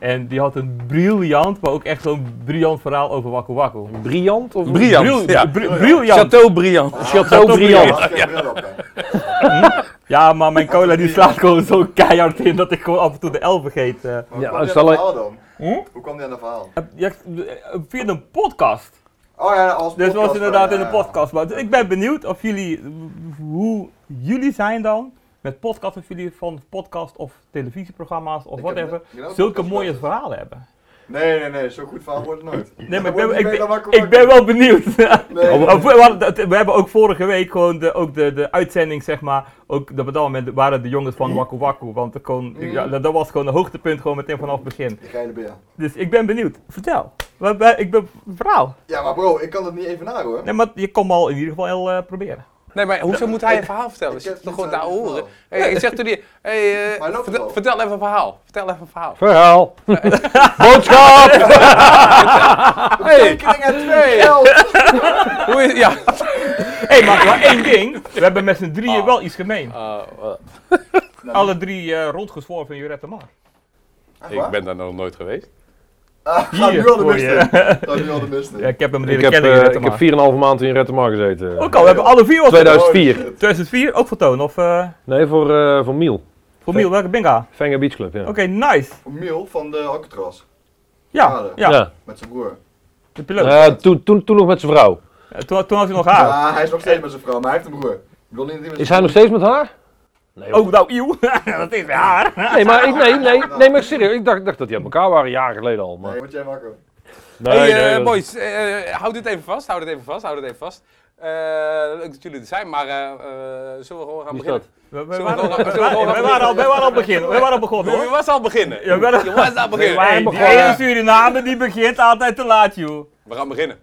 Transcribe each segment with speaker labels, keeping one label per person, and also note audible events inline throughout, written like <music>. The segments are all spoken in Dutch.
Speaker 1: En die had een briljant, maar ook echt zo'n briljant verhaal over Wakku Wakku.
Speaker 2: Briljant? Of
Speaker 3: Briljant,
Speaker 1: Bril-
Speaker 3: ja.
Speaker 1: bri- briljant.
Speaker 2: Chateau Briand.
Speaker 4: Ah,
Speaker 1: Chateau Briand.
Speaker 4: Ja, ik heb er wel op, hè.
Speaker 1: Ja, maar mijn cola die slaat gewoon zo keihard in dat ik gewoon af en toe de L vergeet. eh.
Speaker 4: Maar
Speaker 2: Ja,
Speaker 4: Hoe kwam
Speaker 2: dat
Speaker 4: die aan
Speaker 2: zal-
Speaker 4: het verhaal dan?
Speaker 1: Hm?
Speaker 4: Hoe kwam die aan het verhaal?
Speaker 1: Ja, eh, via een podcast.
Speaker 4: Oh ja, als
Speaker 1: Dit was
Speaker 4: podcast,
Speaker 1: inderdaad
Speaker 4: eh,
Speaker 1: in de podcast. Maar ik ben benieuwd of jullie, hoe jullie zijn dan met podcast, of jullie van podcast of televisieprogramma's of
Speaker 4: Ik heb
Speaker 1: whatever,
Speaker 4: net- net
Speaker 1: zulke
Speaker 4: podcast
Speaker 1: mooie
Speaker 4: geluisterd.
Speaker 1: verhalen hebben.
Speaker 4: Nee, nee, nee, zo goed verhaal wordt het nooit.
Speaker 1: Nee, maar ik
Speaker 4: Dan
Speaker 1: ben,
Speaker 4: wordt
Speaker 1: ik
Speaker 4: het
Speaker 1: ben,
Speaker 4: meteen wakker
Speaker 1: ik ben
Speaker 4: wakker.
Speaker 1: wel benieuwd. <laughs>
Speaker 4: Nee,
Speaker 1: Of- of we, hadden dat- we hebben ook vorige week gewoon de, ook de, de uitzending, zeg maar, ook dat we dan met, waren de jongens van Waku Waku, want er kon, ja, dat, dat was gewoon een hoogtepunt gewoon meteen vanaf het begin.
Speaker 4: die geile beer.
Speaker 1: Dus ik ben benieuwd. Vertel. Wat- wat- Ik ben verhaal.
Speaker 4: Ja, maar bro, ik kan dat niet even na hoor.
Speaker 1: Nee, maar je kon al in ieder geval heel eh, proberen.
Speaker 2: Nee, maar hoezo moet hij een verhaal vertellen?
Speaker 4: Ik
Speaker 2: Zit
Speaker 4: heb
Speaker 2: toch
Speaker 4: niet
Speaker 2: gewoon
Speaker 4: zo'n
Speaker 2: daar
Speaker 4: verhaal.
Speaker 2: horen? Hey, ik zeg toen die, hey, eh,
Speaker 4: <laughs> Maar hij loopt
Speaker 2: vertel,
Speaker 4: wel.
Speaker 2: vertel even een verhaal. Vertel even een verhaal.
Speaker 3: Verhaal. <laughs> Boodschap.
Speaker 2: Hey,
Speaker 4: Tekening en
Speaker 2: Hey.
Speaker 4: twee geld!
Speaker 2: <laughs> hoe is, ja.
Speaker 1: Hé, maar, maar één ding. We hebben met z'n drieën wel iets gemeen. Alle drie eh, rondgezworven in Jurette Mar.
Speaker 2: ik ben daar nog nooit geweest.
Speaker 4: Ga nu al de
Speaker 1: voor
Speaker 4: mist
Speaker 1: je.
Speaker 4: in. Ga nu al de mist in.
Speaker 1: Ja, ik heb hem
Speaker 3: Ik
Speaker 1: leren
Speaker 3: heb,
Speaker 1: kennen in
Speaker 3: eh
Speaker 1: Jurette
Speaker 3: ik heb
Speaker 1: Mar.
Speaker 3: 4,5 maand in Rettemar gezeten.
Speaker 1: Ook al, we hebben alle vier wat
Speaker 3: 2004.
Speaker 1: 2004, ook voor Toon of eh
Speaker 3: Nee, voor, eh voor Miel.
Speaker 1: voor Miel, welke binga? Oké,
Speaker 3: Venga Beach Club, ja.
Speaker 1: nice.
Speaker 4: Miel van de Alcatraz.
Speaker 1: Ja, ja,
Speaker 3: Ja.
Speaker 4: Met zijn broer.
Speaker 1: de piloot.
Speaker 3: Eh, toen, toen, toen nog met zijn vrouw.
Speaker 1: Eh, toen, toen had hij nog
Speaker 4: Ja,
Speaker 1: haar.
Speaker 4: hij is nog steeds met zijn vrouw, maar hij heeft een broer. Ik bedoel niet dat met
Speaker 3: Is hij
Speaker 4: zijn
Speaker 3: nog steeds met haar? Nee,
Speaker 1: Oh, nou, eeuw. <laughs> dat is haar.
Speaker 3: nee maar ik, nee, nee, nee, maar serieus. Ik dacht, dacht dat die uit elkaar waren, jaren geleden al. Maar...
Speaker 4: Nee, word jij wakker.
Speaker 3: Nee,
Speaker 2: hey, eh,
Speaker 3: nee, dat-
Speaker 2: boys, eh, hou dit even vast, hou dit even vast, hou dit even vast. Eh, leuk dat jullie er zijn, maar eh, eh, zullen we gewoon gaan
Speaker 3: Wie is
Speaker 2: beginnen?
Speaker 3: dat?
Speaker 1: We, we
Speaker 2: Zullen we
Speaker 1: waren,
Speaker 2: gewoon-
Speaker 1: we
Speaker 2: zullen we
Speaker 1: waren,
Speaker 2: gewoon
Speaker 1: we
Speaker 2: gaan
Speaker 1: waren al, we waren al begonnen. We waren al
Speaker 2: Je,
Speaker 1: begonnen, hoor.
Speaker 2: was al beginnen.
Speaker 1: Ja, wel.
Speaker 2: Je was al beginnen.
Speaker 1: Hey, die
Speaker 3: begonnen.
Speaker 1: ene Suriname die begint altijd te laat, joh.
Speaker 2: We gaan beginnen.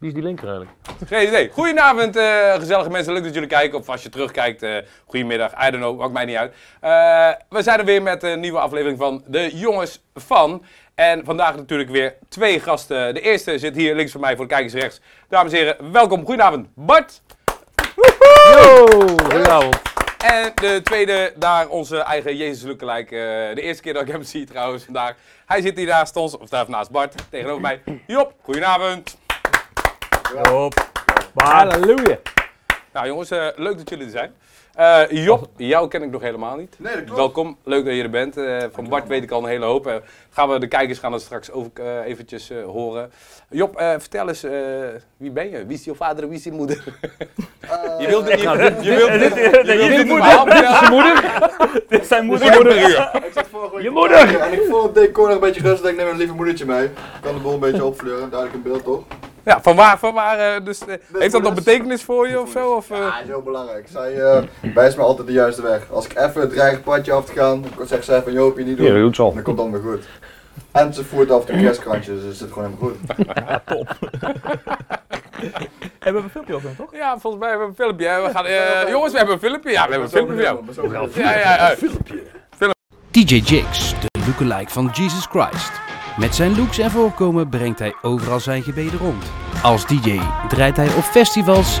Speaker 3: Wie is die linker eigenlijk?
Speaker 2: Nee, nee. Goedenavond, eh, gezellige mensen. Leuk dat jullie kijken. Of als je terugkijkt, eh, goedemiddag. I don't know, maakt mij niet uit. Eh, we zijn er weer met een nieuwe aflevering van De Jongens van. En vandaag natuurlijk weer twee gasten. De eerste zit hier links van mij voor de kijkers rechts. Dames en heren, welkom. Goedenavond, Bart.
Speaker 3: Yo, Oh, goedenavond.
Speaker 2: En de tweede, daar onze eigen Jezus Lookalike. eh de eerste keer dat ik hem zie trouwens vandaag. Hij zit hier naast ons, of daar naast Bart, tegenover mij. Job, goedenavond.
Speaker 1: Joop. Maar,
Speaker 3: Halleluja.
Speaker 2: Nou jongens, eh, leuk dat jullie er zijn. Eh, Job, jou ken ik nog helemaal niet.
Speaker 4: Nee, dat klopt.
Speaker 2: Welkom, leuk dat je er bent. Eh, van Bart weet ik al een hele hoop. Eh, gaan we de kijkers gaan dat straks ook eh, eventjes eh, horen. Job, eh, vertel eens, eh, wie ben je? Wie is je vader en wie is je moeder?
Speaker 4: Eh,
Speaker 2: je wilt dit niet. <laughs> Je wilt dit
Speaker 1: dit- dit-
Speaker 2: je wilt
Speaker 1: je
Speaker 2: dit
Speaker 1: moeder.
Speaker 2: verhaal vertellen.
Speaker 3: Moeder?
Speaker 1: dit zijn moeder.
Speaker 2: Moeder.
Speaker 4: Ik zat vorige week
Speaker 3: Je
Speaker 4: op
Speaker 3: moeder!
Speaker 4: de- En ik voel het decor nog een beetje rustig. Ik neem een lieve moedertje mee. Kan de boel een beetje opvleuren. Duidelijk in beeld toch?
Speaker 2: Ja, van waar, van waar eh, dus, eh, heeft dat nog
Speaker 4: moeders.
Speaker 2: betekenis voor je of zo? Of, eh?
Speaker 4: Ja, dat is heel belangrijk. Zij eh, wijst me altijd de juiste weg. Als ik even het rijge padje af te gaan, dan zegt zij van Joopie niet doen.
Speaker 3: Ja, dat doet ze al.
Speaker 4: Dan komt het allemaal goed. En ze voert af de kerstkrantjes, dus het zit gewoon helemaal goed.
Speaker 1: En we hebben een filmpje opgenomen, toch?
Speaker 2: Ja, volgens mij hebben we een filmpje. hè. We gaan, eh, jongens, we hebben een filmpje. Ja, we hebben een filmpje voor jou.
Speaker 4: Zo gaat het.
Speaker 2: Ja, ja, ja.
Speaker 5: DJ Jigs, de lookalike van Jesus Christ. Met zijn looks en voorkomen brengt hij overal zijn gebeden rond. Als DJ draait hij op festivals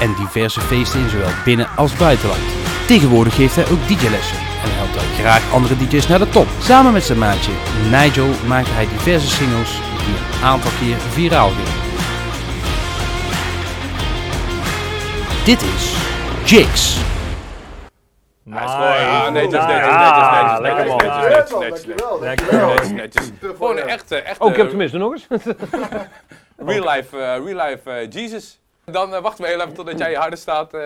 Speaker 5: en diverse feesten in zowel binnen als buitenland. Tegenwoordig geeft hij ook DJ-lessen en helpt hij graag andere DJ's naar de top. Samen met zijn maatje Nigel maakt hij diverse singles die een aantal keer viraal gingen. Dit is Jigs.
Speaker 2: Hij is gewoon- ja,
Speaker 1: Nice.
Speaker 2: netjes, netjes,
Speaker 1: Nice.
Speaker 2: netjes,
Speaker 1: Ah,
Speaker 2: netjes,
Speaker 1: lekker
Speaker 2: netjes,
Speaker 1: man. Nice.
Speaker 2: netjes, netjes, netjes, netjes.
Speaker 4: Dankjewel,
Speaker 1: Lekker.
Speaker 4: dankjewel.
Speaker 2: Netjes, netjes. Gewoon een echte, echte
Speaker 3: Oh, ik heb tenminste nog eens.
Speaker 2: real life, eh, real life eh, Jesus. Dan eh, wachten we heel even totdat jij harder staat. eh,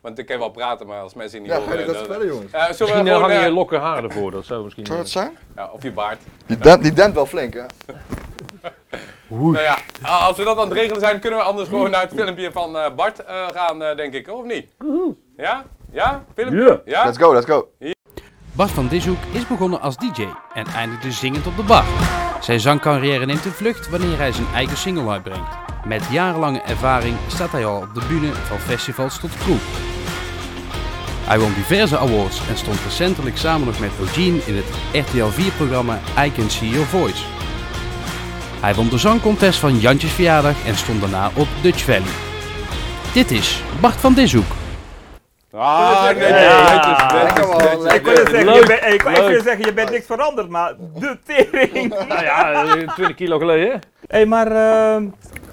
Speaker 2: want ik kan wel praten, maar als mensen niet
Speaker 4: Ja, ga
Speaker 2: horen...
Speaker 4: je dat
Speaker 2: dan-
Speaker 4: vertellen,
Speaker 2: Eh,
Speaker 4: jongens?
Speaker 2: zullen we
Speaker 3: Misschien eh,
Speaker 2: gewoon,
Speaker 3: hangen
Speaker 2: eh,
Speaker 3: je lokken haar ervoor. Dat zou misschien...
Speaker 4: Zou dat zijn?
Speaker 2: ja, of je baard.
Speaker 4: Die dent, die dent wel flink, hè?
Speaker 2: Nou ja, ah, als we dat aan het regelen zijn, kunnen we anders gewoon naar het filmpje van eh, Bart eh, gaan, eh, denk ik. Of niet? Ja? Ja? Filmpje?
Speaker 3: Ja.
Speaker 2: Ja?
Speaker 4: Let's go, let's go.
Speaker 5: Bart van Dishoek is begonnen als DJ en eindigde zingend op de bar. Zijn zangcarrière neemt een vlucht wanneer hij zijn eigen single uitbrengt. Met jarenlange ervaring staat hij al op de bühne van festivals tot kroeg. Hij won diverse awards en stond recentelijk samen nog met Eugene in het RTL 4-programma I Can See Your Voice. Hij won de zangcontest van Jantjes verjaardag en stond daarna op Dutch Valley. Dit is Bart van Dishoek.
Speaker 2: Ah, netjes,
Speaker 1: Ja.
Speaker 2: netjes, netjes,
Speaker 4: Lekker man,
Speaker 2: netjes,
Speaker 4: lekker.
Speaker 1: Ik wil zeggen,
Speaker 3: Leuk,
Speaker 1: je bent- ik wou echt
Speaker 3: leuk.
Speaker 1: willen zeggen, je bent niks veranderd, maar de tering.
Speaker 3: Nou ja, eh, 20 kilo geleden.
Speaker 1: Hé, hey, maar ehm,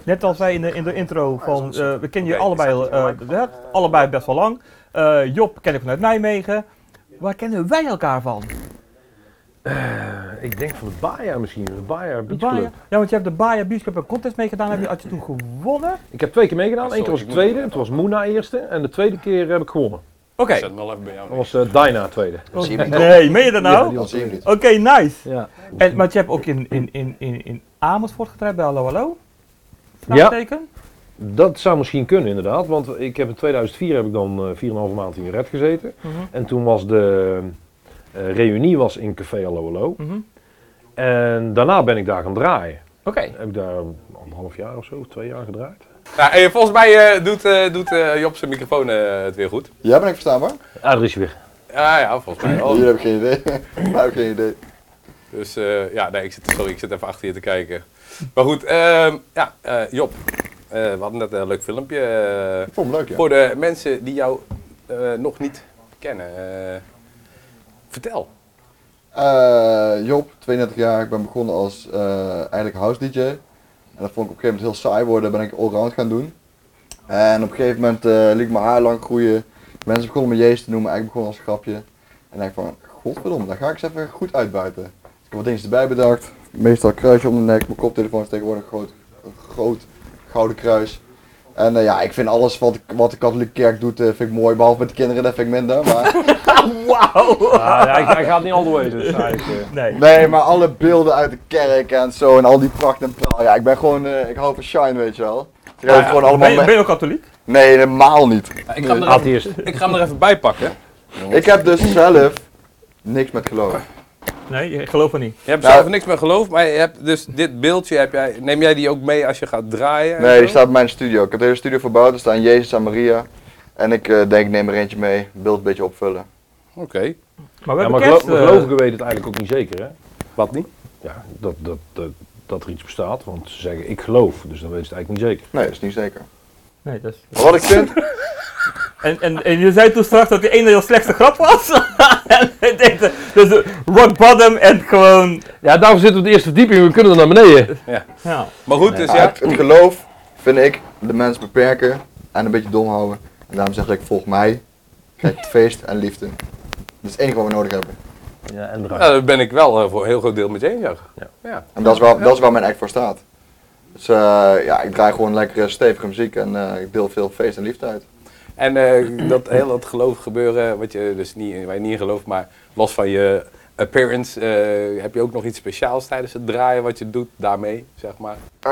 Speaker 1: net als wij in de, in de intro van, eh, we kennen
Speaker 2: Oké,
Speaker 1: jullie allebei, eh, eh, allebei best wel lang. Eh, Job ken ik vanuit Nijmegen. Waar kennen wij elkaar van?
Speaker 3: Ik denk van de Baia misschien, de Baia
Speaker 1: De
Speaker 3: Beach
Speaker 1: Baia?
Speaker 3: Club.
Speaker 1: Ja, want je hebt de Baia Beach Club een contest meegedaan, heb je, had je toen gewonnen?
Speaker 3: Ik heb twee keer meegedaan.
Speaker 2: Ah,
Speaker 3: Eén keer was
Speaker 2: sorry,
Speaker 3: ik
Speaker 2: ik moet-
Speaker 3: tweede, toen was Moena eerste. En de tweede keer heb ik gewonnen.
Speaker 1: Oké.
Speaker 2: Ik zet hem wel even bij jou.
Speaker 3: Dan was eh Dyna tweede.
Speaker 4: Zie je hem niet?
Speaker 1: Nee, meen je dat
Speaker 3: Ja,
Speaker 1: nou?
Speaker 3: die
Speaker 4: Dat zie je hem niet.
Speaker 1: Oké, nice.
Speaker 3: Ja.
Speaker 1: En, maar je hebt ook in, in, in, in, in Amersfoort getraind bij Hallo Hallo?
Speaker 3: Ja.
Speaker 1: Vraagteken?
Speaker 3: Dat zou misschien kunnen inderdaad, want ik heb in 2004 heb ik dan eh, 4,5 maand in Red gezeten.
Speaker 1: Mhm.
Speaker 3: En toen was de eh, reunie was in Café Allo Allo.
Speaker 1: Mhm.
Speaker 3: En daarna ben ik daar gaan draaien.
Speaker 1: Oké.
Speaker 3: Heb ik daar anderhalf jaar of zo, of twee jaar gedraaid.
Speaker 2: Nou, eh, volgens mij eh, doet, eh, doet eh, Job zijn microfoon eh, het weer goed.
Speaker 4: Ja, ben ik verstaanbaar?
Speaker 3: Ah, daar is hij weer.
Speaker 2: Ja, ja, volgens mij wel.
Speaker 4: Hier heb ik geen idee. <laughs> Daar heb ik geen idee.
Speaker 2: Dus eh, ja, nee, ik zit, sorry, ik zit even achter je te kijken. Maar goed, ehm, ja, eh, Job, eh, we hadden net een leuk filmpje. eh,
Speaker 4: Ik vond hem leuk, ja.
Speaker 2: Voor de mensen die jou eh, nog niet kennen, eh, vertel.
Speaker 4: Eh, Job, 32 jaar. Ik ben begonnen als eh, eigenlijk house DJ. En dat vond ik op een gegeven moment heel saai worden. Ben ik allround gaan doen. En op een gegeven moment eh, liet ik mijn haar lang groeien. Mensen begonnen me Jees te noemen. Eigenlijk begon als een grapje. En dacht ik van, godverdomme, daar ga ik eens even goed uitbuiten. Dus ik heb wat dingetjes erbij bedacht. Meestal kruisje om de nek. Mijn koptelefoon is tegenwoordig een groot, een groot gouden kruis. En eh, ja, ik vind alles wat, wat de katholieke kerk doet, eh, vind ik mooi. Behalve met de kinderen, dat vind ik minder. Maar...
Speaker 1: Wauw!
Speaker 3: Ah, hij, hij gaat niet all the way dus eigenlijk. eh.
Speaker 1: Nee.
Speaker 4: Nee, maar alle beelden uit de kerk en zo en al die pracht en praal. Ja, ik ben gewoon, eh, ik hou van shine, weet je wel. Ik heb het gewoon allemaal
Speaker 1: Ben je,
Speaker 4: me-
Speaker 1: ben je ook katholiek?
Speaker 4: Nee, helemaal niet.
Speaker 2: Ik ga, hem er even,
Speaker 3: Atheïst.
Speaker 2: ik ga hem er even bij pakken.
Speaker 4: Ik heb dus zelf niks met geloof.
Speaker 1: Nee, ik geloof het niet.
Speaker 2: Je hebt
Speaker 4: Nou-
Speaker 2: zelf niks meer geloof, maar je hebt dus dit beeldje, heb jij, neem jij die ook mee als je gaat draaien? en
Speaker 4: Nee,
Speaker 2: zo?
Speaker 4: die staat op mijn studio. Ik heb de hele studio verbouwd. Er staan Jezus en Maria. En ik eh, denk, neem er eentje mee. Beeld een beetje opvullen.
Speaker 2: Oké.
Speaker 1: Maar we
Speaker 3: Ja,
Speaker 1: hebben
Speaker 3: maar
Speaker 1: kerst...
Speaker 3: gelo- maar
Speaker 1: eh,
Speaker 3: gelovigen weten het eigenlijk ook niet zeker hè.
Speaker 2: Wat niet?
Speaker 3: Ja, dat, dat, dat, dat er iets bestaat, want ze zeggen ik geloof, dus dan weten ze het eigenlijk niet zeker.
Speaker 4: Nee, dat is niet zeker.
Speaker 1: Nee, dat is...
Speaker 4: Maar wat ik vind,
Speaker 1: En, en, en je zei toen straks dat die ene heel slechtste grap was. <laughs> en ik denk, dat- dus de rock bottom en gewoon...
Speaker 3: Ja, daarvoor zitten we op de eerste verdieping, we kunnen er naar beneden.
Speaker 1: <laughs> Ja.
Speaker 2: Maar goed, dus
Speaker 4: ah,
Speaker 2: ja.
Speaker 4: het, het geloof, vind ik, de mens beperken en een beetje dom houden. En daarom zeg ik, volg mij. Kijk, feest en liefde. Dat is het enige wat we nodig hebben.
Speaker 3: Ja, en
Speaker 2: Ja, daar ben ik wel eh, voor een heel groot deel met je eens. Ja.
Speaker 3: Ja.
Speaker 2: Ja.
Speaker 4: En dat is, waar, dat is waar mijn act voor staat. Dus eh, ja, ik draai gewoon lekkere stevige muziek en eh, ik deel veel feest en liefde uit.
Speaker 2: En eh, dat heel dat geloof gebeuren, wat je dus niet, waar je niet in gelooft, maar los van je appearance, eh, heb je ook nog iets speciaals tijdens het draaien wat je doet daarmee, zeg maar.
Speaker 4: Eh,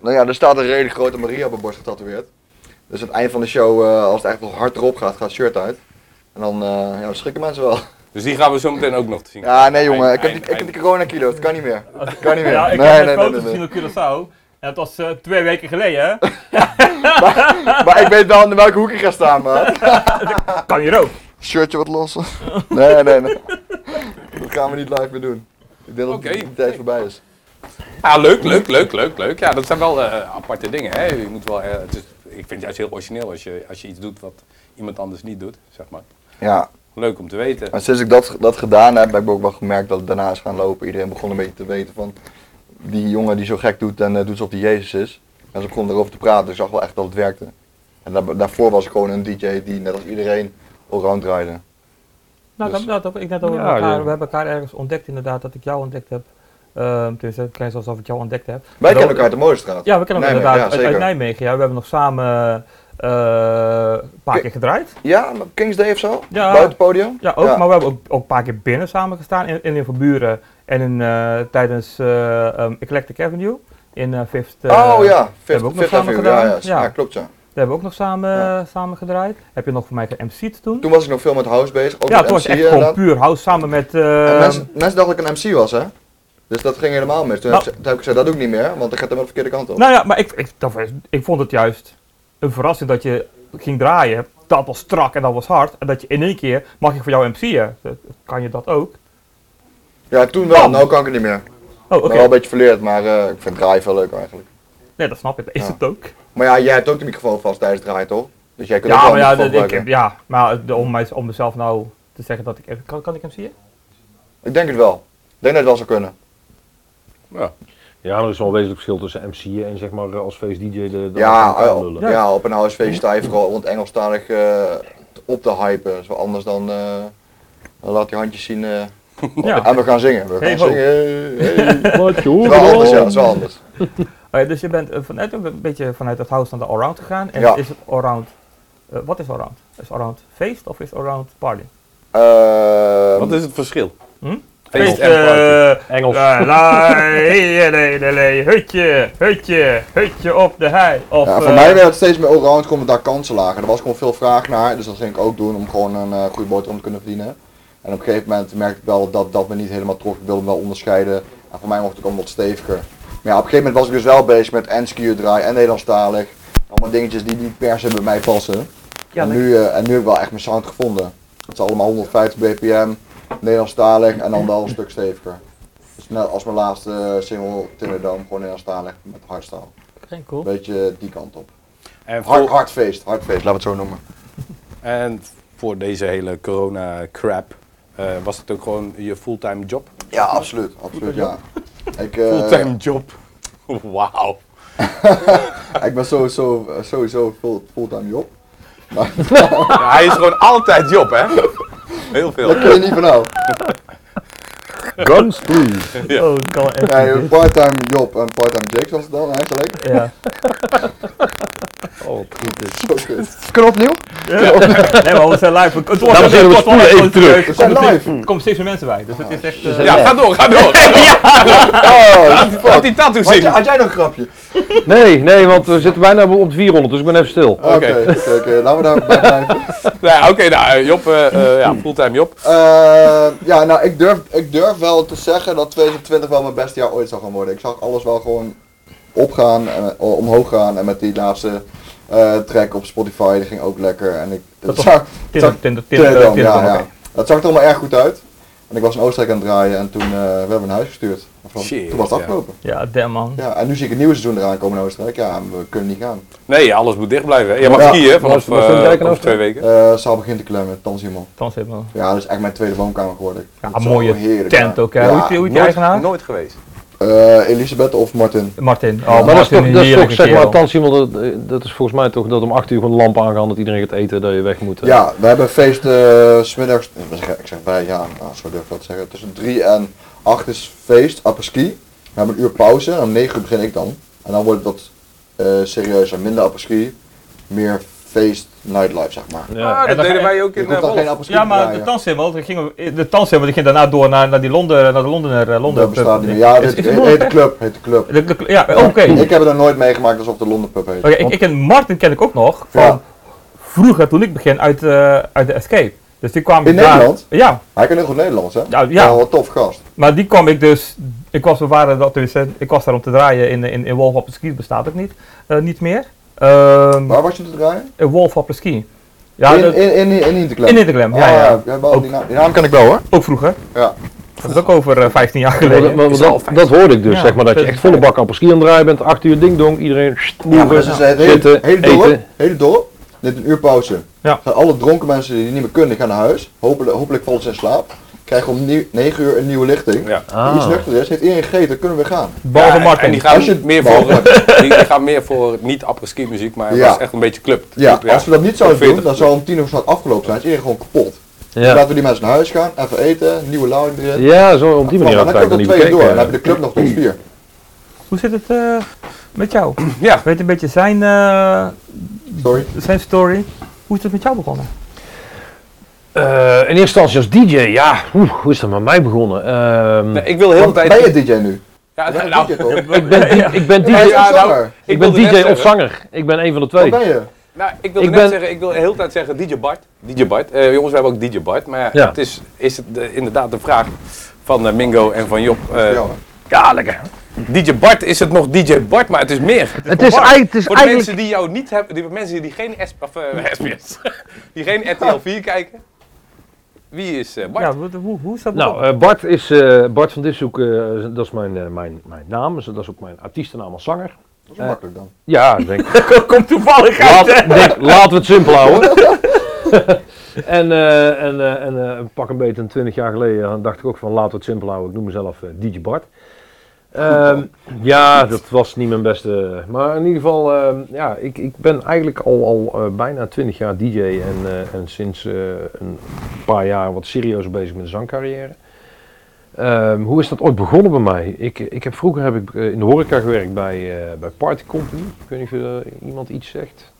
Speaker 4: nou ja, er staat een redelijk grote Maria op mijn borst getatoeëerd. Dus aan het eind van de show, eh, als het echt nog hard erop gaat, gaat het shirt uit. En dan, eh, ja, dan schrikken mensen wel.
Speaker 2: Dus die gaan we zo meteen ook nog te zien.
Speaker 4: <laughs> Ja, nee jongen, ik heb
Speaker 2: Eind-
Speaker 4: die, ik
Speaker 2: eind-
Speaker 4: heb die corona kilo, het kan niet
Speaker 1: <laughs>
Speaker 4: meer. Het kan niet meer.
Speaker 1: Ja, ik
Speaker 4: nee,
Speaker 1: heb
Speaker 4: nee,
Speaker 1: een
Speaker 4: nee,
Speaker 1: foto
Speaker 4: nee, nee.
Speaker 1: gezien op Curaçao. En dat was eh, twee weken geleden,
Speaker 4: <laughs>
Speaker 1: hè?
Speaker 4: Maar ik weet wel in welke hoek ik ga
Speaker 1: <laughs>
Speaker 4: staan, man.
Speaker 1: Kan hier ook.
Speaker 4: Shirtje wat los. <laughs> Nee, nee, nee. <laughs> Dat gaan we niet live meer doen. Ik denk dat
Speaker 2: Oké.
Speaker 4: die tijd voorbij is.
Speaker 2: Ja, Ah, leuk, leuk, leuk, leuk, leuk. Ja, dat zijn wel eh, aparte dingen. Hè? Je moet wel, eh, het is- ik vind het juist heel origineel als je, als je iets doet wat iemand anders niet doet, zeg maar.
Speaker 4: Ja,
Speaker 2: Leuk om te weten.
Speaker 4: Maar sinds ik dat, dat gedaan heb, heb ik ook wel gemerkt dat het daarna is gaan lopen. Iedereen begon een beetje te weten van die jongen die zo gek doet en eh, doet alsof die Jezus is. En ze begonnen erover te praten. Ik zag wel echt dat het werkte. En daar- daarvoor was ik gewoon een DJ die net als iedereen allround draaide.
Speaker 1: Nou,
Speaker 4: Dus-
Speaker 1: dat, dat, heb ik net over
Speaker 3: Ja,
Speaker 1: elkaar,
Speaker 3: ja.
Speaker 1: We hebben elkaar ergens ontdekt, inderdaad, dat ik jou ontdekt heb. Ehm dus het klinkt alsof ik jou ontdekt heb.
Speaker 4: Wij
Speaker 1: Dat-
Speaker 4: kennen elkaar uit de Molenstraat.
Speaker 1: Ja, we kennen elkaar inderdaad
Speaker 4: Nijmegen, ja,
Speaker 1: uit, uit
Speaker 4: zeker.
Speaker 1: Nijmegen. Ja, we hebben nog samen eh, een paar
Speaker 4: Ki-
Speaker 1: keer gedraaid.
Speaker 4: Ja, maar Kings Day of zo?
Speaker 1: Ja.
Speaker 4: Buiten het podium?
Speaker 1: Ja, ook. Maar we hebben ook, ook een paar keer binnen samen gestaan. In, in, van Buren en in, eh, tijdens eh, um, Eclectic Avenue. In eh, Fifth. eh,
Speaker 4: oh ja,
Speaker 1: hebben we
Speaker 4: Fifth,
Speaker 1: ook nog
Speaker 4: Fifth
Speaker 1: samen
Speaker 4: Avenue. Ja,
Speaker 1: gedaan.
Speaker 4: ja,
Speaker 1: Ja.
Speaker 4: ja, klopt ja.
Speaker 1: Daar hebben we ook nog samen,
Speaker 4: Ja.
Speaker 1: eh, samen gedraaid. Heb je nog voor mij geMC'd toen?
Speaker 4: Toen was ik nog veel met house bezig, ook
Speaker 1: ja,
Speaker 4: met
Speaker 1: toen was
Speaker 4: MC
Speaker 1: het echt gewoon
Speaker 4: inderdaad.
Speaker 1: puur house samen met... eh,
Speaker 4: eh, En mensen, mensen dachten dat ik een MC was hè. Dus dat ging helemaal mis. Toen,
Speaker 1: Nou.
Speaker 4: heb, ik, ze- toen heb ik gezegd, dat doe ik niet meer, want dat gaat helemaal de verkeerde kant op.
Speaker 1: Nou ja, maar ik, ik, dat was- ik vond het juist een verrassing dat je ging draaien. dat was strak en dat was hard. En dat je in één keer, mag ik voor jou MC'en? Eh, Kan je dat ook?
Speaker 4: Ja, toen wel,
Speaker 1: Bam.
Speaker 4: nou kan ik het niet meer. Ik
Speaker 1: Oh, oké.
Speaker 4: ben wel een beetje verleerd, maar eh, ik vind draaien veel leuk eigenlijk.
Speaker 1: Nee, dat snap ik. Dat Is
Speaker 4: Ja.
Speaker 1: het ook?
Speaker 4: Maar ja, jij hebt ook de microfoon vast tijdens het draaien, toch? Dus jij kunt ook
Speaker 1: Ja,
Speaker 4: wel
Speaker 1: maar
Speaker 4: een
Speaker 1: ja,
Speaker 4: microfoon
Speaker 1: dat- ik,
Speaker 4: gebruiken.
Speaker 1: ja, maar eh, de- om, mij, om mezelf nou te zeggen dat ik... Kan, kan ik MC'en?
Speaker 4: Ik denk het wel. Ik denk dat het wel zou kunnen.
Speaker 2: Ja.
Speaker 3: Ja, er is wel een wezenlijk verschil tussen MC'en en zeg maar eh, als face DJ de, de
Speaker 4: Ja,
Speaker 3: elkaar
Speaker 4: ja,
Speaker 3: lullen.
Speaker 4: ja, op een HSV sta je vooral om het Engelstalig eh, op te hypen. Dat is wel anders dan eh, dan laat je handjes zien eh,
Speaker 1: Ja.
Speaker 4: en we gaan zingen. We gaan
Speaker 1: Hey ho.
Speaker 4: zingen. hey,
Speaker 1: <laughs>
Speaker 4: hey.
Speaker 3: Laat je
Speaker 4: Het is
Speaker 3: horen,
Speaker 4: <laughs> wel
Speaker 3: man.
Speaker 4: anders, ja, het is wel anders.
Speaker 1: Oh ja, dus je bent eh, vanuit, een beetje vanuit het house naar de allround gegaan. En
Speaker 4: Ja.
Speaker 1: is het allround... eh, wat is allround? Is allround feest of is allround party?
Speaker 4: Ehm,
Speaker 2: Wat is het verschil?
Speaker 1: Hm?
Speaker 2: Feest en party.
Speaker 1: eh,
Speaker 3: Engels.
Speaker 1: la,
Speaker 2: <laughs>
Speaker 1: la, hele, hele, hele, hutje, hutje, hutje op de hei. Of,
Speaker 4: ja, voor
Speaker 1: eh,
Speaker 4: mij werd het steeds meer oh, allround gewoon daar kansen lagen. Er was gewoon veel vraag naar, dus dat ging ik ook doen om gewoon een eh, goede boterham te kunnen verdienen. En op een gegeven moment merkte ik wel dat dat me niet helemaal trof. Ik wilde hem wel onderscheiden. En voor mij mocht ik ook wat steviger. Maar ja, op een gegeven moment was ik dus wel bezig met en skier draaien en Nederlandstalig. Allemaal dingetjes die niet per se bij mij passen.
Speaker 1: ja,
Speaker 4: en,
Speaker 1: dat-
Speaker 4: nu, eh, en nu heb ik wel echt mijn sound gevonden. Het is allemaal 150 bpm, Nederlandstalig en dan wel een stuk steviger. Dus net als mijn laatste eh, single, Tinderdome, gewoon Nederlandstalig met hardstyle.
Speaker 1: oké, cool.
Speaker 4: Beetje eh, die kant op.
Speaker 2: En
Speaker 4: Hard,
Speaker 2: voor,
Speaker 4: hardfeest, hardfeest, laten we het zo noemen.
Speaker 2: en voor deze hele corona crap eh, was het ook gewoon je fulltime job?
Speaker 4: Ja, absoluut, <laughs> absoluut, ja. Ik, eh,
Speaker 2: Fulltime job. Wauw.
Speaker 4: ik ben sowieso, eh, sowieso full, fulltime job.
Speaker 2: Ja, hij is gewoon altijd job, hè? Heel veel.
Speaker 4: Dat kun je niet vanaf.
Speaker 3: Guns please.
Speaker 1: Oh, dat kan wel echt
Speaker 4: Nee,
Speaker 1: niet.
Speaker 4: een part-time job en part-time Jake was het dan eigenlijk.
Speaker 1: <laughs> Ja.
Speaker 3: Oh, wat goed is.
Speaker 4: Zo kut. Kunnen we opnieuw?
Speaker 1: Nee, maar we zijn live. Het wordt
Speaker 3: Dames en heren, we
Speaker 1: het wordt
Speaker 3: spoelen even
Speaker 1: gewoon
Speaker 3: terug.
Speaker 1: leuk.
Speaker 4: We zijn
Speaker 1: Er komen
Speaker 4: live.
Speaker 1: steeds- Er komen steeds meer mensen bij, dus het is echt... eh,
Speaker 2: Ja, ga door, ga
Speaker 4: <laughs>
Speaker 2: door. Ga door.
Speaker 4: Oh,
Speaker 2: Laat die tattoo
Speaker 4: had, jij-
Speaker 2: zien.
Speaker 4: had jij nog een grapje?
Speaker 3: Nee, nee, want we zitten bijna op de 400, dus ik ben even stil.
Speaker 4: Oké, oké, oké, laten we daar bij <laughs> blijven.
Speaker 2: Nee, Oké, nou, eh, Job, eh, eh, ja, fulltime Job.
Speaker 4: Eh, ja, nou, ik durf, ik durf wel te zeggen dat 2020 wel mijn beste jaar ooit zou gaan worden. Ik zag alles wel gewoon opgaan, en, o- omhoog gaan en met die laatste eh, track op Spotify, die ging ook lekker. En ik,
Speaker 1: Dat
Speaker 4: dat
Speaker 1: was
Speaker 4: zag,
Speaker 1: Tinder,
Speaker 4: zag-
Speaker 1: Tinder, dus- Tinder,
Speaker 4: Tinderdam,
Speaker 1: Tinder,
Speaker 4: ja,
Speaker 1: oké.
Speaker 4: ja. Dat zag er allemaal erg goed uit. En ik was in Oostenrijk aan het draaien en toen eh, werden we naar huis gestuurd. Of wat-
Speaker 2: Shit,
Speaker 4: toen was het
Speaker 2: ja.
Speaker 4: afgelopen.
Speaker 1: Ja, damn man.
Speaker 4: Ja, en nu zie ik het nieuwe seizoen eraan komen in Oostenrijk. Ja, en we kunnen niet gaan.
Speaker 2: Nee, alles moet dicht blijven. hè. Jij mag
Speaker 4: Ja.
Speaker 2: skiën vanaf
Speaker 3: Was- was er een
Speaker 2: eh,
Speaker 3: dijk in
Speaker 2: over twee
Speaker 3: Oostenrijk?
Speaker 2: weken.
Speaker 4: Eh Saal begint te klemmen, Tansimon.
Speaker 1: Dan zit man.
Speaker 4: Ja, dat is echt mijn tweede woonkamer geworden.
Speaker 1: Ja,
Speaker 4: Dat is
Speaker 1: mooie
Speaker 4: wel heerlijk,
Speaker 1: tent
Speaker 4: ja.
Speaker 1: ook, hè.
Speaker 4: Ja,
Speaker 1: Hoe heet die- hoe heet die eigenaar?
Speaker 2: nooit geweest.
Speaker 4: Eh, Elisabeth of Martin?
Speaker 1: Martin. Oh,
Speaker 3: maar dat is
Speaker 1: Martin,
Speaker 3: toch,
Speaker 1: een
Speaker 3: dat is toch
Speaker 1: heerlijke
Speaker 3: zeg maar,
Speaker 1: kerel.
Speaker 3: thans iemand, dat, eh, dat is volgens mij toch dat om 8 uur gewoon de lamp aangaan dat iedereen gaat eten dat je weg moet. hè?
Speaker 4: Ja, we hebben een feest eh, 's middags. ik zeg- ik zeg bij, ja, nou, zo durf ik dat te zeggen. Tussen 3 en 8 is feest, apres-ski. We hebben een uur pauze en om 9 uur begin ik dan. En dan wordt het wat eh, serieuzer, minder apres-ski, meer feest, nightlife zeg maar.
Speaker 3: Ja.
Speaker 2: Ah,
Speaker 1: En
Speaker 2: dat
Speaker 1: dan ga
Speaker 2: deden
Speaker 1: je-
Speaker 2: wij ook
Speaker 4: Je
Speaker 2: in
Speaker 4: komt dan geen
Speaker 2: Holland.
Speaker 4: apres-ski
Speaker 1: Ja, maar de tanssimmel, die ging, de tanssimmel die ging daarna door naar, naar die Londen, naar de Londener, eh, Londen.
Speaker 4: Dat bestaat niet meer. Ja, dit heet, heet de club, heet de club.
Speaker 1: De- de- ja, oké. Oh
Speaker 4: Ik heb het nog nooit meegemaakt alsof de Londen pub heet.
Speaker 1: Oké, ik, ik ken Martin ken ik ook nog van
Speaker 4: Ja.
Speaker 1: vroeger toen ik begin uit, eh, uit de Escape. Dus die kwam
Speaker 4: In
Speaker 1: ik daar-
Speaker 4: Nederland?
Speaker 1: Ja,
Speaker 4: Hij kan heel goed Nederlands, hè?
Speaker 1: ja,
Speaker 4: Ja,
Speaker 1: ja.
Speaker 4: wel een tof gast.
Speaker 1: Maar die kwam ik dus. Ik was, we waren dat dus, hè, ik was daar om te draaien in, in, in Wolf op de Ski, bestaat ook niet, eh, niet meer. Ehm,
Speaker 4: Waar was je te draaien?
Speaker 1: in Wolf op de Ski. Ja,
Speaker 4: in,
Speaker 1: dat-
Speaker 4: in, in, in, in de club.
Speaker 1: in Interglam, ja,
Speaker 4: Ah,
Speaker 1: ja.
Speaker 4: ja, wel,
Speaker 1: Ook.
Speaker 4: die, naam, die naam kan ik wel hoor.
Speaker 1: Ook vroeger.
Speaker 4: Ja.
Speaker 1: Dat is ook over eh, 15 jaar
Speaker 3: Maar
Speaker 1: geleden.
Speaker 3: dat- maar dat, dat hoorde ik dus,
Speaker 1: Ja,
Speaker 3: zeg maar, dat je echt volle bak appels aan het draaien bent, 8 uur ding dong, iedereen sst,
Speaker 4: Ja, maar
Speaker 3: moeven,
Speaker 4: dat is het hele,
Speaker 3: zitten,
Speaker 4: hele dorp,
Speaker 3: eten.
Speaker 4: hele dorp, neemt een uur pauze.
Speaker 1: Ja.
Speaker 4: Gaan alle dronken mensen die niet meer kunnen, gaan naar huis. Hopelijk, hopelijk vallen ze in slaap. Krijgen om 9 uur een nieuwe lichting.
Speaker 2: Ja.
Speaker 4: Die iets nuchter is, heeft iedereen gegeten, kunnen we gaan.
Speaker 1: Behalve
Speaker 2: Ja, en-
Speaker 1: Martin.
Speaker 2: En die gaan,
Speaker 4: Als je-
Speaker 2: meer voor, eh, die, die gaan meer voor niet apres-ski muziek, maar
Speaker 4: Ja.
Speaker 2: het was echt een beetje club.
Speaker 4: Ja,
Speaker 2: Club,
Speaker 4: als we dat niet zouden
Speaker 2: Of 40
Speaker 4: doen, dan zou om 10 uur snel afgelopen zijn. Is iedereen gewoon kapot. Dus
Speaker 3: Ja.
Speaker 4: laten we die mensen naar huis gaan, even eten, nieuwe lounge erin.
Speaker 3: ja, zo op die manier
Speaker 4: Want dan
Speaker 3: had ik
Speaker 4: heb je
Speaker 3: eigenlijk
Speaker 4: tot
Speaker 3: niet
Speaker 4: twee uur door. Dan heb
Speaker 3: bekeken.
Speaker 4: je de club nog tot vier.
Speaker 1: Hoe zit het eh, met jou?
Speaker 2: Ja,
Speaker 1: Weet een beetje zijn, eh,
Speaker 4: Sorry.
Speaker 1: zijn story. Hoe is het met jou begonnen?
Speaker 3: Eh, in eerste instantie als DJ, ja, oeh, hoe is dat met mij begonnen? Ehm,
Speaker 2: nee, ik wil heel de tijd...
Speaker 4: Ben je DJ nu?
Speaker 2: <laughs> Ja,
Speaker 4: Ben je
Speaker 2: nou,
Speaker 4: DJ toch?
Speaker 3: ik, ben, di- ik ben
Speaker 4: Ben je
Speaker 3: DJ,
Speaker 2: ja,
Speaker 4: een
Speaker 2: nou,
Speaker 4: zanger?
Speaker 2: ik
Speaker 3: ik
Speaker 2: wilde
Speaker 3: ben
Speaker 2: net
Speaker 3: DJ of
Speaker 2: zeggen-
Speaker 3: zanger, ik ben een van de
Speaker 4: Wat
Speaker 3: twee.
Speaker 4: ben je?
Speaker 2: Nou, ik wilde
Speaker 3: Ik
Speaker 2: net
Speaker 3: ben-
Speaker 2: zeggen, ik wil de hele tijd zeggen DJ Bart. DJ Bart. Eh, jongens, we hebben ook DJ Bart. Maar ja,
Speaker 3: Ja.
Speaker 2: het is, is het, eh, inderdaad de vraag van eh, Mingo en van Job. eh,
Speaker 4: Ja.
Speaker 3: Ja, lekker.
Speaker 2: DJ Bart is het nog DJ Bart, maar het is meer.
Speaker 6: Het is,
Speaker 2: Bart,
Speaker 6: eigenlijk- het is
Speaker 2: Voor de
Speaker 6: eigenlijk...
Speaker 2: mensen die jou niet hebben, die mensen die geen S, of, eh, <laughs> SBS, die geen RTL 4 kijken. Wie is eh, Bart?
Speaker 1: Ja, wat- hoe, hoe is dat
Speaker 3: Nou,
Speaker 1: begonnen?
Speaker 3: eh, Bart, is, eh, Bart van Dishoek, eh, dat is mijn, eh, mijn, mijn naam. Dus Dat is ook mijn artiestennaam als zanger.
Speaker 4: Dat is makkelijk dan.
Speaker 3: Ja, ik denk
Speaker 1: Komt toevallig uit,
Speaker 3: <laughs> Laat,
Speaker 1: hè?
Speaker 3: denk, laten we het simpel houden. <laughs> en eh, en, eh, en eh, pak een beetje een 20 jaar geleden eh, dacht ik ook van laten we het simpel houden. Ik noem mezelf eh, DJ Bart. Ehm, <laughs> ja, dat was niet mijn beste. Maar in ieder geval, ehm, ja, ik, ik ben eigenlijk al, al eh, bijna 20 jaar DJ en, eh, en sinds eh, een paar jaar wat serieus bezig met de zangcarrière. Ehm, hoe is dat ooit begonnen bij mij? Ik, ik heb, vroeger heb ik eh, in de horeca gewerkt bij, eh, bij Party Company. Ik weet niet of eh, iemand iets zegt.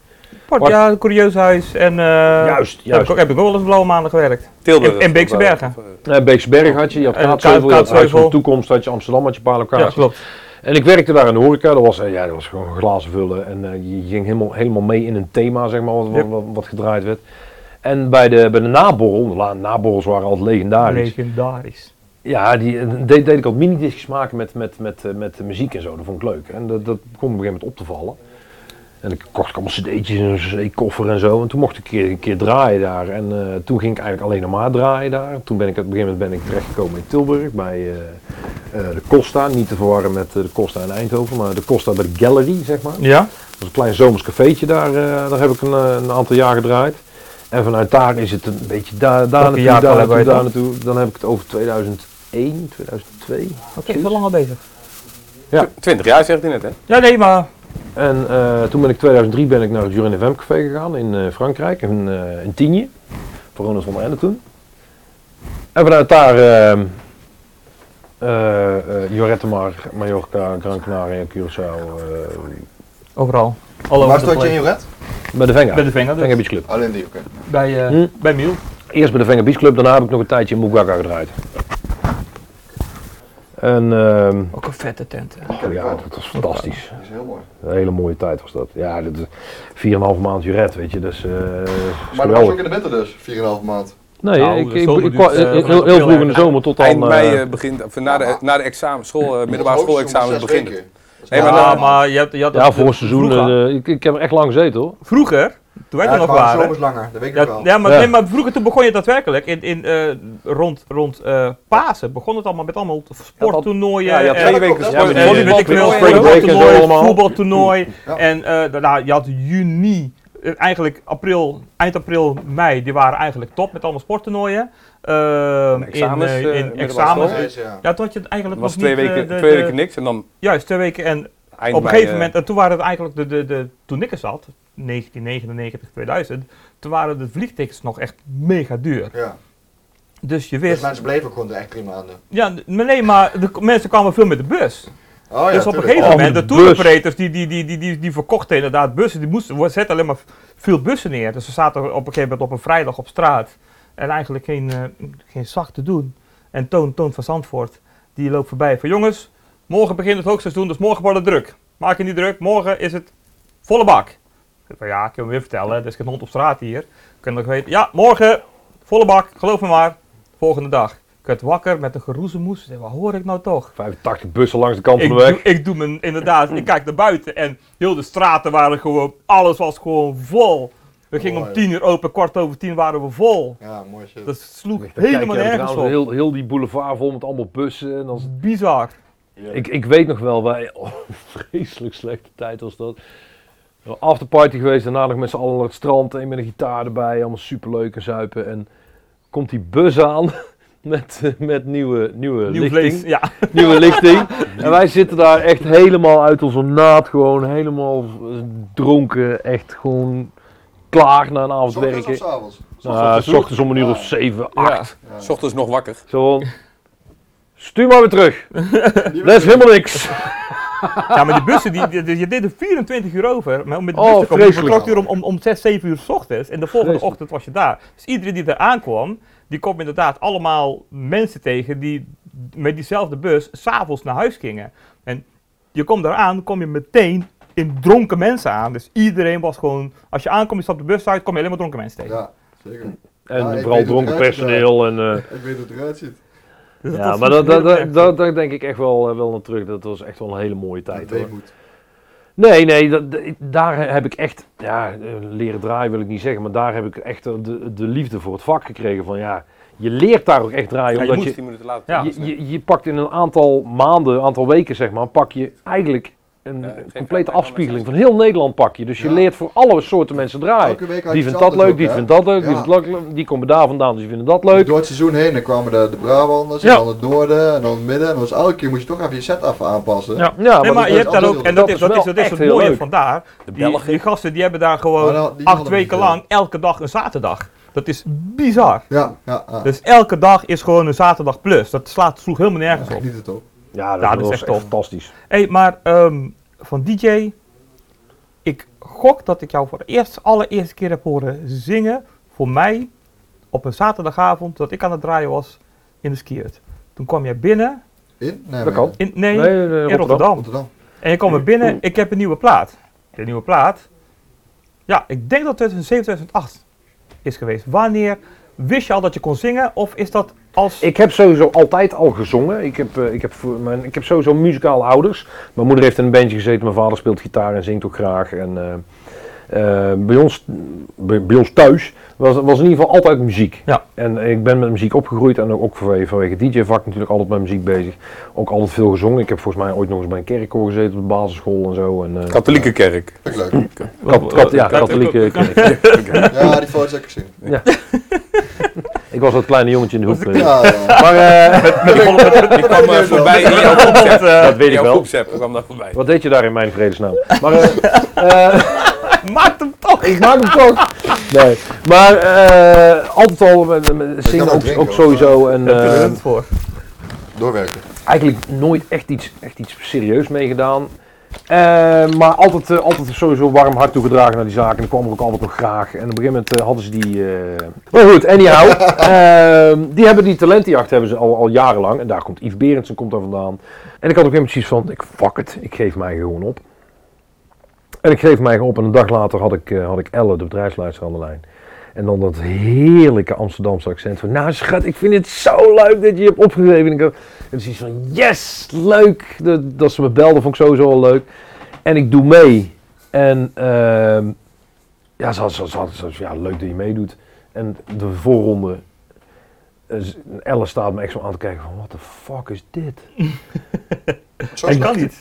Speaker 1: Port, ja, een curieus huis en... eh,
Speaker 3: Juist,
Speaker 1: Heb ik,
Speaker 3: juist.
Speaker 1: ook- heb ik ook wel eens blauwe maanden gewerkt.
Speaker 2: Tilburg.
Speaker 1: In, in Beekse Bergen.
Speaker 3: Eh, Beeksberg had je, je had
Speaker 1: Eh,
Speaker 3: Kaatsheuvel, je had
Speaker 1: Kaatsheuvel.
Speaker 3: Huis van de Toekomst, had je Amsterdam, had je een paar
Speaker 1: Ja,
Speaker 3: locaties.
Speaker 1: klopt.
Speaker 3: en ik werkte daar in de horeca, dat was, eh, ja, dat was gewoon glazen vullen en eh, je ging helemaal, helemaal mee in een thema, zeg maar, wat, wat,
Speaker 1: Yep.
Speaker 3: wat, wat gedraaid werd. En bij de, bij de naborrel, de la- naborrels waren altijd legendarisch.
Speaker 1: Legendarisch.
Speaker 3: Ja, die eh, deed, deed ik al minidiscjes maken met, met, met, eh, met de muziek en zo. Dat vond ik leuk. En dat, dat begon op een gegeven moment op te vallen. En ik kocht ik allemaal cd'tjes en een cd-koffer en zo. En toen mocht ik een keer, een keer draaien daar. En eh, toen ging ik eigenlijk alleen nog maar draaien daar. Toen ben ik op een gegeven moment ben ik terechtgekomen in Tilburg bij eh, eh, de Costa. Niet te verwarren met eh, de Costa in Eindhoven, maar de Costa bij de Gallery, zeg maar.
Speaker 1: Ja?
Speaker 3: Dat is een klein zomers cafeetje daar. eh, daar heb ik een, eh, een aantal jaar gedraaid. En vanuit daar is het een beetje daar, daar naartoe,
Speaker 1: jaartal
Speaker 3: daar
Speaker 1: hebben
Speaker 3: naartoe,
Speaker 1: wij
Speaker 3: daar naartoe. Dan heb ik het over 2001, 2002.
Speaker 1: Oké, ik ben lang al bezig.
Speaker 3: Ja.
Speaker 2: 20 jaar zegt hij net, hè?
Speaker 1: Ja, nee, maar...
Speaker 3: En eh, toen ben ik 2003 ben ik naar het Jurin FM café gegaan in eh, Frankrijk. In, eh in Tignes. Voor Ronald van der Ende toen. En vanuit daar... ehm eh eh Jorette Mar, Mallorca, Gran Canaria, Curaçao, eh,
Speaker 1: Overal. All over
Speaker 4: Waar
Speaker 1: the
Speaker 4: stond je in
Speaker 1: place.
Speaker 4: Joret?
Speaker 3: bij de Venga.
Speaker 1: Bij de vinger dus.
Speaker 3: Venga Beach Club.
Speaker 4: Alleen die, oké.
Speaker 1: Bij, eh,
Speaker 3: Hm?
Speaker 1: bij Miel.
Speaker 3: Eerst bij de Venga Beach Club, daarna heb ik nog een tijdje in Mugwaga gedraaid. En ehm,
Speaker 1: Ook een vette tent. hè.
Speaker 3: oh ja, dat was fantastisch.
Speaker 4: Dat is heel mooi.
Speaker 3: Een hele mooie tijd was dat. Ja, dat is 4,5 maand juret, weet je. Dus, eh is
Speaker 4: Maar dat was ook
Speaker 3: geweldig.
Speaker 4: in de winter dus, 4,5 maand.
Speaker 3: Nee,
Speaker 1: Nou,
Speaker 3: ik,
Speaker 1: de
Speaker 3: ik,
Speaker 1: zomer
Speaker 3: ik
Speaker 1: duurt,
Speaker 3: kwam
Speaker 1: eh,
Speaker 3: heel,
Speaker 1: vanaf
Speaker 3: heel
Speaker 1: april
Speaker 3: vroeg in de
Speaker 1: eigenlijk.
Speaker 3: zomer tot
Speaker 2: Eind
Speaker 3: dan...
Speaker 2: mei
Speaker 3: eh,
Speaker 2: eh, begint, of na de, na de examen, school, eh, middelbare
Speaker 4: Hoogseizoen
Speaker 2: schoolexamen
Speaker 4: was zes
Speaker 2: begint het.
Speaker 4: weken. Dat is
Speaker 2: Nee, maar
Speaker 4: wel-
Speaker 1: ja,
Speaker 2: dan-
Speaker 1: maar je had, je had
Speaker 3: ja, voor het seizoen.
Speaker 1: Vroeger,
Speaker 3: eh, ik, ik heb er echt lang gezeten hoor.
Speaker 1: vroeger, toen wij
Speaker 4: Ja,
Speaker 1: er nog
Speaker 4: gewoon de
Speaker 1: waren.
Speaker 4: zomers langer, dat weet ik
Speaker 1: Ja,
Speaker 4: nog wel.
Speaker 1: ja, maar,
Speaker 3: Ja.
Speaker 1: Nee, maar vroeger toen begon je daadwerkelijk. In, in, eh, rond rond eh, Pasen begon het allemaal met allemaal sporttoernooien.
Speaker 2: Ja, je had
Speaker 1: eh,
Speaker 2: twee
Speaker 4: dat
Speaker 2: weken
Speaker 4: klopt,
Speaker 1: Ja,
Speaker 4: dat
Speaker 2: gesport.
Speaker 1: eh,
Speaker 4: klopt. Volleybal,
Speaker 1: weet ik veel,
Speaker 2: volleybal,
Speaker 3: spring-
Speaker 2: volleybal.
Speaker 3: break en zo
Speaker 1: voetbaltoernooi,
Speaker 3: allemaal.
Speaker 1: voetbaltoernooi.
Speaker 4: Ja.
Speaker 1: En eh, nou, je had juni, eh, eigenlijk april, eind april, mei, die waren eigenlijk top met allemaal sporttoernooien. Eh, in,
Speaker 2: Examens,
Speaker 1: eh,
Speaker 2: eh,
Speaker 1: in
Speaker 2: middelbare
Speaker 1: examens.
Speaker 2: school.
Speaker 4: Precies, ja.
Speaker 1: Ja, toen had je het
Speaker 2: Het
Speaker 1: eigenlijk
Speaker 2: was
Speaker 1: nog
Speaker 2: twee
Speaker 1: niet, eh,
Speaker 2: weken,
Speaker 1: de-
Speaker 2: twee
Speaker 1: de-
Speaker 2: weken niks en dan
Speaker 1: Juist, twee weken. En
Speaker 2: eind
Speaker 1: op een
Speaker 2: mei,
Speaker 1: gegeven
Speaker 2: eh,
Speaker 1: moment, en toen waren het eigenlijk, de, de, de, toen ik er zat, 1999, 2000, toen waren de vliegtickets nog echt mega duur.
Speaker 4: Ja.
Speaker 1: Dus je
Speaker 4: Dus
Speaker 1: wist,
Speaker 4: mensen bleven ook gewoon de echt drie maanden.
Speaker 1: ja, maar nee, maar de k- mensen kwamen veel met de bus.
Speaker 4: Oh
Speaker 1: dus
Speaker 4: ja,
Speaker 1: op een
Speaker 4: tuurlijk.
Speaker 1: gegeven
Speaker 3: Oh,
Speaker 1: moment, de
Speaker 3: met
Speaker 1: tour
Speaker 3: bus.
Speaker 1: operators, die, die, die, die, die, die verkochten inderdaad bussen, die moesten, wo- zetten alleen maar veel bussen neer. Dus ze zaten op een gegeven moment op een vrijdag op straat en eigenlijk geen, eh, geen zak te doen. En Toon, Toon van Zandvoort, die loopt voorbij van jongens, morgen begint het hoogseizoen, dus morgen wordt het druk. Maak je niet druk, morgen is het volle bak. Ik zeg van, ja, ik kan hem weer vertellen, er is geen hond op straat hier. Kunnen nog weten, ja, morgen volle bak, geloof me maar, volgende dag. Ik werd wakker met een geroezemoes, Ik zeg, wat hoor ik nou toch?
Speaker 3: 85 bussen langs de kant
Speaker 1: Ik
Speaker 3: van de
Speaker 1: doe,
Speaker 3: weg.
Speaker 1: ik doe mijn, inderdaad, ik kijk naar buiten en heel de straten waren gewoon, alles was gewoon vol. We gingen om
Speaker 4: Mooi.
Speaker 1: tien uur open, kwart over tien waren we vol.
Speaker 4: Ja, mooi shit.
Speaker 1: Dat sloeg
Speaker 3: Dan kijk je
Speaker 1: helemaal
Speaker 3: aan de
Speaker 1: nergens
Speaker 3: kant,
Speaker 1: op.
Speaker 3: Heel, heel die boulevard vol met allemaal bussen. En dan,
Speaker 1: Bizar.
Speaker 3: Ik, ik weet nog wel, wij, <laughs> oh, vreselijk slechte tijd was dat. We Afterparty geweest, daarna nog met z'n allen naar het strand, een met een gitaar erbij, allemaal superleuk en zuipen. En komt die bus aan <laughs> met, eh, met nieuwe, nieuwe
Speaker 1: Nieuw
Speaker 3: lichting.
Speaker 1: vlees. Ja.
Speaker 3: <laughs> Nieuwe
Speaker 1: <laughs>
Speaker 3: lichting. En wij zitten daar echt helemaal uit onze naad, gewoon helemaal eh, dronken, echt gewoon klaar na een avond
Speaker 4: Ochtends of
Speaker 3: werken.
Speaker 4: s'avonds?
Speaker 3: Nou,
Speaker 2: Ochtends
Speaker 3: s ochtends om een uur of
Speaker 4: <laughs> Ja.
Speaker 3: zeven,
Speaker 2: ja,
Speaker 3: acht.
Speaker 2: eh, s ochtends nog wakker.
Speaker 3: Zo van, stuur maar weer terug.
Speaker 4: Nieuwe
Speaker 3: Dat is helemaal niks.
Speaker 1: ja, maar die bussen, die, die, die- je deed er 24 uur over maar om met de
Speaker 3: Oh,
Speaker 1: bus te komen. Je
Speaker 3: vreselijk.
Speaker 1: vertrok hier om, om, om 6, 7 uur s ochtends en de volgende
Speaker 3: Vreselijk.
Speaker 1: ochtend was je daar. Dus iedereen die daar aankwam, die kwam inderdaad allemaal mensen tegen die met diezelfde bus s'avonds naar huis gingen. En je komt daar aan, kom je meteen in dronken mensen aan. Dus iedereen was gewoon, als je aankomt, je stapt de bus uit, kom je alleen maar dronken mensen tegen.
Speaker 4: Ja, zeker.
Speaker 3: En
Speaker 4: Ja, Ah, ik
Speaker 3: vooral
Speaker 4: weet hoe
Speaker 3: dronken
Speaker 4: het eruit ziet,
Speaker 3: personeel en... eh,
Speaker 4: Ik weet hoe het eruit ziet.
Speaker 1: Dus
Speaker 3: <laughs> Ja,
Speaker 1: was
Speaker 3: maar dat, dat,
Speaker 1: heel erg.
Speaker 3: dat, dat, dat denk ik echt wel, eh, wel naar terug. Dat was echt wel een hele mooie tijd.
Speaker 4: Dat
Speaker 3: hoor.
Speaker 4: moet.
Speaker 3: Nee, nee, dat, dat- ik- daar heb ik echt, ja, eh, leren draaien wil ik niet zeggen, maar daar heb ik echt eh, de, de liefde voor het vak gekregen. Van ja, je leert daar ook echt draaien.
Speaker 2: Ja, je
Speaker 3: omdat
Speaker 2: moet
Speaker 3: je,
Speaker 2: 10 minuten later.
Speaker 1: Ja.
Speaker 2: thuis
Speaker 3: je,
Speaker 2: zijn.
Speaker 3: je, je pakt in een aantal maanden, een aantal weken zeg maar, pak je eigenlijk een
Speaker 2: Ja,
Speaker 3: een
Speaker 2: geen
Speaker 3: complete
Speaker 2: vraag,
Speaker 3: afspiegeling van heel Nederland pak je. Dus je
Speaker 4: Ja.
Speaker 3: leert voor alle soorten mensen draaien.
Speaker 4: Elke week had
Speaker 3: Die vindt
Speaker 4: je iets
Speaker 3: dat
Speaker 4: anders
Speaker 3: leuk,
Speaker 4: ook,
Speaker 3: die
Speaker 4: hè?
Speaker 3: vindt dat leuk, die
Speaker 4: Ja.
Speaker 3: vindt dat leuk, die komen daar vandaan, dus die vinden dat leuk.
Speaker 4: Door het seizoen heen, dan kwamen de, de Brabanders,
Speaker 3: Ja.
Speaker 4: en dan het noorden, en dan het midden. En dan was elke keer moest je toch even je set af aanpassen.
Speaker 3: Ja, ja
Speaker 1: Nee, maar
Speaker 4: dat
Speaker 1: je
Speaker 4: is
Speaker 1: hebt daar
Speaker 4: anders.
Speaker 1: ook, en dat,
Speaker 3: Dat
Speaker 1: is,
Speaker 3: is
Speaker 1: dat is,
Speaker 3: wel
Speaker 1: dat is
Speaker 3: echt
Speaker 1: het
Speaker 3: heel
Speaker 1: mooie
Speaker 3: leuk.
Speaker 1: vandaar. Die,
Speaker 2: Belgen.
Speaker 1: die gasten die hebben daar gewoon
Speaker 4: Maar nou, die
Speaker 1: acht
Speaker 4: hadden
Speaker 1: weken
Speaker 4: niet veel.
Speaker 1: lang, elke dag een zaterdag. Dat is bizar.
Speaker 4: Ja, ja, ja.
Speaker 1: Dus elke dag is gewoon een zaterdag plus. Dat slaat, sloeg helemaal nergens op.
Speaker 4: Niet het op.
Speaker 3: Ja, dat,
Speaker 1: Ja, dat is
Speaker 3: was
Speaker 1: echt
Speaker 3: echt
Speaker 1: tof.
Speaker 3: fantastisch.
Speaker 1: hey, maar ehm, van DJ, ik gok dat ik jou voor de eerst, allereerste keer heb horen zingen. Voor mij, op een zaterdagavond, dat ik aan het draaien was in de skiert. Toen kwam jij binnen,
Speaker 4: In? Nee,
Speaker 3: Dat kan.
Speaker 1: in, nee,
Speaker 3: Nee, nee, nee,
Speaker 1: in
Speaker 3: Rotterdam.
Speaker 1: Rotterdam.
Speaker 4: Rotterdam.
Speaker 1: En je kwam er binnen, ik heb een nieuwe plaat. De nieuwe plaat? Ja, ik denk dat het 2007, 2008 is geweest. Wanneer wist je al dat je kon zingen? Of is dat als...
Speaker 3: Ik heb sowieso altijd al gezongen. Ik heb, eh, ik heb, voor mijn, ik heb sowieso muzikale ouders. Mijn moeder heeft in een bandje gezeten. Mijn vader speelt gitaar en zingt ook graag. En, eh, eh, bij, ons, bij, bij ons thuis was, was in ieder geval altijd muziek.
Speaker 1: Ja.
Speaker 3: En ik ben met muziek opgegroeid en ook vanwege, vanwege het DJ-vak natuurlijk altijd met muziek bezig. Ook altijd veel gezongen. Ik heb volgens mij ooit nog eens bij een kerkkoor gezeten op de basisschool en zo. En, eh,
Speaker 2: Katholieke kerk. <laughs>
Speaker 4: Vind ik leuk.
Speaker 3: kat- kat- ja, katholieke kerk.
Speaker 4: Hm. Ja, die foto's heb ik gezien.
Speaker 3: Ik was dat kleine jongetje in de hoek. eh.
Speaker 4: Ja, ja.
Speaker 3: Maar <laughs> eh,
Speaker 2: Ik kwam eh, voorbij in <laughs> jouw groepsapp.
Speaker 3: dat weet ik
Speaker 2: jouw
Speaker 3: wel.
Speaker 2: groepsapp kwam daar voorbij.
Speaker 3: Wat deed je daar in mijn vredesnaam? Maar eh, eh,
Speaker 1: Maakt hem toch!
Speaker 3: ik maak hem toch. Nee, maar eh, altijd al met, met
Speaker 4: kan
Speaker 3: zingen
Speaker 4: ook
Speaker 3: ook,
Speaker 4: drinken,
Speaker 3: ook
Speaker 4: hoor.
Speaker 3: sowieso en
Speaker 1: Daar kunnen we
Speaker 3: eh,
Speaker 1: het voor.
Speaker 4: Doorwerken.
Speaker 3: eigenlijk nooit echt iets, echt iets serieus meegedaan. Eh, maar altijd, eh, altijd sowieso warm hart toegedragen naar die zaken. En ik kwam er ook altijd nog graag. En op een gegeven moment eh, hadden ze die. eh, Maar goed, anyhow. ehm, die hebben die talentenjacht hebben ze al, al jarenlang. En daar komt Yves Berendsen komt daar vandaan. En ik had op een gegeven moment zoiets van: ik fuck het, ik geef mij gewoon op. En ik geef mij op en een dag later had ik, eh, had ik Elle, de bedrijfsleider, aan de lijn. En dan dat heerlijke Amsterdamse accent van, nou schat, ik vind het zo leuk dat je je hebt opgegeven. En ik had- en zoiets van, yes, leuk. Dat, dat ze me belden vond ik sowieso al leuk. En ik doe mee. En ehm, ja, ze had, ze had- ze had- ze had- ja, leuk dat je meedoet. En de voorronde, eh, z- Elle staat me echt zo aan te kijken van, what the fuck is dit?
Speaker 4: Zo
Speaker 1: Dat
Speaker 4: is
Speaker 1: kan niet.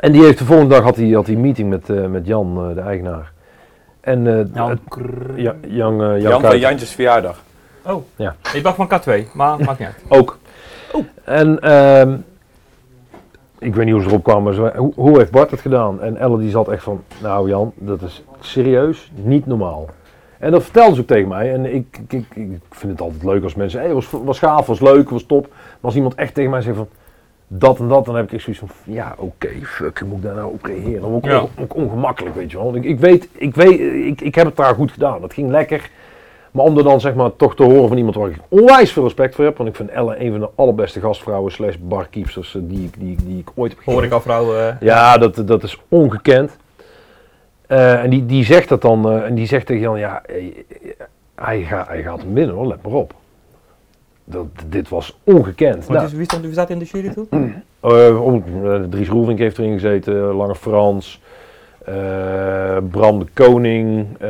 Speaker 3: En die heeft de volgende dag had hij had hij een meeting met, eh, met Jan, eh, de eigenaar. En eh, het- ja, Jan, eh, Jan,
Speaker 2: Jan van
Speaker 3: Kuijten.
Speaker 2: Jantjes verjaardag.
Speaker 1: Oh,
Speaker 3: Ja.
Speaker 1: ik dacht van K2, maar maakt niet uit.
Speaker 3: Ook. En ehm, ik weet niet hoe ze erop kwamen, maar ze- hoe, hoe heeft Bart het gedaan? En Elle die zat echt van, nou Jan, dat is serieus niet normaal. En dat vertelde ze ook tegen mij. En ik, ik, ik, ik vind het altijd leuk als mensen, hey, was, was gaaf, was leuk, was top. Maar als iemand echt tegen mij zegt van, dat en dat, dan heb ik echt zoiets van, ja oké, fuck, hoe moet ik daar nou op reageren? Dan word ik
Speaker 1: Ja.
Speaker 3: on- ook ongemakkelijk, weet je wel. Want Ik, ik weet, ik, weet ik, ik heb het daar goed gedaan, dat ging lekker. Maar om er dan zeg maar toch te horen van iemand waar ik onwijs veel respect voor heb. Want ik vind Elle een van de allerbeste gastvrouwen slash barkeepsters eh, die, ik- die, ik- die ik ooit heb
Speaker 1: <laughs>
Speaker 3: gekend.
Speaker 1: Hoor ik al vrouw. eh,
Speaker 3: Ja, dat, dat is ongekend. Eh, en die, die zegt dat dan, eh, en die zegt tegen Jan, ja, eh, hij, gaat, hij gaat hem winnen hoor, let maar op. Dat, dit was ongekend.
Speaker 1: want
Speaker 3: Nou,
Speaker 1: dus wie, stond, wie zat in de jury toen?
Speaker 3: eh, om- eh, Dries Roelvink heeft erin gezeten, Lange Frans, eh, Bram de Koning, eh,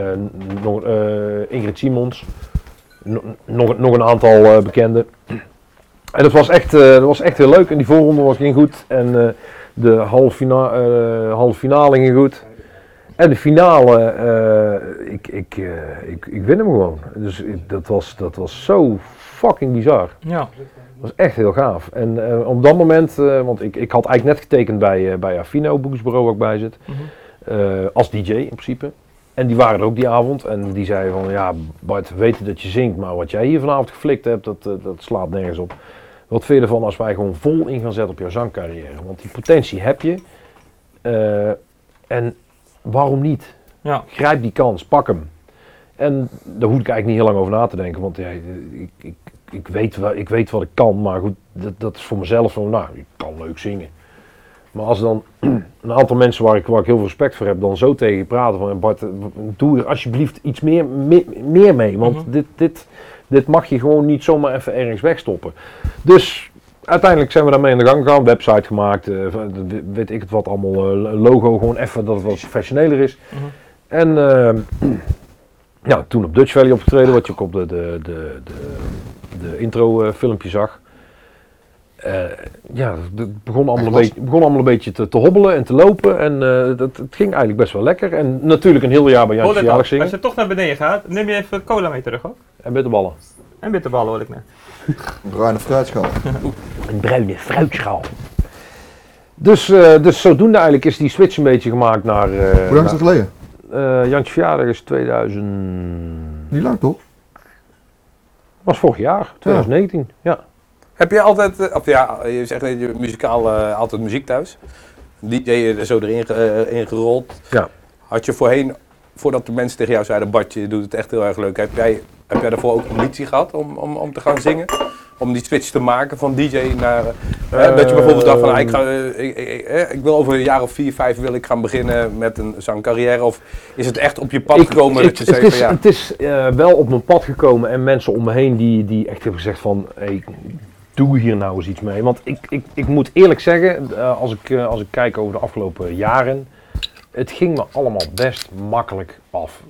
Speaker 3: nog, eh, Ingrid Simons, no- nog, nog een aantal eh, bekenden. En dat was, echt, eh, dat was echt heel leuk en die voorronde was ging goed en eh, de halve fina- eh, halve finale ging goed. En de finale, eh, ik, ik, eh, ik, ik win hem gewoon. Dus ik- dat was, dat was zo fucking bizar.
Speaker 1: Ja.
Speaker 3: Dat was echt heel gaaf. En eh, op dat moment, eh, want ik, ik had eigenlijk net getekend bij, eh, bij Affino, boekingsbureau waar ik bij zit,
Speaker 1: Mhm.
Speaker 3: eh, als DJ in principe. En die waren er ook die avond en die zeiden van, ja Bart, we weten dat je zingt, maar wat jij hier vanavond geflikt hebt, dat, eh, dat slaat nergens op. Wat vind je ervan als wij gewoon vol in gaan zetten op jouw zangcarrière? Want die potentie heb je. Eh, en waarom niet?
Speaker 1: Ja.
Speaker 3: Nou, grijp die kans, pak hem. En daar hoef ik eigenlijk niet heel lang over na te denken, want ja, ik, ik, ik, weet, wel- ik weet wat ik kan, maar goed, dat, dat is voor mezelf van, nou, ik kan leuk zingen. Maar als dan <clears throat> een aantal mensen waar ik, waar ik heel veel respect voor heb, dan zo tegen je praten van, Bart, eh, doe er alsjeblieft iets meer, meer, meer mee, want
Speaker 1: Mhm.
Speaker 3: dit, dit, Dit mag je gewoon niet zomaar even ergens wegstoppen. Dus uiteindelijk zijn we daarmee aan de gang gegaan. Website gemaakt, eh, van- we- weet ik het wat allemaal. eh, logo gewoon even dat het wat professioneler is.
Speaker 1: Mhm.
Speaker 3: En eh, <clears throat> ja, toen op Dutch Valley opgetreden, wat je ook op de, de, de, de, de intro eh, filmpje zag. Eh, ja, het begon allemaal, een
Speaker 4: Echt
Speaker 3: beetje, begon allemaal een beetje te, te hobbelen en te lopen. En eh, dat, het ging eigenlijk best wel lekker. En natuurlijk een heel jaar bij Jantje
Speaker 1: Als
Speaker 3: Jaarlijks zingen.
Speaker 1: je toch naar beneden gaat, neem je even cola mee terug hoor.
Speaker 3: En bitterballen.
Speaker 1: En bitterballen hoor ik net.
Speaker 4: Bruine fruitschaal.
Speaker 3: Een bruine fruitschaal. Dus, eh, dus zodoende eigenlijk is die switch een beetje gemaakt naar... eh
Speaker 4: Hoe lang is dat geleden?
Speaker 3: naar- eh, Jantje verjaardag is 2000...
Speaker 4: Niet lang toch?
Speaker 3: was vorig jaar, 2019. Ja.
Speaker 2: Heb je altijd, eh, of ja, je zegt dat je muzikaal eh, altijd muziek thuis. DJ er zo erin ge- eh, ingerold.
Speaker 3: Ja.
Speaker 2: Had je voorheen, voordat de mensen tegen jou zeiden, Bart, je doet het echt heel erg leuk. Heb jij, heb jij daarvoor ook ambitie gehad om, om, om te gaan zingen? Om die switch te maken van DJ naar... eh,
Speaker 3: Eh,
Speaker 2: dat je bijvoorbeeld dacht van, ah, ik, ga, eh, ik, ik- ik- eh, ik wil over een jaar of vier, vijf wil ik gaan beginnen met een zangcarrière. Of is het echt op je pad
Speaker 3: Ik-
Speaker 2: gekomen
Speaker 3: ik-
Speaker 2: dat je
Speaker 3: het,
Speaker 2: zei
Speaker 3: is,
Speaker 2: van, ja,
Speaker 3: het is eh, wel op mijn pad gekomen en mensen om me heen die, die echt hebben gezegd van hey, doe hier nou eens iets mee. Want ik, ik, ik moet eerlijk zeggen, eh, als, ik, eh, als ik kijk over de afgelopen jaren, het ging me allemaal best makkelijk af.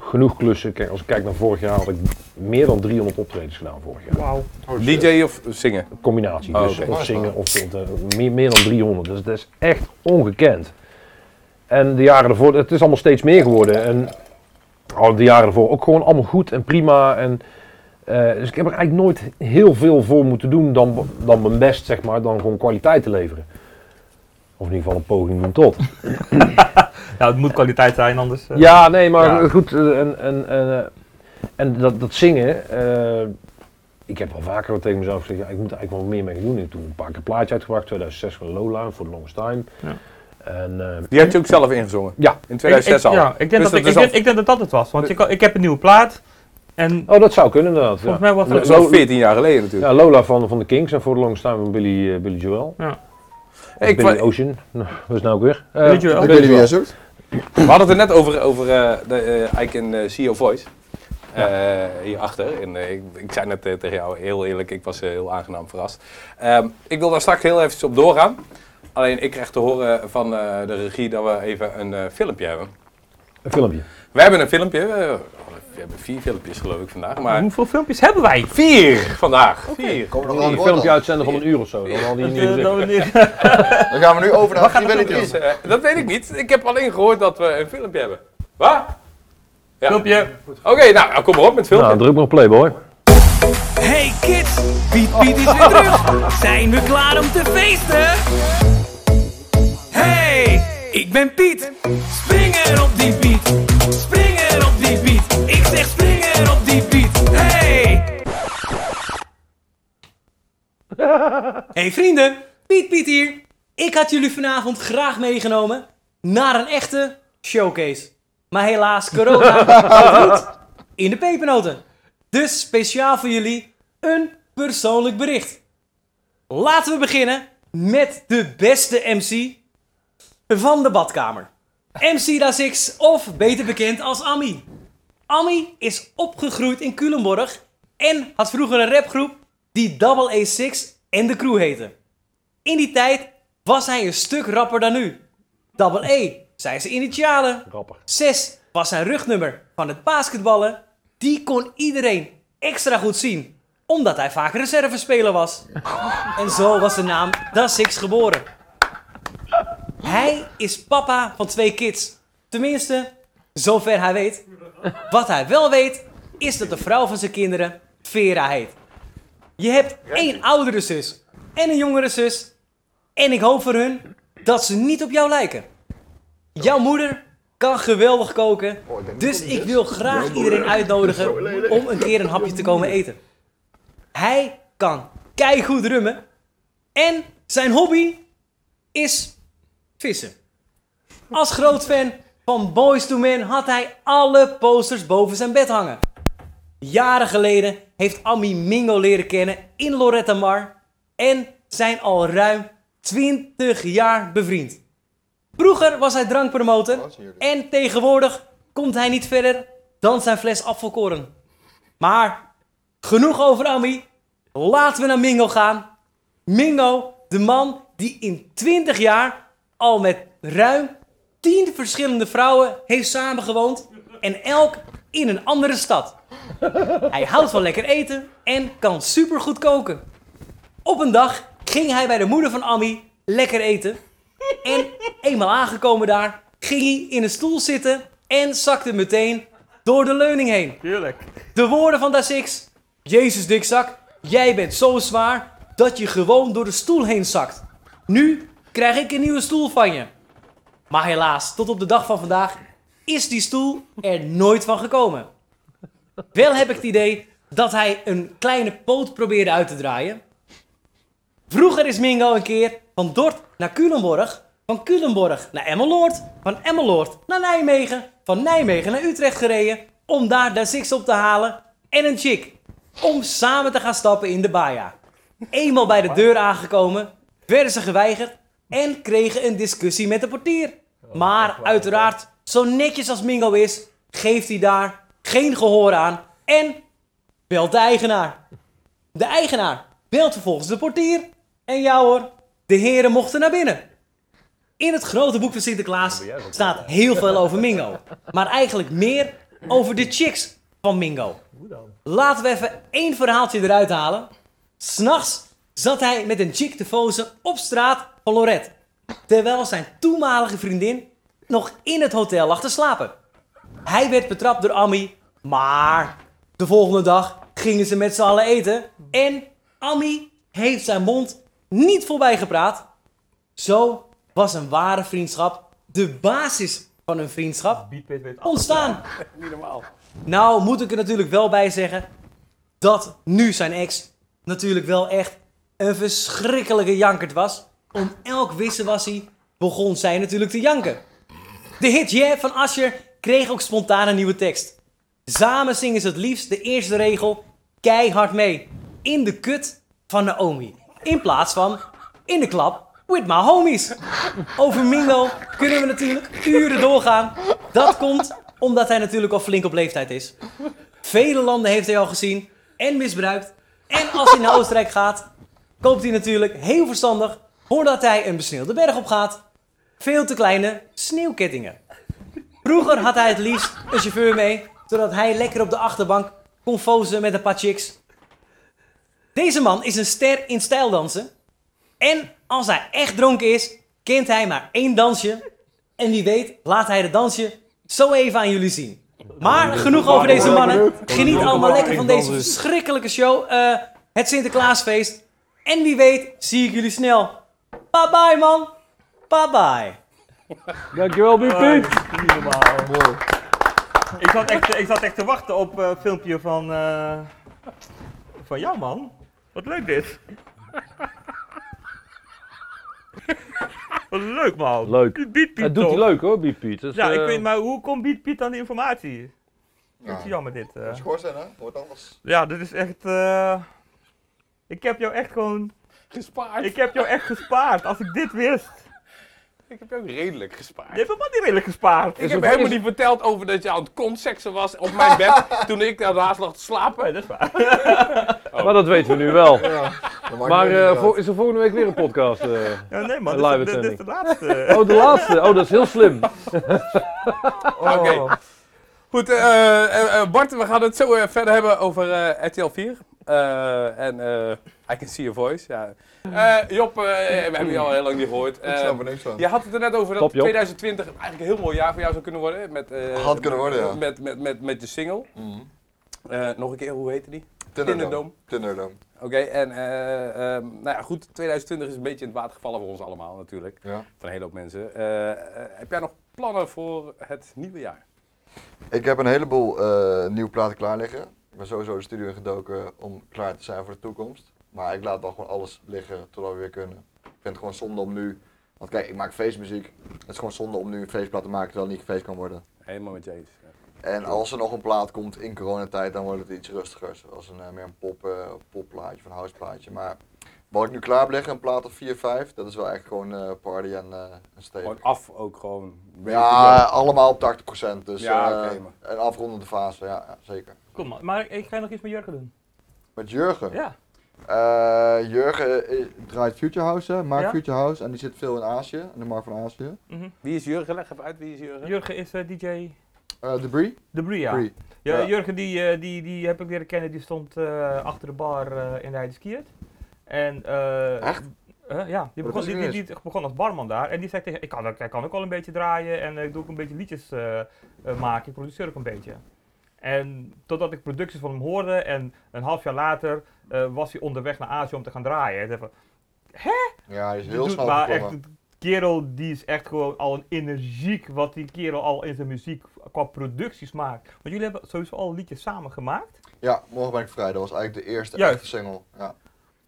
Speaker 3: Genoeg klussen. Kijk, als ik kijk naar vorig jaar had ik meer dan 300 optredens gedaan vorig jaar.
Speaker 1: Wauw.
Speaker 2: DJ of zingen?
Speaker 3: Combinatie.
Speaker 2: Oh,
Speaker 3: dus
Speaker 2: oké.
Speaker 3: of zingen of eh, meer, meer dan 300. Dus dat is echt ongekend. En de jaren ervoor, het is allemaal steeds meer geworden. En oh, de jaren ervoor ook gewoon allemaal goed en prima. En, eh, dus ik heb er eigenlijk nooit heel veel voor moeten doen dan, dan mijn best, zeg maar, dan gewoon kwaliteit te leveren. Of in ieder geval een poging doen tot.
Speaker 1: Nou, het moet kwaliteit zijn, anders. eh,
Speaker 3: Ja, nee, maar
Speaker 1: Ja.
Speaker 3: goed. eh, En, en, en, eh, en dat, dat zingen. eh, ik heb al vaker wat tegen mezelf gezegd. Ja, ik moet er eigenlijk wel meer mee gaan doen. Ik heb toen een paar keer een plaatje uitgebracht. 2006 van Lola voor de Longest Time.
Speaker 1: Ja.
Speaker 3: En, eh,
Speaker 2: Die had je ook zelf ingezongen?
Speaker 3: ja.
Speaker 2: In 2006
Speaker 1: ik, ik,
Speaker 2: al?
Speaker 1: Ja, ik denk,
Speaker 2: Dus
Speaker 1: dat,
Speaker 2: dat
Speaker 1: ik,
Speaker 2: is
Speaker 1: ik
Speaker 2: al-
Speaker 1: denk, ik denk dat dat het was. Want je kan- ik heb een nieuwe plaat. En
Speaker 3: Oh, dat zou kunnen inderdaad.
Speaker 1: Volgens
Speaker 3: ja.
Speaker 1: mij was
Speaker 2: Dat is
Speaker 1: Lo-
Speaker 2: al 14 jaar geleden natuurlijk.
Speaker 3: Ja, Lola van, van de Kings en voor de Longest Time van Billy, eh, Billy Joel.
Speaker 1: Ja.
Speaker 3: Of
Speaker 2: Ik
Speaker 3: Billy
Speaker 2: wa-
Speaker 3: Ocean. <laughs> Nou, Wat is nou ook weer? Eh,
Speaker 1: Billy Joel.
Speaker 4: Ik weet niet wie jij zoekt.
Speaker 2: We hadden het er net over, over eh, de eh, I Can eh, See Your Voice. Eh, hierachter. En, eh, ik, ik zei net eh, tegen jou, heel eerlijk, ik was eh, heel aangenaam verrast. Ehm, ik wil daar straks heel even op doorgaan. Alleen ik krijg te horen van eh, de regie dat we even een eh, filmpje hebben.
Speaker 3: Een filmpje.
Speaker 2: We hebben een filmpje. eh, we hebben vier filmpjes geloof ik vandaag. Maar
Speaker 1: hoeveel filmpjes hebben wij?
Speaker 2: vier vandaag. Vier.
Speaker 4: Komen we nog
Speaker 3: Een
Speaker 4: aan het
Speaker 3: filmpje
Speaker 4: woord
Speaker 3: uitzenden van een uur of zo. Dan al die niet
Speaker 1: Eh,
Speaker 3: gezegd.
Speaker 1: dat we niet-
Speaker 4: dan? Dan gaan we nu over naar
Speaker 1: gaan
Speaker 4: Free
Speaker 1: het
Speaker 4: Willy
Speaker 2: Dus, eh, dat weet ik niet. Ik heb alleen gehoord dat we een filmpje hebben. Wat? Ja.
Speaker 1: Filmpje.
Speaker 2: Oké, nou, nou, kom maar op met het filmpje.
Speaker 3: Nou, druk maar op play, boy.
Speaker 6: Hey kids, Piet Piet is weer terug. Zijn we klaar om te feesten? Hey, ik ben Piet. Springer op die beat. Springer op die beat. Ik zeg springer op die beat. Hey.
Speaker 7: Hey vrienden, Piet Piet hier. Ik had jullie vanavond graag meegenomen naar een echte showcase. Maar helaas, corona <laughs> houdt niet in de pepernoten. Dus speciaal voor jullie een persoonlijk bericht. Laten we beginnen met de beste MC van de badkamer. MC Da Six, of beter bekend als Ami. Ami is opgegroeid in Culemborg en had vroeger een rapgroep die Double A6 en de crew heette. In die tijd was hij een stuk rapper dan nu. Double E zijn zijn initialen.
Speaker 3: Rapper.
Speaker 7: 6 was zijn rugnummer van het basketballen. Die kon iedereen extra goed zien, omdat hij vaak reservespeler was. En zo was de naam Da Six geboren. Hij is papa van twee kids. Tenminste, zover hij weet. Wat hij wel weet, is dat de vrouw van zijn kinderen Vera heet. Je hebt één oudere zus en een jongere zus. En ik hoop voor hun dat ze niet op jou lijken. Jouw moeder kan geweldig koken. Dus ik wil graag iedereen uitnodigen om een keer een hapje te komen eten. Hij kan keigoed rummen. En zijn hobby is vissen. Als groot fan van Boys to Men had hij alle posters boven zijn bed hangen. Jaren geleden heeft Ami Mingo leren kennen in Loretta Mar en zijn al ruim 20 jaar bevriend. Vroeger was hij drankpromotor en tegenwoordig komt hij niet verder dan zijn fles afvalkoren. Maar Genoeg over Ami. Laten we naar Mingo gaan. Mingo, de man die in 20 jaar al met ruim 10 verschillende vrouwen heeft samengewoond. En elk in een andere stad. Hij houdt van lekker eten en kan supergoed koken. Op een dag ging hij bij de moeder van Ami lekker eten. En eenmaal aangekomen daar, ging hij in een stoel zitten en zakte meteen door de leuning heen.
Speaker 1: Tuurlijk.
Speaker 7: De woorden van Da Six. Jezus dikzak, jij bent zo zwaar dat je gewoon door de stoel heen zakt. Nu krijg ik een nieuwe stoel van je. Maar helaas, tot op de dag van vandaag is die stoel er nooit van gekomen. Wel heb ik het idee dat hij een kleine poot probeerde uit te draaien. Vroeger is Mingo een keer van Dort naar Culemborg, van Culemborg naar Emmeloord, van Emmeloord naar Nijmegen, van Nijmegen naar Utrecht gereden om daar de Six op te halen en een chick om samen te gaan stappen in de Baja. Eenmaal bij de deur aangekomen, werden ze geweigerd en kregen een discussie met de portier. Maar uiteraard, zo netjes als Mingo is, geeft hij daar geen gehoor aan en belt de eigenaar. De eigenaar belt vervolgens de portier. En ja hoor, de heren mochten naar binnen. In het grote boek van Sinterklaas staat heel veel over Mingo. Maar eigenlijk meer over de chicks van Mingo. Laten we even één verhaaltje eruit halen. S'nachts zat hij met een chick te fozen op straat van Lorette. Terwijl zijn toenmalige vriendin nog in het hotel lag te slapen. Hij werd betrapt door Ami, maar de volgende dag gingen ze met z'n allen eten. En Ami heeft zijn mond niet voorbij gepraat. Zo was een ware vriendschap de basis van een vriendschap
Speaker 1: Beatpit weet
Speaker 7: ontstaan. <laughs> Niet normaal. Nou moet ik er natuurlijk wel bij zeggen dat nu zijn ex natuurlijk wel echt een verschrikkelijke jankert was. Om elk wisselwassie begon zij natuurlijk te janken. De hit Yeah van Asher kreeg ook spontaan een nieuwe tekst. Samen zingen ze het liefst de eerste regel keihard mee. In de kut van Naomi. In plaats van in de klap with my homies. Over Mingo kunnen we natuurlijk uren doorgaan. Dat komt omdat hij natuurlijk al flink op leeftijd is. Vele landen heeft hij al gezien en misbruikt. En als hij naar Oostenrijk gaat, koopt hij natuurlijk heel verstandig voordat hij een besneeuwde berg op gaat. Veel te kleine sneeuwkettingen. Vroeger had hij het liefst een chauffeur mee, zodat hij lekker op de achterbank kon fozen met een paar chicks. Deze man is een ster in stijldansen. En als hij echt dronken is, kent hij maar één dansje. En wie weet, laat hij het dansje zo even aan jullie zien. Maar genoeg over deze mannen. Geniet allemaal lekker van deze verschrikkelijke show. eh, het Sinterklaasfeest. En wie weet, zie ik jullie snel. Bye bye, man. Bye bye.
Speaker 3: Dankjewel,
Speaker 1: Ah,
Speaker 3: BP.
Speaker 1: Niet normaal. Ik zat echt, ik zat echt te wachten op eh, een filmpje van, eh, van jou, man. Wat leuk dit. Wat leuk, man.
Speaker 3: Leuk.
Speaker 1: Die Beat Piet
Speaker 3: Dat doet hij
Speaker 1: toch?
Speaker 3: leuk hoor, BP. Dus,
Speaker 1: Ja, ik
Speaker 3: eh,
Speaker 1: weet, maar hoe komt Beat Piet aan die informatie? Dat is
Speaker 4: Ja.
Speaker 1: jammer dit. eh.
Speaker 4: Schoorsteen, hè? Wordt anders.
Speaker 1: Ja, dit is echt... eh, Ik heb jou echt gewoon...
Speaker 2: Gespaard.
Speaker 1: Ik
Speaker 2: Ik,
Speaker 1: heb jou echt gespaard. Als ik dit wist.
Speaker 2: heb jou redelijk gespaard.
Speaker 1: Je hebt helemaal niet redelijk gespaard.
Speaker 2: ik heb helemaal niet verteld over dat je aan het kontseksen was op mijn
Speaker 4: <laughs>
Speaker 2: bed toen ik daarnaast lag te slapen.
Speaker 1: Nee, dat is waar.
Speaker 3: Maar dat weten we nu
Speaker 1: <laughs>
Speaker 3: wel.
Speaker 4: Dat maakt
Speaker 3: Maar
Speaker 4: niet
Speaker 3: eh,
Speaker 4: uit.
Speaker 3: voor- is er volgende week weer een podcast? eh?
Speaker 1: Ja, nee, man.
Speaker 3: Een
Speaker 1: Dit,
Speaker 3: live
Speaker 1: is- dit- dit is de laatste.
Speaker 3: Oh, de laatste. Oh, dat is heel slim.
Speaker 4: Oh.
Speaker 2: Oké.
Speaker 1: Oh.
Speaker 2: Goed, eh, eh, eh, Bart, we gaan het zo eh, verder hebben over eh, RTL 4. Eh, en eh I Can See Your Voice. Ja. Eh, Job, eh, we hebben je al heel lang niet gehoord.
Speaker 4: Ik
Speaker 2: Eh,
Speaker 4: snap er niks van.
Speaker 2: je had het er net over dat
Speaker 3: Top, Job.
Speaker 2: 2020 eigenlijk een heel mooi jaar voor jou zou kunnen worden. Met, eh,
Speaker 4: Had kunnen worden, ja. Mhm.
Speaker 2: Met, met, met, met je single. Eh, nog een keer, hoe heette die? Tinderdome.
Speaker 4: Tinderdome. Tinderdome.
Speaker 2: Oké, en eh, ehm, nou ja, goed, 2020 is een beetje in het water gevallen voor ons allemaal natuurlijk.
Speaker 4: Ja.
Speaker 2: Van een hele hoop mensen. Eh, eh, heb jij nog plannen voor het nieuwe jaar?
Speaker 4: Ik heb een heleboel eh, nieuwe platen klaar liggen. Ik ben sowieso de studio ingedoken om klaar te zijn voor de toekomst. Maar ik laat dan gewoon alles liggen totdat we weer kunnen. Ik vind het gewoon zonde om nu. Want kijk, ik maak feestmuziek. Het is gewoon zonde om nu een feestplaat te maken terwijl het niet gefeest kan worden.
Speaker 2: Helemaal met je eens.
Speaker 4: En als er nog een plaat komt in coronatijd, dan wordt het iets rustiger. Zoals een, eh, meer een pop, eh, popplaatje of een houseplaatje. Maar wat ik nu klaar heb liggen, een plaat of 4, 5, dat is wel echt gewoon eh, party en eh een stevig.
Speaker 2: Gewoon af ook gewoon. Weet
Speaker 4: Ja,
Speaker 2: ik
Speaker 4: allemaal op 80%. Dus
Speaker 2: Ja,
Speaker 4: eh,
Speaker 2: oké, maar-
Speaker 4: een afrondende fase, ja, ja, zeker.
Speaker 1: Kom, man. Maar ik ga nog iets met Jurgen doen.
Speaker 4: Met Jurgen.
Speaker 1: Ja.
Speaker 4: Eh, Jurgen eh, draait Future House, hè, maakt
Speaker 1: Ja.
Speaker 4: Future House en die zit veel in Azië, in de markt van Azië.
Speaker 1: mhm.
Speaker 2: Wie is Jurgen? Leg even uit wie is Jurgen.
Speaker 1: Jurgen is eh, DJ
Speaker 4: Eh Debris?
Speaker 1: De Bria.
Speaker 4: Debris.
Speaker 1: Ja,
Speaker 4: Ja.
Speaker 1: Jurgen die, eh, die, die heb ik leren kennen, die stond eh, achter de bar eh, in de Heide Skiert. En, eh,
Speaker 4: Echt?
Speaker 1: eh, ja, die
Speaker 4: dat
Speaker 1: begon,
Speaker 4: is
Speaker 1: die, die, die begon als barman daar en die zei tegen, ik kan, ook- ik kan ook al een beetje draaien en eh, ik doe ook een beetje liedjes eh, eh, maken, ik produceer ook een beetje. En totdat ik producties van hem hoorde en een half jaar later eh, was hij onderweg naar Azië om te gaan draaien. Ik dacht van,
Speaker 4: Ja, die is
Speaker 1: die
Speaker 4: heel
Speaker 1: doet
Speaker 4: snel
Speaker 1: maar
Speaker 4: gekomen.
Speaker 1: echt, kerel die is echt gewoon al een energiek wat die kerel al in zijn muziek qua producties maakt. Want jullie hebben sowieso al liedjes samen gemaakt.
Speaker 4: Ja, morgen ben ik vrij. Dat was eigenlijk de eerste
Speaker 1: Juist.
Speaker 4: echte single. Ja.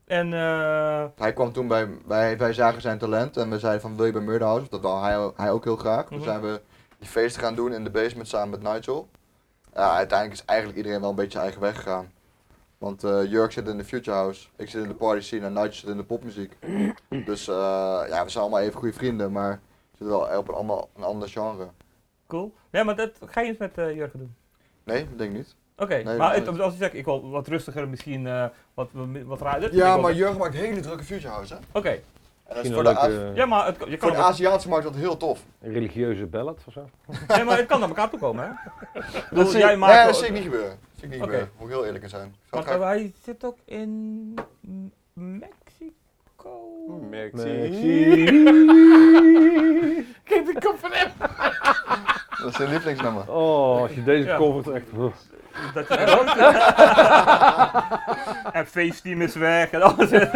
Speaker 1: En eh,
Speaker 4: Hij kwam toen bij, wij, wij zagen zijn talent en we zeiden van wil je bij Murderhouse? Dat wou hij, hij ook heel graag. Toen
Speaker 1: Mhm.
Speaker 4: zijn we die feesten gaan doen in de basement samen met Nigel. Ja, uiteindelijk is eigenlijk iedereen wel een beetje zijn eigen weg gegaan. Want eh, Jurk zit in de Future House, ik zit in de party scene en Nigel zit in de
Speaker 3: <clears throat>
Speaker 4: popmuziek. Dus eh, ja, we zijn allemaal even goede vrienden, maar we zitten wel op een, ander- een ander genre.
Speaker 1: cool. Nee, maar dat ga je eens met eh, Jurgen doen.
Speaker 4: Nee, dat denk ik niet.
Speaker 1: Oké,
Speaker 4: Nee,
Speaker 1: maar
Speaker 4: dat
Speaker 1: het,
Speaker 4: niet.
Speaker 1: als je zegt ik wil wat rustiger, misschien eh, wat, wat, wat raar. dat- ik
Speaker 4: Ja,
Speaker 1: wil-
Speaker 4: maar Jurk maakt hele drukke Future House, hè?
Speaker 1: Oké,
Speaker 4: En dat is
Speaker 3: Misschien
Speaker 4: voor
Speaker 3: een
Speaker 4: de, A-
Speaker 3: leuke
Speaker 1: ja, maar het, je kan
Speaker 4: voor
Speaker 1: op-
Speaker 4: de Aziatische markt dat heel tof.
Speaker 3: religieuze ballad of zo.
Speaker 1: nee, maar het kan naar elkaar toe komen,
Speaker 4: <laughs>
Speaker 1: hè? Ik bedoel,
Speaker 4: Dat zie,
Speaker 1: jij
Speaker 4: ik-
Speaker 1: maakt
Speaker 4: nee,
Speaker 1: wel-
Speaker 4: dat zie ik niet gebeuren. Dat zie ik niet
Speaker 1: Oké.
Speaker 4: gebeuren, moet ik heel eerlijk in zijn. Ik
Speaker 1: Want
Speaker 4: zou graag-
Speaker 1: eh, hij zit ook in M- Mexico.
Speaker 2: Merk
Speaker 3: Kijk de kop van hem.
Speaker 4: Dat is zijn
Speaker 1: <laughs>
Speaker 4: lievelingsnummer.
Speaker 3: <laughs> Oh, als je deze
Speaker 1: Ja.
Speaker 3: cover echt...
Speaker 1: Dat je dat ook doet.
Speaker 4: <laughs>
Speaker 1: en feestteam is weg en alles.
Speaker 4: <laughs>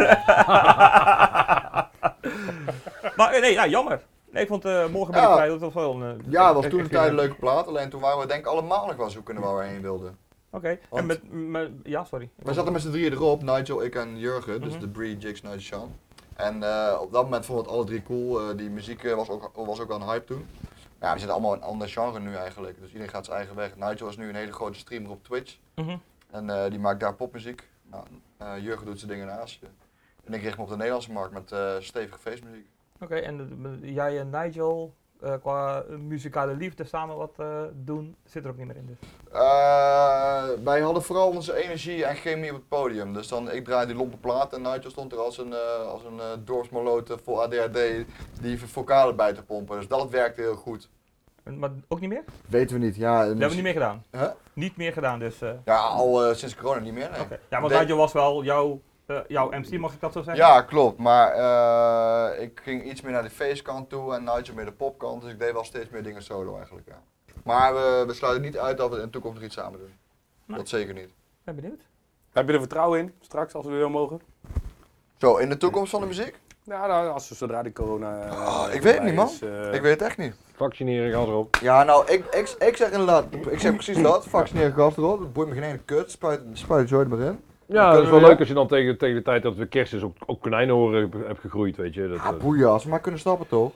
Speaker 1: maar eh, nee, ja, jammer. Nee, ik vond eh, morgen ben ik
Speaker 4: Ja.
Speaker 1: vrij, dat was wel een... eh,
Speaker 4: Ja, het was
Speaker 1: echt-
Speaker 4: toen een
Speaker 1: echt
Speaker 4: tijd een
Speaker 1: een-
Speaker 4: leuke plaat, alleen toen waren we denk ik allemaal nog wel zoeken waar we heen wilden.
Speaker 1: Oké, en
Speaker 4: Want-
Speaker 1: met, met... Ja, sorry.
Speaker 4: We zaten met z'n drieën erop, Nigel, ik en Jurgen, dus
Speaker 1: Mhm.
Speaker 4: de Bree, Jigs, Nigel, Sean. En eh, op dat moment vonden we het alle drie cool, eh, die muziek eh, was, ook, was ook wel een hype toen. Ja, we zitten allemaal in een ander genre nu eigenlijk, dus iedereen gaat zijn eigen weg. Nigel is nu een hele grote streamer op Twitch
Speaker 1: Mhm.
Speaker 4: en eh, die maakt daar popmuziek. Nou, eh, Jurgen doet zijn dingen in Azië. En ik richt me op de Nederlandse markt met eh, stevige feestmuziek.
Speaker 1: Oké, en eh, jij en Nigel, eh, qua muzikale liefde samen wat eh, doen, zit er ook niet meer in dus.
Speaker 4: Eh, wij hadden vooral onze energie en chemie op het podium. Dus dan, ik draaide die lompe plaat en Nigel stond er als een, eh als een eh dorpsmaloot vol ADHD die vocalen bij te pompen. Dus dat werkte heel goed.
Speaker 1: En- Maar ook niet meer? Dat
Speaker 4: Weten we niet, ja. dus-
Speaker 1: hebben we niet meer gedaan.
Speaker 4: Huh?
Speaker 1: Niet meer gedaan dus. eh,
Speaker 4: Ja, al eh, sinds corona niet meer, nee.
Speaker 1: oké. Ja, want
Speaker 4: Nee.
Speaker 1: Nigel was wel jouw, eh, jouw MC, mag ik dat zo zeggen?
Speaker 4: Ja, klopt. Maar eh, ik ging iets meer naar de feestkant toe en Nigel meer de popkant. Dus ik deed wel steeds meer dingen solo eigenlijk, ja. Maar we, we sluiten niet uit dat we in de toekomst nog iets samen doen.
Speaker 1: Nee.
Speaker 4: Dat zeker niet.
Speaker 1: Ben benieuwd.
Speaker 2: Heb je er vertrouwen in, straks, als we weer mogen?
Speaker 4: Zo, in de toekomst van de muziek?
Speaker 2: Nou, nou als, zodra die corona... eh,
Speaker 4: Ah, ik weet
Speaker 2: voorbij
Speaker 4: het niet, man.
Speaker 2: is, eh,
Speaker 4: Ik weet het echt niet.
Speaker 3: Vaccineren, gas erop.
Speaker 4: Ja, nou, ik, ik, ik zeg inderdaad, ik zeg precies dat. Vaccineren gas erop, dat boeit me geen ene kut, spuit, spuit het zoiets maar in.
Speaker 3: Ja,
Speaker 4: kunnen
Speaker 3: dat is wel
Speaker 4: we-
Speaker 3: leuk als je dan tegen, tegen de tijd dat het kerst is ook, ook konijnenhoren hebt- hebt gegroeid, weet je. Dat,
Speaker 4: Ja,
Speaker 3: eh,
Speaker 4: Ah, boeien, als we maar kunnen snappen toch?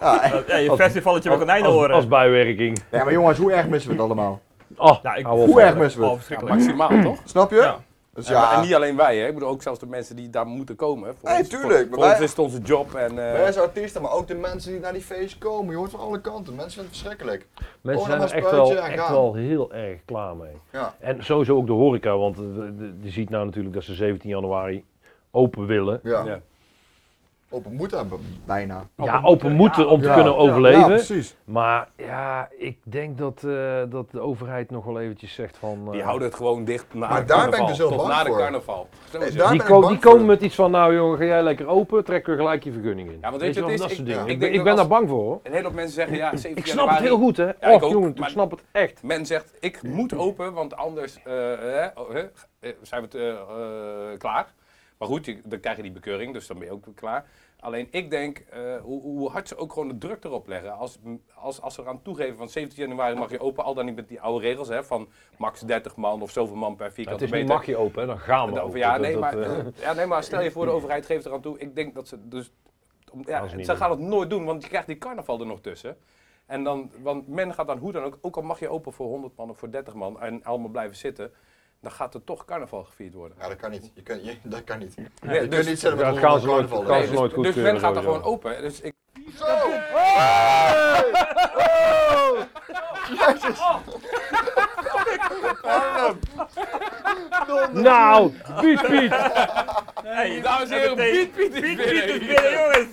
Speaker 4: Ja,
Speaker 1: Eh, ja, je
Speaker 3: Als-
Speaker 1: festivalletje met konijnen
Speaker 3: als,
Speaker 1: horen.
Speaker 3: als bijwerking.
Speaker 4: ja, maar jongens, hoe erg missen we het allemaal?
Speaker 3: Oh,
Speaker 1: Ja, ik-
Speaker 3: hou op,
Speaker 4: Hoe
Speaker 3: man.
Speaker 4: erg missen we
Speaker 1: Oh,
Speaker 4: het?
Speaker 1: verschrikkelijk.
Speaker 2: Maximaal, toch?
Speaker 4: Snap je?
Speaker 1: Ja.
Speaker 4: Dus
Speaker 2: En- En,
Speaker 4: ja,
Speaker 2: niet alleen wij, hè. Ik bedoel ook zelfs de mensen die daar moeten komen. Voor
Speaker 4: Nee,
Speaker 2: ons-
Speaker 4: tuurlijk,
Speaker 2: Voor,
Speaker 4: maar
Speaker 2: voor ons
Speaker 4: wij-
Speaker 2: is het onze job en... eh,
Speaker 4: wij zijn artiesten, maar ook de mensen die naar die feest komen. Je hoort van alle kanten, mensen vinden het verschrikkelijk.
Speaker 3: Mensen
Speaker 4: Oh,
Speaker 3: zijn
Speaker 4: dan
Speaker 3: er
Speaker 4: maar
Speaker 3: echt wel,
Speaker 4: spuitje en
Speaker 3: echt
Speaker 4: gaan.
Speaker 3: wel heel erg klaar mee.
Speaker 4: Ja.
Speaker 3: En sowieso ook de horeca, want eh, de- de- je ziet nou natuurlijk dat ze 17 januari open willen.
Speaker 4: Ja.
Speaker 2: Ja.
Speaker 4: Open moet hebben, bijna.
Speaker 3: ja, open moeten om te
Speaker 4: Ja.
Speaker 3: kunnen
Speaker 4: Ja,
Speaker 3: overleven.
Speaker 4: Ja, precies.
Speaker 3: maar ja, ik denk dat, eh, dat de overheid nog wel eventjes zegt van... eh,
Speaker 2: Die houden het gewoon dicht na
Speaker 4: Maar
Speaker 2: het
Speaker 4: daar ben ik
Speaker 2: carnaval,
Speaker 4: dus heel
Speaker 2: tot
Speaker 4: bang
Speaker 2: na de
Speaker 4: voor.
Speaker 2: carnaval. Zo is
Speaker 4: Nee,
Speaker 2: het.
Speaker 4: daar
Speaker 3: die,
Speaker 4: ben ik
Speaker 3: ko-
Speaker 4: bang
Speaker 3: die
Speaker 4: voor.
Speaker 3: komen met iets van, nou jongen, ga jij lekker open, trekken we gelijk je vergunning in.
Speaker 2: Ja, want weet je wat
Speaker 3: wel,
Speaker 2: het
Speaker 3: dat
Speaker 2: is?
Speaker 3: soort
Speaker 2: Ik-
Speaker 3: dingen.
Speaker 4: ja,
Speaker 3: Ik,
Speaker 2: ik
Speaker 3: ben-
Speaker 2: denk
Speaker 3: ik
Speaker 2: dat
Speaker 3: ben
Speaker 2: als-
Speaker 3: daar bang voor hoor.
Speaker 2: Een hele hoop mensen zeggen, ja, 7
Speaker 3: Ik snap het heel
Speaker 2: januari,
Speaker 3: goed hè.
Speaker 2: ik
Speaker 3: Och
Speaker 2: ook,
Speaker 3: jongen,
Speaker 2: maar-
Speaker 3: ik snap het echt. Nou,
Speaker 2: Men zegt, ik moet open, want anders eh, hè, oh, hè, eh, zijn we te, eh, eh, klaar. Maar goed, je- dan krijg je die bekeuring, dus dan ben je ook weer klaar. Alleen ik denk, eh, hoe, hoe hard ze ook gewoon de druk erop leggen. Als, als, als ze eraan toegeven van 17 januari mag je open, al dan niet met die oude regels hè, van max 30 man of zoveel man per
Speaker 3: het
Speaker 2: vierkante
Speaker 3: is niet
Speaker 2: meter.
Speaker 3: mag je open, hè, dan gaan we
Speaker 2: Dat-
Speaker 3: open.
Speaker 2: ja,
Speaker 3: Dat-
Speaker 2: nee,
Speaker 3: dat,
Speaker 2: maar,
Speaker 3: eh,
Speaker 7: <laughs>
Speaker 2: ja, nee, maar stel je
Speaker 3: <laughs>
Speaker 2: voor, de overheid geeft eraan toe. Ik denk dat ze dus. om- ja,
Speaker 3: Gaan ze niet
Speaker 2: ze
Speaker 3: doen.
Speaker 2: gaan het nooit doen, want je krijgt die carnaval er nog tussen. En dan, want men gaat dan hoe dan ook, ook al mag je open voor 100 man of voor 30 man en allemaal blijven zitten, dan gaat er toch carnaval gevierd worden.
Speaker 4: Ja, dat kan niet. Je kunt, je, dat kan niet.
Speaker 2: Nee,
Speaker 4: je
Speaker 2: dus-
Speaker 4: kunt niet zetten
Speaker 3: Ja,
Speaker 4: met
Speaker 3: dat
Speaker 4: een
Speaker 3: gaan ze nooit-
Speaker 4: carnaval.
Speaker 3: dat gaan
Speaker 4: hè.
Speaker 3: ze
Speaker 2: dus,
Speaker 3: nooit
Speaker 2: dus
Speaker 3: goedkeuren
Speaker 2: men gaat er
Speaker 3: sowieso.
Speaker 2: gewoon open. Dus ik, <laughs>
Speaker 4: Jezus.
Speaker 3: Nou, Piet,
Speaker 7: <laughs>
Speaker 3: Piet.
Speaker 1: Hey,
Speaker 2: Dames en heren,
Speaker 1: dat betekent-
Speaker 2: Piet Piet is
Speaker 1: Piet,
Speaker 2: binnen.
Speaker 1: Piet is binnen, jongens.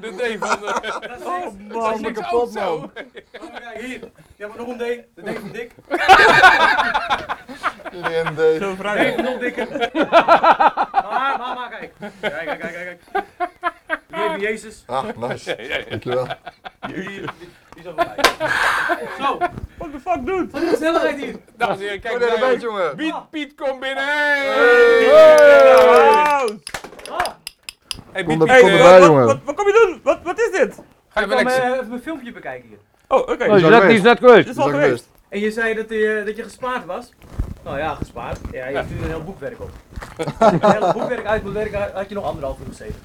Speaker 2: De D van
Speaker 3: <laughs>
Speaker 2: de... <laughs>
Speaker 1: Oh
Speaker 2: Dat
Speaker 1: man.
Speaker 2: is kapot, man.
Speaker 7: hier. Je hebt nog een ding. De ding van Dick.
Speaker 4: Linde.
Speaker 1: Zo vrij.
Speaker 7: Nog dikker. Mama, mama, kijk. Kijk, kijk, kijk, kijk. Baby Jezus.
Speaker 4: Ah, nice. Dankjewel.
Speaker 7: Zo,
Speaker 1: What the fuck, dude?
Speaker 7: wat is de snelheid hier?
Speaker 2: Dames en heren, kijk
Speaker 3: eh,
Speaker 4: Goed aan de
Speaker 2: daar,
Speaker 4: beurt,
Speaker 2: jongen.
Speaker 4: jongen.
Speaker 2: Piet, Piet, kom binnen.
Speaker 1: Wow.
Speaker 2: Hey, Piet,
Speaker 4: Kom er-
Speaker 1: Hey,
Speaker 2: Piet,
Speaker 4: kom
Speaker 2: eh,
Speaker 4: erbij,
Speaker 1: wat,
Speaker 4: jongen.
Speaker 1: Wat, wat kom je doen? Wat, wat is dit?
Speaker 2: ga je
Speaker 7: Ik
Speaker 2: weer
Speaker 7: kwam
Speaker 2: niks.
Speaker 7: eh, even mijn filmpje bekijken hier.
Speaker 1: Oh, oké.
Speaker 3: Oh, die
Speaker 1: Dit
Speaker 3: is net- die is net
Speaker 1: is
Speaker 3: geweest.
Speaker 1: al
Speaker 4: Dat is ook
Speaker 1: geweest.
Speaker 4: best.
Speaker 7: En je zei dat, eh, dat je gespaard was. Nou ja, gespaard. Ja, je hebt natuurlijk een heel boekwerk op. <laughs> een heel boekwerk uit moet werken had je nog anderhalf uur gezeten.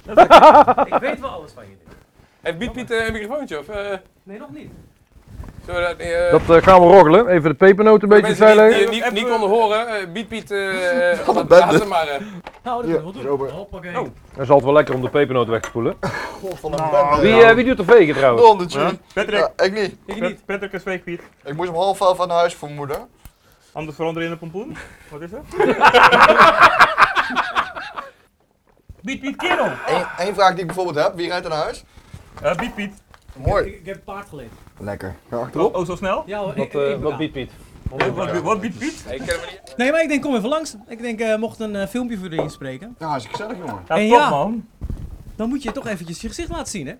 Speaker 7: ik weet wel alles van je.
Speaker 2: Heeft Piet, Piet eh, een microfoontje? Of, eh
Speaker 7: Nee, nog niet.
Speaker 2: zullen we dat... eh,
Speaker 3: Dat eh, gaan we roggelen. Even de pepernoot een beetje
Speaker 2: mensen die, die,
Speaker 3: zeilen.
Speaker 2: die, die konden horen, eh, Piet,
Speaker 3: <laughs>
Speaker 2: Piet, eh, eh,
Speaker 4: bed,
Speaker 2: laat
Speaker 4: hè?
Speaker 2: hem maar. eh.
Speaker 7: Nou, dat
Speaker 4: Ja,
Speaker 7: kunnen we
Speaker 4: is
Speaker 7: wel doen.
Speaker 4: open.
Speaker 7: Hoppakee.
Speaker 1: Oh.
Speaker 3: Dan zal het wel lekker om de pepernoot weg te spoelen.
Speaker 4: God van een bende.
Speaker 3: Wie, eh, wie doet de vegen trouwens?
Speaker 4: Don, de tune.
Speaker 1: Patrick,
Speaker 4: Ja, ik niet.
Speaker 7: Ik
Speaker 1: Pat-
Speaker 7: niet.
Speaker 1: Patrick is fake Piet.
Speaker 4: Ik moest om half elf aan huis voor mijn moeder.
Speaker 1: Anders veranderen in een pompoen. Wat is dat? Piet, Piet, kerel.
Speaker 4: Eén vraag die ik bijvoorbeeld heb, wie rijdt er naar huis?
Speaker 1: Eh, Piet, Piet.
Speaker 4: Mooi.
Speaker 7: Ik, ik heb paard geleend.
Speaker 4: Lekker. Ga achterop.
Speaker 1: Oh, oh, zo snel?
Speaker 7: Ja hoor, ik,
Speaker 3: Wat, eh,
Speaker 7: ik
Speaker 3: wat
Speaker 7: betaal.
Speaker 3: biedt Piet?
Speaker 1: Wat, wat, wat biedt Piet?
Speaker 2: Hey, ik ken hem niet.
Speaker 7: Nee, maar ik denk, kom even langs. Ik denk, eh, mocht een eh, filmpje voor je inspreken,
Speaker 4: Ja, hartstikke gezellig jongen.
Speaker 1: Ja,
Speaker 7: En
Speaker 1: top
Speaker 7: ja.
Speaker 1: man.
Speaker 7: dan moet je toch eventjes je gezicht laten zien, hè?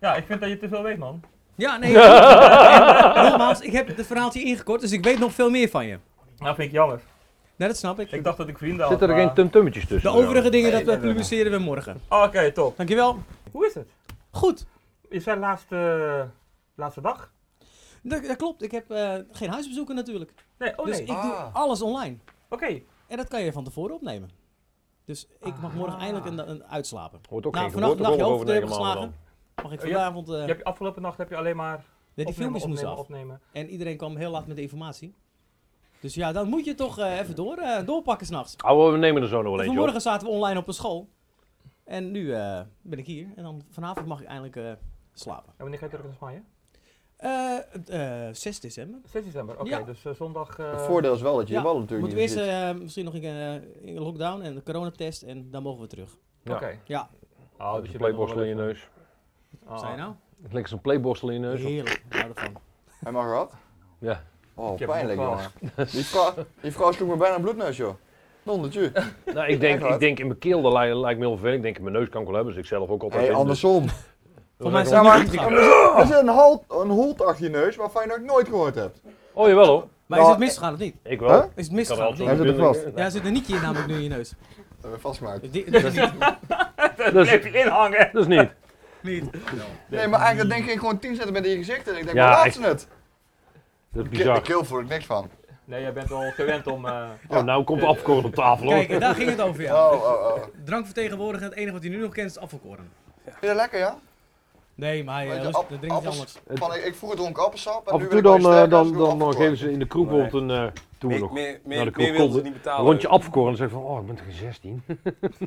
Speaker 1: Ja, ik vind dat je te veel weet man.
Speaker 7: Ja,
Speaker 1: <laughs>
Speaker 7: nee. En, nogmaals, ik heb het verhaaltje ingekort, dus ik weet nog veel meer van je.
Speaker 1: Nou, vind ik jammer.
Speaker 7: Nee, dat snap ik.
Speaker 1: Ik dacht dat ik vrienden had.
Speaker 3: Zitten er geen
Speaker 1: maar-
Speaker 3: tumtummetjes
Speaker 7: De
Speaker 3: tussen?
Speaker 7: overige dingen, dat eh, publiceren we morgen.
Speaker 1: Oh, Oké, top.
Speaker 7: Dankjewel.
Speaker 1: Hoe is het?
Speaker 7: Goed.
Speaker 1: Is zijn laatste, laatste dag?
Speaker 7: Dat, dat klopt, ik heb eh, geen huisbezoeken natuurlijk.
Speaker 1: Nee, oh
Speaker 7: dus
Speaker 1: nee.
Speaker 7: ik doe alles online.
Speaker 1: Oké.
Speaker 7: En dat kan je van tevoren opnemen. Dus ik mag morgen
Speaker 1: Ah.
Speaker 7: eindelijk een, een uitslapen.
Speaker 3: Hoort ook
Speaker 7: Nou,
Speaker 3: geen
Speaker 7: vannacht
Speaker 3: gehoord,
Speaker 7: een nachtje
Speaker 3: hoor,
Speaker 7: over de
Speaker 3: over
Speaker 7: hebben
Speaker 3: negen maanden
Speaker 7: geslagen. Mag ik
Speaker 1: Oh, ja.
Speaker 7: vanavond... eh,
Speaker 1: Je hebt, afgelopen nacht heb je alleen maar
Speaker 7: nee, die
Speaker 1: opnemen,
Speaker 7: filmpjes moesten
Speaker 1: opnemen,
Speaker 7: af.
Speaker 1: opnemen.
Speaker 7: En iedereen kwam heel laat met de informatie. Dus ja, dan moet je toch eh, even door, eh, doorpakken s'nachts.
Speaker 3: Oh, we nemen er zo nog wel eentje op.
Speaker 7: Vanmorgen zaten we online op een school. En nu eh, ben ik hier. En dan vanavond mag ik eindelijk eh, slapen.
Speaker 1: En wanneer ga je terug naar Spanje?
Speaker 7: Eh, eh, 6 december.
Speaker 1: 6 december, oké.
Speaker 7: Ja.
Speaker 1: Dus eh, zondag... eh,
Speaker 4: Het voordeel is wel dat je
Speaker 7: Ja,
Speaker 4: je ballen natuurlijk
Speaker 7: Moeten
Speaker 4: niet
Speaker 7: we eerst
Speaker 4: ziet.
Speaker 7: eh, misschien nog in, eh, in lockdown en een coronatest. En dan mogen we terug.
Speaker 1: Oké.
Speaker 7: Ja.
Speaker 1: Oh,
Speaker 3: Een
Speaker 1: je bent nog
Speaker 3: playborstel
Speaker 1: wel
Speaker 3: in je
Speaker 1: even-
Speaker 3: neus.
Speaker 1: Oh.
Speaker 7: Zijn nou?
Speaker 3: Lekker zo'n playborstel in je neus. op.
Speaker 7: Heerlijk, ik hou ervan.
Speaker 4: Hij mag eraf.
Speaker 3: Ja.
Speaker 4: Oh,
Speaker 1: heb
Speaker 4: pijnlijk
Speaker 1: hem ook
Speaker 4: jongen. Die vrouw, die vrouw sloeg me bijna een bloedneus joh. Don, de tune.
Speaker 3: Nou, ik denk,
Speaker 4: Echt waar?
Speaker 3: ik denk in mijn keel, dat lijkt, lijkt me heel vervelend. Ik denk in mijn neus kan ik wel hebben, dus ik zelf ook altijd.
Speaker 4: Hey,
Speaker 3: in, dus-
Speaker 4: andersom.
Speaker 7: Voor mij
Speaker 3: is
Speaker 7: is
Speaker 3: het
Speaker 7: het
Speaker 4: ook
Speaker 7: niet
Speaker 4: niet Er zit een, halt, een holt achter je neus waarvan je nog nooit gehoord hebt.
Speaker 3: Oh, jawel hoor.
Speaker 7: Maar is het
Speaker 4: Nou,
Speaker 7: misgegaan of niet?
Speaker 3: Ik wel.
Speaker 4: Huh?
Speaker 7: Is het
Speaker 3: Ik kan
Speaker 7: misgegaan
Speaker 3: wel
Speaker 7: of
Speaker 3: zo'n
Speaker 7: niet?
Speaker 4: Hij zit er
Speaker 3: verbinding- <laughs>
Speaker 7: Ja, er zit een nietje in namelijk nu in je neus.
Speaker 4: Dat hebben we vastgemaakt.
Speaker 7: Dus <laughs> die- dat is niet-
Speaker 3: Dus,
Speaker 1: Even inhangen!
Speaker 3: dus <laughs> niet.
Speaker 7: niet.
Speaker 4: Nee, maar eigenlijk dat denk ik gewoon 10 centimeter in je gezicht. En ik denk,
Speaker 3: Ja,
Speaker 4: waar laat
Speaker 3: echt.
Speaker 4: ze het?
Speaker 3: Dat is
Speaker 4: Ik, ik
Speaker 3: bizar.
Speaker 4: keel voel ik niks van.
Speaker 1: Nee, jij bent wel gewend om... eh,
Speaker 3: Oh, nou komt de afkorrel op tafel hoor.
Speaker 7: Kijk, en daar ging het over, ja.
Speaker 4: Oh, oh, oh.
Speaker 7: Drank vertegenwoordigen, het enige wat hij nu nog kent is afvalkoren.
Speaker 4: Vind je dat lekker, ja?
Speaker 7: Nee, maar hij
Speaker 4: Weet
Speaker 7: eh,
Speaker 4: je,
Speaker 7: lust-
Speaker 4: app-
Speaker 7: dat drinkt iets
Speaker 4: appels-
Speaker 7: anders.
Speaker 4: Van, ik, ik vroeger dronk appelsap en
Speaker 3: Af
Speaker 4: nu
Speaker 3: en
Speaker 4: wil
Speaker 3: toe
Speaker 4: ik wel
Speaker 3: dan,
Speaker 4: iets
Speaker 3: eh,
Speaker 4: sterkers,
Speaker 3: dan,
Speaker 4: doe
Speaker 3: dan, dan
Speaker 4: appelkorn.
Speaker 3: geven ze in de kroeg bijvoorbeeld een eh tour
Speaker 2: Meer,
Speaker 3: nog.
Speaker 2: meer,
Speaker 3: Naar de
Speaker 2: meer, meer
Speaker 3: kroeg
Speaker 2: wilden ze
Speaker 3: kon-
Speaker 2: niet
Speaker 3: een
Speaker 2: betalen.
Speaker 3: rondje afkorrel en dan zeg je van, oh, ik ben geen 16.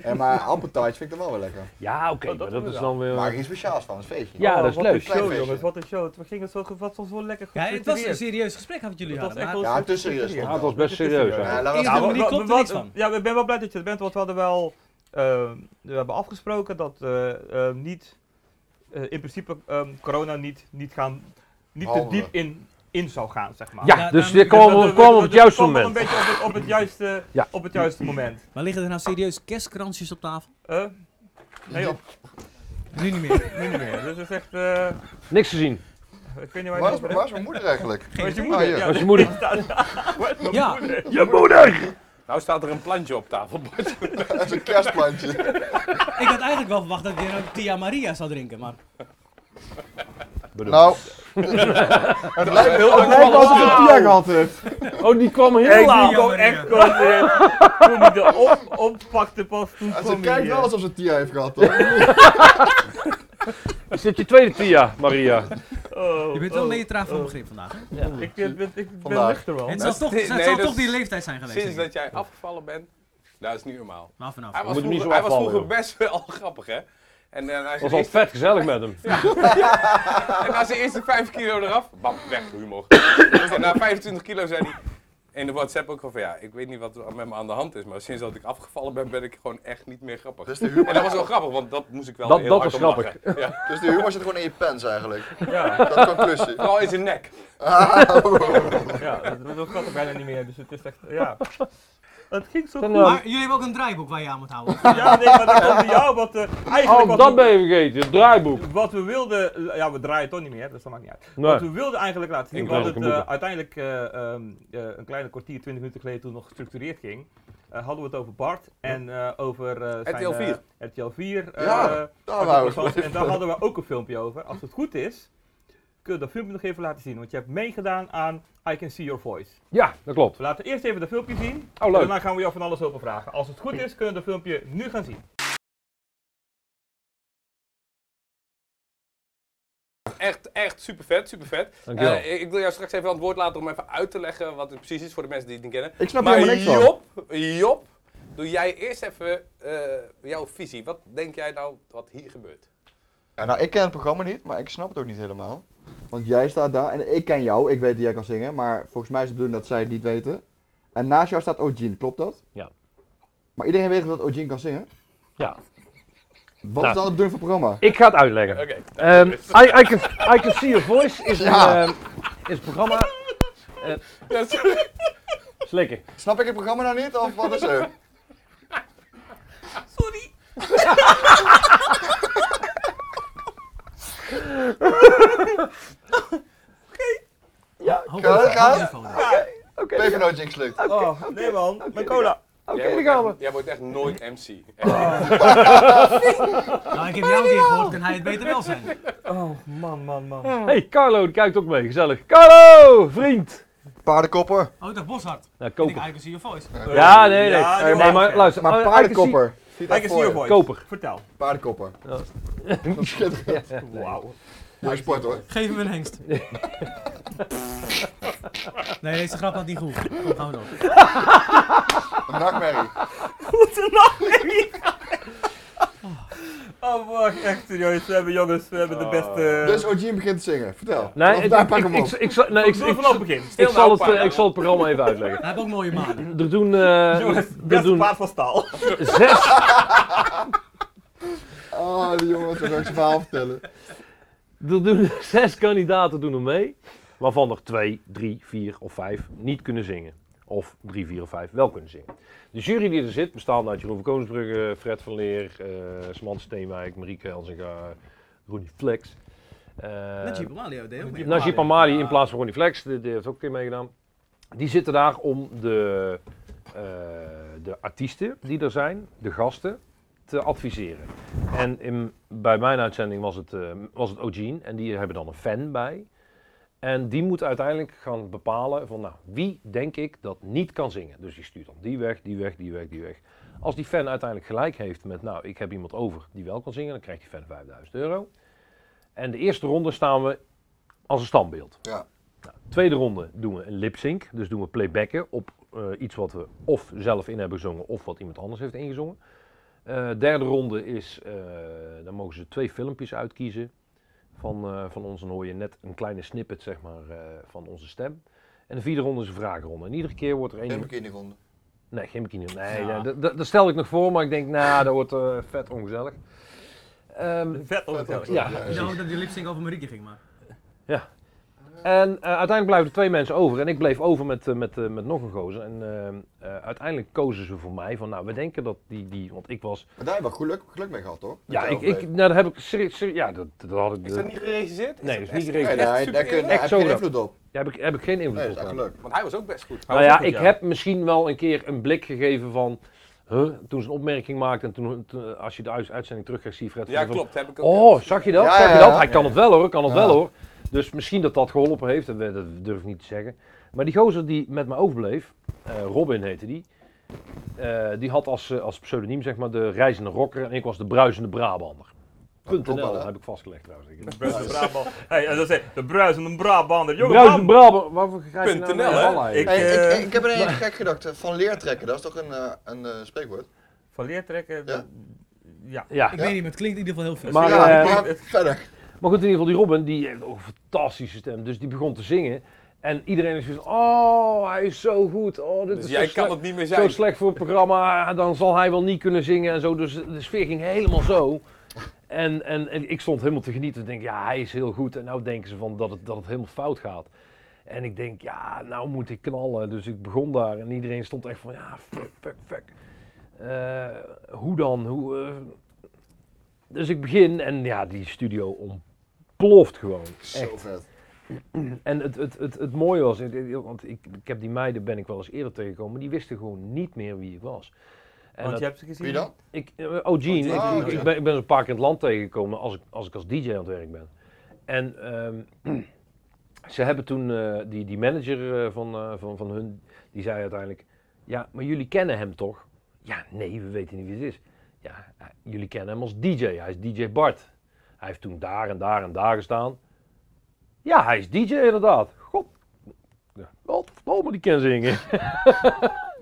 Speaker 4: Ja, maar appeltaartjes vind ik dan wel weer lekker.
Speaker 3: <laughs> Ja, oké,
Speaker 1: Oh, dat
Speaker 3: maar dat is
Speaker 1: inderdaad.
Speaker 3: dan weer... eh,
Speaker 4: Maar geen speciaals van, het feestje.
Speaker 3: Ja, dat is
Speaker 1: Oh, wat
Speaker 3: leuk.
Speaker 1: een
Speaker 4: Klein
Speaker 1: show
Speaker 4: feestje.
Speaker 1: jongens, wat een show. Het ging het zo, wat was wel lekker
Speaker 7: Ja, het was een
Speaker 1: gestructureerd.
Speaker 7: serieus gesprek wat jullie
Speaker 1: Het was
Speaker 7: hadden.
Speaker 1: echt
Speaker 7: maar-
Speaker 1: wel
Speaker 4: Ja, het is serieus.
Speaker 1: gestructureerd.
Speaker 3: Ja, het was best serieus.
Speaker 4: Ja,
Speaker 3: eigenlijk.
Speaker 4: laten we Eh,
Speaker 7: Ja,
Speaker 4: dat
Speaker 7: maar
Speaker 4: doen.
Speaker 7: die klopt er
Speaker 1: wat-
Speaker 7: niks van.
Speaker 1: Ja, ik ben wel blij dat je er bent, want we hadden wel... eh, we hebben afgesproken dat eh, eh, niet... eh, in principe ehm, corona niet, niet, gaan, niet te
Speaker 4: Behandelen.
Speaker 1: diep in, in zou gaan, zeg maar.
Speaker 3: Ja, dus
Speaker 7: Ja,
Speaker 3: dit
Speaker 7: dan-
Speaker 3: kwam
Speaker 1: Dus
Speaker 3: we
Speaker 1: dat-
Speaker 3: kwam
Speaker 1: dat-
Speaker 3: op het
Speaker 1: dat
Speaker 3: juiste
Speaker 1: kwam wel
Speaker 3: moment.
Speaker 1: Een beetje op het, op het, juiste,
Speaker 3: Ja.
Speaker 1: op het juiste moment.
Speaker 7: Maar liggen er nou serieus kerstkransjes op tafel?
Speaker 1: Eh? nee, joh,
Speaker 7: Nu niet meer.
Speaker 1: nu niet meer. Dus het is echt. eh,
Speaker 3: Niks te zien.
Speaker 1: ik weet niet waar je
Speaker 4: Waar
Speaker 1: het
Speaker 4: is,
Speaker 1: over hebt.
Speaker 4: waar is mijn moeder eigenlijk?
Speaker 1: Waar is je
Speaker 4: Ah, hier.
Speaker 1: moeder?
Speaker 3: Dat is je <laughs> moeder.
Speaker 7: <laughs> Ja.
Speaker 3: Je moeder!
Speaker 2: Nou staat er een plantje op tafel. <laughs> Bart.
Speaker 4: Dat is een kerstplantje.
Speaker 7: Ik had eigenlijk wel verwacht dat ik weer een Tia Maria zou drinken, maar...
Speaker 1: <laughs>
Speaker 4: Nou, het lijkt heel erg alsof het een pia gehad heeft.
Speaker 3: Oh, die kwam heel
Speaker 1: Ik
Speaker 3: laat.
Speaker 1: zie gewoon echt gewoon eh, toen hij de op, oppakte pas toen
Speaker 4: En ze
Speaker 1: kwam
Speaker 4: kijkt
Speaker 1: hij,
Speaker 4: wel
Speaker 1: eh.
Speaker 4: alsof ze een tia heeft gehad. hoor.
Speaker 1: <laughs>
Speaker 3: Is dit je tweede Tia, Maria?
Speaker 1: Oh,
Speaker 7: Je bent wel
Speaker 1: oh,
Speaker 7: meetraag van
Speaker 1: oh.
Speaker 7: begrip vandaag. hè?
Speaker 1: Ik ben, ben, ik ben
Speaker 4: Vandaag.
Speaker 1: nuchter wel.
Speaker 7: Het zal toch, het
Speaker 2: nee,
Speaker 7: zal
Speaker 2: dat
Speaker 7: toch
Speaker 2: is-
Speaker 7: die leeftijd zijn geweest.
Speaker 2: Sinds
Speaker 7: denk ik.
Speaker 2: dat Ah, jij afgevallen bent, dat is niet normaal.
Speaker 7: Maar vanaf.
Speaker 2: Hij was
Speaker 3: moeten hem niet
Speaker 2: vroeger,
Speaker 3: zo
Speaker 2: hij was
Speaker 3: afvallen,
Speaker 2: vroeger
Speaker 3: joh.
Speaker 2: best wel <laughs> grappig, hè? En, eh, na
Speaker 3: was
Speaker 2: zijn
Speaker 3: al
Speaker 2: eerste,
Speaker 3: vet gezellig met hem.
Speaker 2: en na zijn eerste 5 kilo eraf, bam, weg
Speaker 3: <coughs>
Speaker 2: humor. en na 25 kilo zei hij in de WhatsApp ook al van ja, ik weet niet wat er met me aan de hand is, maar sinds dat ik afgevallen ben, ben ik gewoon echt niet meer grappig.
Speaker 4: Dus de humor,
Speaker 2: En dat was wel grappig, want dat moest ik wel
Speaker 3: Dat-
Speaker 2: heel
Speaker 3: dat
Speaker 2: hard
Speaker 3: was
Speaker 2: om
Speaker 3: grappig.
Speaker 2: lachen. Ja.
Speaker 4: dus de humor zit gewoon in je pens eigenlijk.
Speaker 1: Ja,
Speaker 4: Dat is een conclusie.
Speaker 2: Vooral in zijn nek.
Speaker 1: ja dat, dat kan er bijna niet meer, dus het is echt, ja. Het ging zo
Speaker 3: En,
Speaker 1: goed.
Speaker 3: eh,
Speaker 7: Maar jullie hebben ook een draaiboek waar je aan moet houden.
Speaker 1: Ja, nee, maar dat komt door jou, want eh, eigenlijk
Speaker 3: oh,
Speaker 1: wat
Speaker 3: dat
Speaker 1: we,
Speaker 3: ben je vergeten, het draaiboek.
Speaker 1: wat we wilden, ja we draaien toch niet meer, dus dat maakt niet uit.
Speaker 3: Nee.
Speaker 1: Wat we wilden eigenlijk laten zien,
Speaker 3: Ik
Speaker 1: we hadden
Speaker 3: draai
Speaker 1: het
Speaker 3: ook een
Speaker 1: eh,
Speaker 3: boeken.
Speaker 1: uiteindelijk eh, ehm, eh, een kleine kwartier, 20 minuten geleden toen het nog gestructureerd ging, eh, hadden we het over Bart en eh, over eh, zijn...
Speaker 2: RTL 4.
Speaker 1: eh, RTL 4. eh,
Speaker 4: Ja,
Speaker 1: eh,
Speaker 4: Daar
Speaker 1: Hartelijk
Speaker 4: wou
Speaker 1: interessant.
Speaker 4: ik
Speaker 1: En daar hadden we ook een filmpje over. Als het goed is, kun je dat filmpje nog even laten zien. Want je hebt meegedaan aan I Can See Your Voice. Dus
Speaker 3: Ja, dat klopt.
Speaker 1: We laten eerst even dat filmpje zien.
Speaker 3: Oh,
Speaker 1: En
Speaker 3: leuk.
Speaker 1: daarna gaan we jou van alles over vragen. Als het goed is, kunnen we dat filmpje nu gaan zien.
Speaker 2: Echt, echt super vet, super vet.
Speaker 3: Dankjewel.
Speaker 2: Eh, ik wil jou straks even aan het woord laten om even uit te leggen wat het precies is voor de mensen die het niet kennen.
Speaker 4: Ik snap
Speaker 2: maar
Speaker 4: helemaal niks van.
Speaker 2: Job, Job, doe jij eerst even eh, jouw visie. Wat denk jij nou wat hier gebeurt?
Speaker 4: Ja, nou, ik ken het programma niet, maar ik snap het ook niet helemaal. Want jij staat daar en ik ken jou, ik weet dat jij kan zingen, maar volgens mij is het bedoeling dat zij het niet weten. En naast jou staat Ojin, klopt dat?
Speaker 3: Ja.
Speaker 4: Maar iedereen weet dat Ojin kan zingen?
Speaker 3: Ja.
Speaker 4: Wat
Speaker 3: Nou.
Speaker 4: is dan de bedoeling van het programma?
Speaker 3: Ik ga het uitleggen.
Speaker 2: Oké.
Speaker 3: Ehm, I, I, can, I Can See Your Voice is een,
Speaker 4: Ja.
Speaker 3: ehm, is een programma. Eh,
Speaker 2: Ja, sorry.
Speaker 3: Slikken.
Speaker 4: Snap ik het programma nou niet, of wat is
Speaker 3: <laughs>
Speaker 4: er?
Speaker 7: Hoog
Speaker 4: gaat.
Speaker 7: niveau.
Speaker 4: Oké. Even no jinx lukt.
Speaker 1: oh, nee man, mijn cola.
Speaker 3: Oké,
Speaker 2: Jij
Speaker 3: daar
Speaker 2: wordt
Speaker 3: gaan we.
Speaker 2: echt- Jij wordt echt nooit MC.
Speaker 4: Ah.
Speaker 7: Nou, ik heb jou een keer gehoord, dan hij het beter wel zijn.
Speaker 1: Oh, man, man, man.
Speaker 3: Hey, Carlo, die kijkt ook mee. Gezellig. Carlo, vriend.
Speaker 4: Paardenkopper.
Speaker 7: Oh, dat Boshart.
Speaker 3: Nou,
Speaker 7: Ik
Speaker 3: koper.
Speaker 7: eigenlijk zie je voice.
Speaker 3: Ja, nee, nee.
Speaker 1: Eh, Ja,
Speaker 3: nee,
Speaker 1: joh.
Speaker 3: maar luister. I- I
Speaker 4: Maar
Speaker 3: Can
Speaker 4: paardenkopper. Zie dat
Speaker 1: Kijk eens
Speaker 4: voor
Speaker 1: hier,
Speaker 4: je.
Speaker 1: boys.
Speaker 3: Koper.
Speaker 1: Vertel.
Speaker 4: Paardenkopper.
Speaker 3: Ja.
Speaker 4: Dat is schitterend.
Speaker 1: Wauw.
Speaker 4: Mooi sport hoor.
Speaker 7: Geef hem een hengst. Nee, deze grap had niet goed. Kom, gaan we door.
Speaker 4: Een nachtmerrie.
Speaker 1: Goed een nachtmerrie. Oh, wacht, echt serieus. We hebben jongens, we
Speaker 3: Oh.
Speaker 1: hebben de beste...
Speaker 4: Dus Ojin begint te zingen, vertel.
Speaker 3: see- Nee,
Speaker 4: Want
Speaker 3: ik,
Speaker 4: daar
Speaker 3: ik,
Speaker 4: pak
Speaker 3: ik,
Speaker 4: hem op.
Speaker 3: ik, ik zal- nee, ik,
Speaker 1: Doe het
Speaker 3: ik,
Speaker 1: vanaf nou, het begin.
Speaker 3: ik zal het,
Speaker 2: Paarden.
Speaker 3: eh, ik zal het programma even uitleggen.
Speaker 1: <laughs>
Speaker 7: Hij heeft ook mooie manen.
Speaker 3: Er doen, eh,
Speaker 1: Jongens,
Speaker 3: er
Speaker 1: beste
Speaker 3: doen
Speaker 1: paard van staal. <laughs>
Speaker 3: <laughs> zes,
Speaker 4: Oh, die jongen, toen wil ik zijn verhaal vertellen.
Speaker 3: er doen <laughs> zes kandidaten doen er mee. Waarvan er twee, drie, vier of vijf niet kunnen zingen. Of drie, vier of vijf wel kunnen zingen. De jury die er zit bestaat uit Jeroen van Koningsbrugge, Fred van Leer, eh Sman Steenwijk, Marieke Elzinga, Ronnie Flex. Eh,
Speaker 7: Najib Amali deed ook mee.
Speaker 3: Najib Amali Nou, in plaats van Ronnie Flex, die, die heeft ook een keer meegedaan. Die zitten daar om de, eh, de artiesten die er zijn, de gasten, te adviseren. En in, bij mijn uitzending was het, eh was het Ogene en die hebben dan een fan bij. En die moet uiteindelijk gaan bepalen van nou, wie denk ik dat niet kan zingen. Dus die stuurt dan die weg, die weg, die weg, die weg. Als die fan uiteindelijk gelijk heeft met nou, ik heb iemand over die wel kan zingen, dan krijgt die fan 5000 euro. En de eerste ronde staan we als een standbeeld.
Speaker 4: Ja.
Speaker 3: Nou, tweede ronde doen we een lip sync. Dus doen we playbacken op eh, iets wat we of zelf in hebben gezongen of wat iemand anders heeft ingezongen. Eh, derde ronde is, eh, dan mogen ze twee filmpjes uitkiezen van, eh, van ons. Dan hoor je net een kleine snippet zeg maar, eh, van onze stem. En de vierde ronde is een vragenronde. En iedere keer wordt er één...
Speaker 4: Neem ik in die ronde.
Speaker 3: Nee, geen bikini. Nee, nee, dat- dat dat stel ik nog voor, maar ik denk, nou, dat wordt eh, vet ongezellig. Ehm,
Speaker 1: Vet ongezellig.
Speaker 3: ja,
Speaker 7: Ik dacht ook dat die lipsync over Marieke ging, maar...
Speaker 3: En eh, uiteindelijk blijven er twee mensen over. En ik bleef over met, eh, met, eh, met nog een gozer. En eh, eh, uiteindelijk kozen ze voor mij van, nou, we denken dat die, die want ik was...
Speaker 4: Maar daar hebben we geluk, geluk mee gehad hoor.
Speaker 3: Ja, ik, ik, nou, dat heb ik serieus, serieus- ja, dat, dat had ik... eh,
Speaker 2: Is dat niet geregisseerd?
Speaker 3: Nee, dat is niet
Speaker 4: Nee,
Speaker 3: geregeld.
Speaker 4: daar,
Speaker 3: Daar
Speaker 4: daar,
Speaker 2: super
Speaker 4: kun je-
Speaker 2: eerlijk.
Speaker 4: daar heb je geen
Speaker 3: zo
Speaker 4: invloed op.
Speaker 3: heb ik, heb ik geen invloed
Speaker 4: Nee, dat
Speaker 3: op.
Speaker 4: is echt
Speaker 3: gehad.
Speaker 4: geluk.
Speaker 2: Want hij was ook best goed.
Speaker 3: Nou ja,
Speaker 1: Houdt
Speaker 3: ik
Speaker 1: het op, ja.
Speaker 3: heb misschien wel een keer een blik gegeven van... Huh? Toen ze een opmerking maakte en toen, toen- als je de uit- uitzending terugkrijgt, zie je Fred...
Speaker 2: Ja,
Speaker 3: van-
Speaker 2: klopt. Heb ik ook.
Speaker 3: Oh, zag je dat?
Speaker 4: Ja,
Speaker 3: zag je
Speaker 4: ja,
Speaker 3: dat?
Speaker 4: ja.
Speaker 3: Hij kan het wel hoor, kan het
Speaker 4: Ja.
Speaker 3: wel hoor. Dus misschien dat dat geholpen heeft, dat, we- dat durf ik niet te zeggen. Maar die gozer die met me overbleef, eh, Robin heette die, eh, die had als, eh, als pseudoniem zeg maar de reizende rocker en ik was de bruisende Brabander.
Speaker 4: klopt wel,
Speaker 3: .nl
Speaker 4: hè?
Speaker 3: heb ik vastgelegd trouwens. Ik-
Speaker 1: Bruisende Brabant. Hey, en dat is de bruisende Brabander. Jongen,
Speaker 3: Bruisende Brabander, waarvoor krijg je nou
Speaker 2: .nl,
Speaker 3: een
Speaker 2: hè?
Speaker 3: bal eigenlijk?
Speaker 1: Ik,
Speaker 4: Hey, ik,
Speaker 1: eh,
Speaker 4: ik, ik heb er een gek gedacht. eh, Van leertrekken, dat is toch een, eh, een eh, spreekwoord?
Speaker 1: Van leertrekken.
Speaker 4: Ja.
Speaker 1: ja.
Speaker 3: Ja.
Speaker 8: Ik weet niet, maar het klinkt in ieder geval heel vet.
Speaker 3: Maar,
Speaker 4: ja,
Speaker 3: eh,
Speaker 4: maar <laughs> verder.
Speaker 3: Maar goed, in ieder geval, die Robin, die heeft ook een fantastische stem. Dus die begon te zingen. En iedereen is van, oh, hij is zo goed. Oh, dit
Speaker 2: Dus
Speaker 3: is
Speaker 2: jij
Speaker 3: zo
Speaker 2: kan
Speaker 3: slecht,
Speaker 2: het niet meer
Speaker 3: zo
Speaker 2: zijn.
Speaker 3: slecht voor het programma. Dan zal hij wel niet kunnen zingen en zo. Dus de sfeer ging helemaal zo. En, en, en ik stond helemaal te genieten. Ik denk, ja, hij is heel goed. En nou denken ze van dat het, dat het helemaal fout gaat. En ik denk, ja, nou moet ik knallen. Dus ik begon daar en iedereen stond echt van, ja, fuck, fuck, fuck. Eh, hoe dan? Hoe, eh? Dus ik begin en ja, die studio ontploft gewoon.
Speaker 4: Zo vet.
Speaker 3: En het, het, het, het mooie was, ik- ik- want ik, ik heb die meiden ben ik wel eens eerder tegengekomen, maar die wisten gewoon niet meer wie ik was. En
Speaker 1: Want
Speaker 3: dat-
Speaker 1: je hebt ze gezien.
Speaker 4: Wie dan?
Speaker 3: ik, eh, oh, Gene,
Speaker 4: Oh, Gene.
Speaker 3: ik, ik, ik ben, ik ben een paar keer in het land tegengekomen als ik als, ik als DJ aan het werk ben. En ehm, <clears throat> ze hebben toen, eh, die, die manager eh, van, eh, van, van hun, die zei uiteindelijk, ja, maar jullie kennen hem toch? Ja, nee, we weten niet wie het is. Ja, eh, jullie kennen hem als DJ, hij is DJ Bart. Hij heeft toen daar en daar en daar gestaan. Ja, hij is DJ inderdaad. God, ja, godverdomme, die kan <laughs> zingen.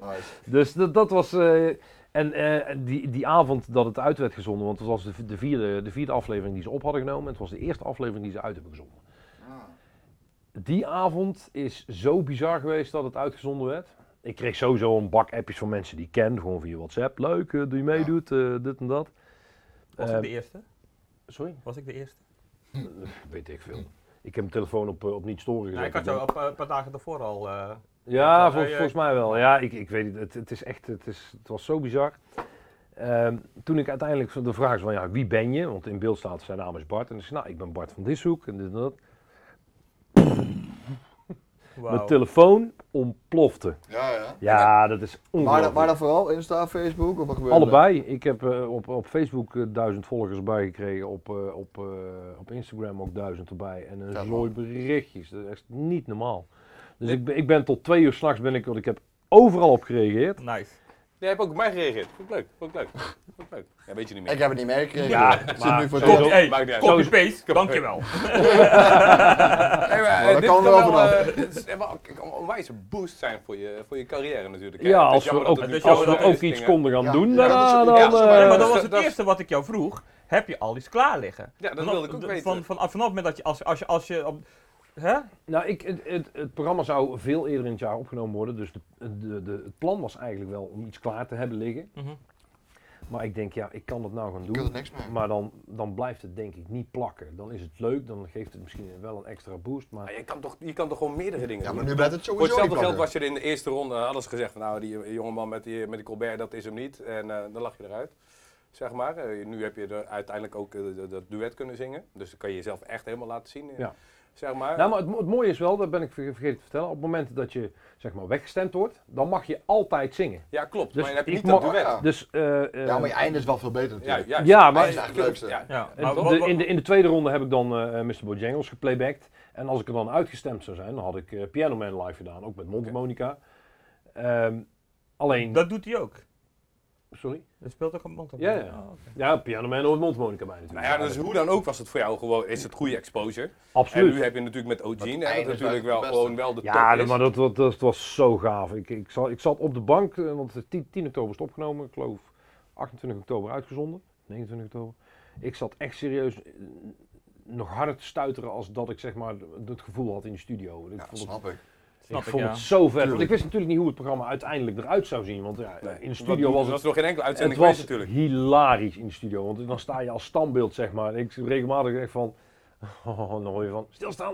Speaker 4: Nice.
Speaker 3: Dus dat, dat was. eh, en eh, die, die avond dat het uit werd gezonden, want het was de, de, vierde, de vierde aflevering die ze op hadden genomen. en Het was de eerste aflevering die ze uit hebben gezonden.
Speaker 1: Ah.
Speaker 3: Die avond is zo bizar geweest dat het uitgezonden werd. Ik kreeg sowieso een bak appjes van mensen die ik ken, gewoon via WhatsApp. Leuk, eh, doe je meedoet, eh, dit en dat.
Speaker 1: Was
Speaker 3: Eh,
Speaker 1: ik de eerste?
Speaker 3: sorry?
Speaker 1: Was ik de eerste?
Speaker 3: Weet ik veel. Ik heb mijn telefoon op, eh, op niet storen gezet.
Speaker 1: Nou, ik had jou op, eh, een paar dagen daarvoor al. eh,
Speaker 3: Ja,
Speaker 1: Van,
Speaker 3: vol-
Speaker 1: eh, eh,
Speaker 3: volgens mij wel. Ja, ik, ik weet het. Het, het is echt, het, is, het was zo bizar. Ehm, toen ik uiteindelijk van de vraag is van ja, wie ben je? Want in beeld staat zijn naam is Bart. En ik zei, nou, ik ben Bart van Dishoek en dit en dat. Mijn eh,
Speaker 1: wauw.
Speaker 3: telefoon ontplofte.
Speaker 4: Ja, ja.
Speaker 3: Ja, dat is
Speaker 4: Waar, dan-
Speaker 3: ongelooflijk.
Speaker 4: waar dan vooral? Insta, Facebook? Of wat gebeurde er?
Speaker 3: Allebei. Ik heb eh, op, op Facebook eh, duizend volgers bijgekregen. Op, eh, op, eh, op Instagram ook duizend erbij. En een
Speaker 4: Vet,
Speaker 3: zooi berichtjes. Dat is echt niet normaal. Dus ik, ben- ik ben tot twee uur s'nachts ben ik, want ik heb overal op gereageerd.
Speaker 1: Nice.
Speaker 2: Jij hebt ook op mij gereageerd. Vond ik leuk, vond ik leuk. Vond ik leuk. Ja, weet je niet meer.
Speaker 4: Ik heb het niet meegekregen.
Speaker 3: Ja,
Speaker 4: ik zit
Speaker 3: maar-
Speaker 4: nu voor het
Speaker 1: Copy,
Speaker 4: eerst.
Speaker 1: hey,
Speaker 2: maakt niet uit.
Speaker 1: copy paste, dankjewel.
Speaker 2: Eh, Nee, maar, eh,
Speaker 4: dat
Speaker 2: dit
Speaker 4: kan
Speaker 2: kan
Speaker 4: er wel
Speaker 2: wel,
Speaker 4: vanaf.
Speaker 2: eh, dit is wel een onwijze boost zijn voor je, voor je carrière natuurlijk. hè.
Speaker 3: Ja,
Speaker 2: Het is
Speaker 3: als we
Speaker 2: jammer dat
Speaker 3: ook,
Speaker 2: het nu-
Speaker 1: dat
Speaker 3: als
Speaker 1: dat
Speaker 3: we
Speaker 1: er
Speaker 3: ook
Speaker 2: is
Speaker 3: iets
Speaker 2: dingen-
Speaker 3: konden gaan
Speaker 4: Ja,
Speaker 3: doen
Speaker 4: ja,
Speaker 3: daarna,
Speaker 4: dat is- ja,
Speaker 3: dan...
Speaker 2: maar-
Speaker 1: Nee,
Speaker 3: eh,
Speaker 1: maar dat was het
Speaker 2: dat is-
Speaker 1: eerste wat ik jou vroeg. Heb je al iets klaar liggen?
Speaker 2: Ja, dat
Speaker 1: Vanaf-
Speaker 2: wilde ik ook
Speaker 1: de-
Speaker 2: weten.
Speaker 1: Van, van, vanaf het moment dat je, als, als je, als je op, hè?
Speaker 3: Nou, ik, het, het, het programma zou veel eerder in het jaar opgenomen worden, dus de, de, de, het plan was eigenlijk wel om iets klaar te hebben liggen.
Speaker 1: Mhm.
Speaker 3: Maar ik denk, ja, ik kan dat nou gaan
Speaker 4: Ik kan er
Speaker 3: doen,
Speaker 4: niks mee.
Speaker 3: maar dan, dan blijft het denk ik niet plakken. Dan is het leuk, dan geeft het misschien wel een extra boost, maar...
Speaker 2: Maar je kan toch, je kan toch gewoon meerdere dingen
Speaker 4: Ja,
Speaker 2: doen?
Speaker 4: maar nu blijft het
Speaker 2: Voor
Speaker 4: sowieso
Speaker 2: hetzelfde
Speaker 4: niet
Speaker 2: geld was
Speaker 4: plakken.
Speaker 2: je er in de eerste ronde eh, hadden ze gezegd, van, nou die jongeman met, die, eh, met de Colbert, dat is hem niet. En eh, dan lag je eruit, zeg maar. Eh, nu heb je er uiteindelijk ook eh, dat- dat duet kunnen zingen. Dus dan kan je jezelf echt helemaal laten zien, eh,
Speaker 3: Ja.
Speaker 2: zeg maar.
Speaker 3: Nou, maar het, mo- het mooie is wel, dat ben ik ver- vergeten te vertellen, op het moment dat je zeg maar weggestemd wordt, dan mag je altijd zingen.
Speaker 2: ja, klopt.
Speaker 3: Dus
Speaker 2: maar je hebt
Speaker 3: ik
Speaker 2: niet dat
Speaker 3: mag-
Speaker 2: duet.
Speaker 4: Ja.
Speaker 3: Dus, eh, eh,
Speaker 4: Ja, maar je einde is wel veel beter
Speaker 2: Ja,
Speaker 4: natuurlijk.
Speaker 2: juist.
Speaker 3: ja,
Speaker 4: Maar
Speaker 3: maar
Speaker 4: het is eigenlijk het leukste.
Speaker 2: Ja.
Speaker 1: Ja,
Speaker 3: En
Speaker 1: maar
Speaker 3: de-
Speaker 1: wat- wat-
Speaker 3: in, de, in de tweede ronde heb ik dan eh Mr. Bojangles geplaybacked. En als ik er dan uitgestemd zou zijn, dan had ik eh, Piano Man live gedaan, ook met mondharmonica. Ehm, alleen,
Speaker 1: dat doet hij ook.
Speaker 3: sorry?
Speaker 1: Dat speelt ook een mond op.
Speaker 3: Ja, ja.
Speaker 1: Oh, oké.
Speaker 3: Ja, Piano Man hoort mondharmonica bij natuurlijk.
Speaker 2: Nou ja, dus hoe dan ook was het voor jou gewoon, is het goede exposure. En
Speaker 3: Absoluut.
Speaker 2: nu heb je natuurlijk met Ogene, hè, dat
Speaker 4: eigenlijk
Speaker 2: natuurlijk
Speaker 4: het
Speaker 2: wel
Speaker 4: beste.
Speaker 2: gewoon wel de top
Speaker 3: ja,
Speaker 2: is.
Speaker 3: maar dat, dat, dat was zo gaaf. Ik, ik, zat, ik zat op de bank, eh, want het 10, 10 oktober is het opgenomen. Ik geloof 28 oktober uitgezonden. 29 oktober. Ik zat echt serieus eh, nog harder te stuiteren als dat ik zeg maar het gevoel had in de studio. Ik
Speaker 4: Ja,
Speaker 3: vond het
Speaker 4: snap ik.
Speaker 1: Snap
Speaker 3: ik vond
Speaker 1: ja.
Speaker 3: het zo vet. Want ik
Speaker 4: Tuurlijk.
Speaker 3: wist natuurlijk niet hoe het programma uiteindelijk eruit zou zien. Want ja,
Speaker 2: Nee,
Speaker 3: in de
Speaker 2: want
Speaker 3: studio was
Speaker 2: er
Speaker 3: het.
Speaker 2: nog geen enkele
Speaker 3: Het
Speaker 2: uitzending
Speaker 3: was
Speaker 2: geweest natuurlijk.
Speaker 3: hilarisch in de studio. Want dan sta je als standbeeld, zeg maar. En ik regelmatig echt van. <laughs> Oh, dan hoor je van. Stilstaan.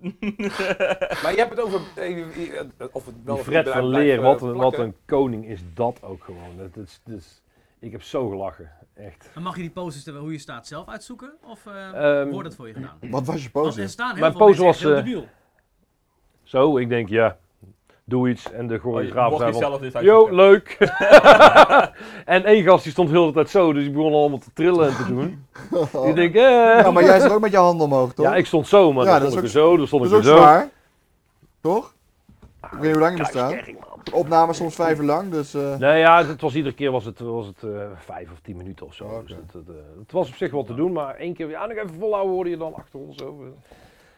Speaker 2: <laughs> Maar je hebt het over... eh, eh, eh, Of het wel
Speaker 3: Die
Speaker 2: of
Speaker 3: Fred
Speaker 2: niet
Speaker 3: van
Speaker 2: blijft,
Speaker 3: Leer,
Speaker 2: eh,
Speaker 3: wat een,
Speaker 2: plakken.
Speaker 3: wat een koning is dat ook gewoon. Dat, is- dat is- ik heb zo gelachen. Echt.
Speaker 8: Maar mag je die poses, terwijl- hoe je staat, zelf uitzoeken? Of eh,
Speaker 3: Ehm,
Speaker 8: wordt het voor je gedaan?
Speaker 4: Wat was je
Speaker 8: Want er
Speaker 4: pose?
Speaker 8: staan heel
Speaker 3: Mijn
Speaker 8: veel
Speaker 3: pose
Speaker 8: mensen echt
Speaker 3: was,
Speaker 8: heel
Speaker 3: eh,
Speaker 8: debiel.
Speaker 3: Zo, ik denk ja. Doe iets en de
Speaker 1: Oh, je
Speaker 3: choreograaf
Speaker 1: mocht
Speaker 3: zei
Speaker 1: niet
Speaker 3: van,
Speaker 1: zelf dit
Speaker 3: Yo,
Speaker 1: uitzoeken.
Speaker 3: leuk! <laughs> en één gast die stond heel de tijd zo, dus die begon allemaal te trillen en te
Speaker 2: <laughs>
Speaker 3: doen. Ik denk, eh.
Speaker 4: Ja, maar jij zit ook met je handen omhoog, toch?
Speaker 3: Ja, ik stond zo, maar
Speaker 4: Ja,
Speaker 3: dan
Speaker 4: dat
Speaker 3: stond ik er
Speaker 4: is
Speaker 3: zo, dan stond
Speaker 4: Dat
Speaker 3: ik
Speaker 4: is ook
Speaker 3: er zo.
Speaker 4: zwaar. Toch? Nou, Ik weet niet hoe lang je bestaat. De opname is soms vijf uur lang, dus... eh,
Speaker 3: Nee, ja, het was iedere keer was het, was het eh, vijf of tien minuten of zo.
Speaker 4: Oké.
Speaker 3: Dus het, het, eh, het was op zich wel te doen, maar één keer, ja, nog even volhouden hoorde je dan achter ons over.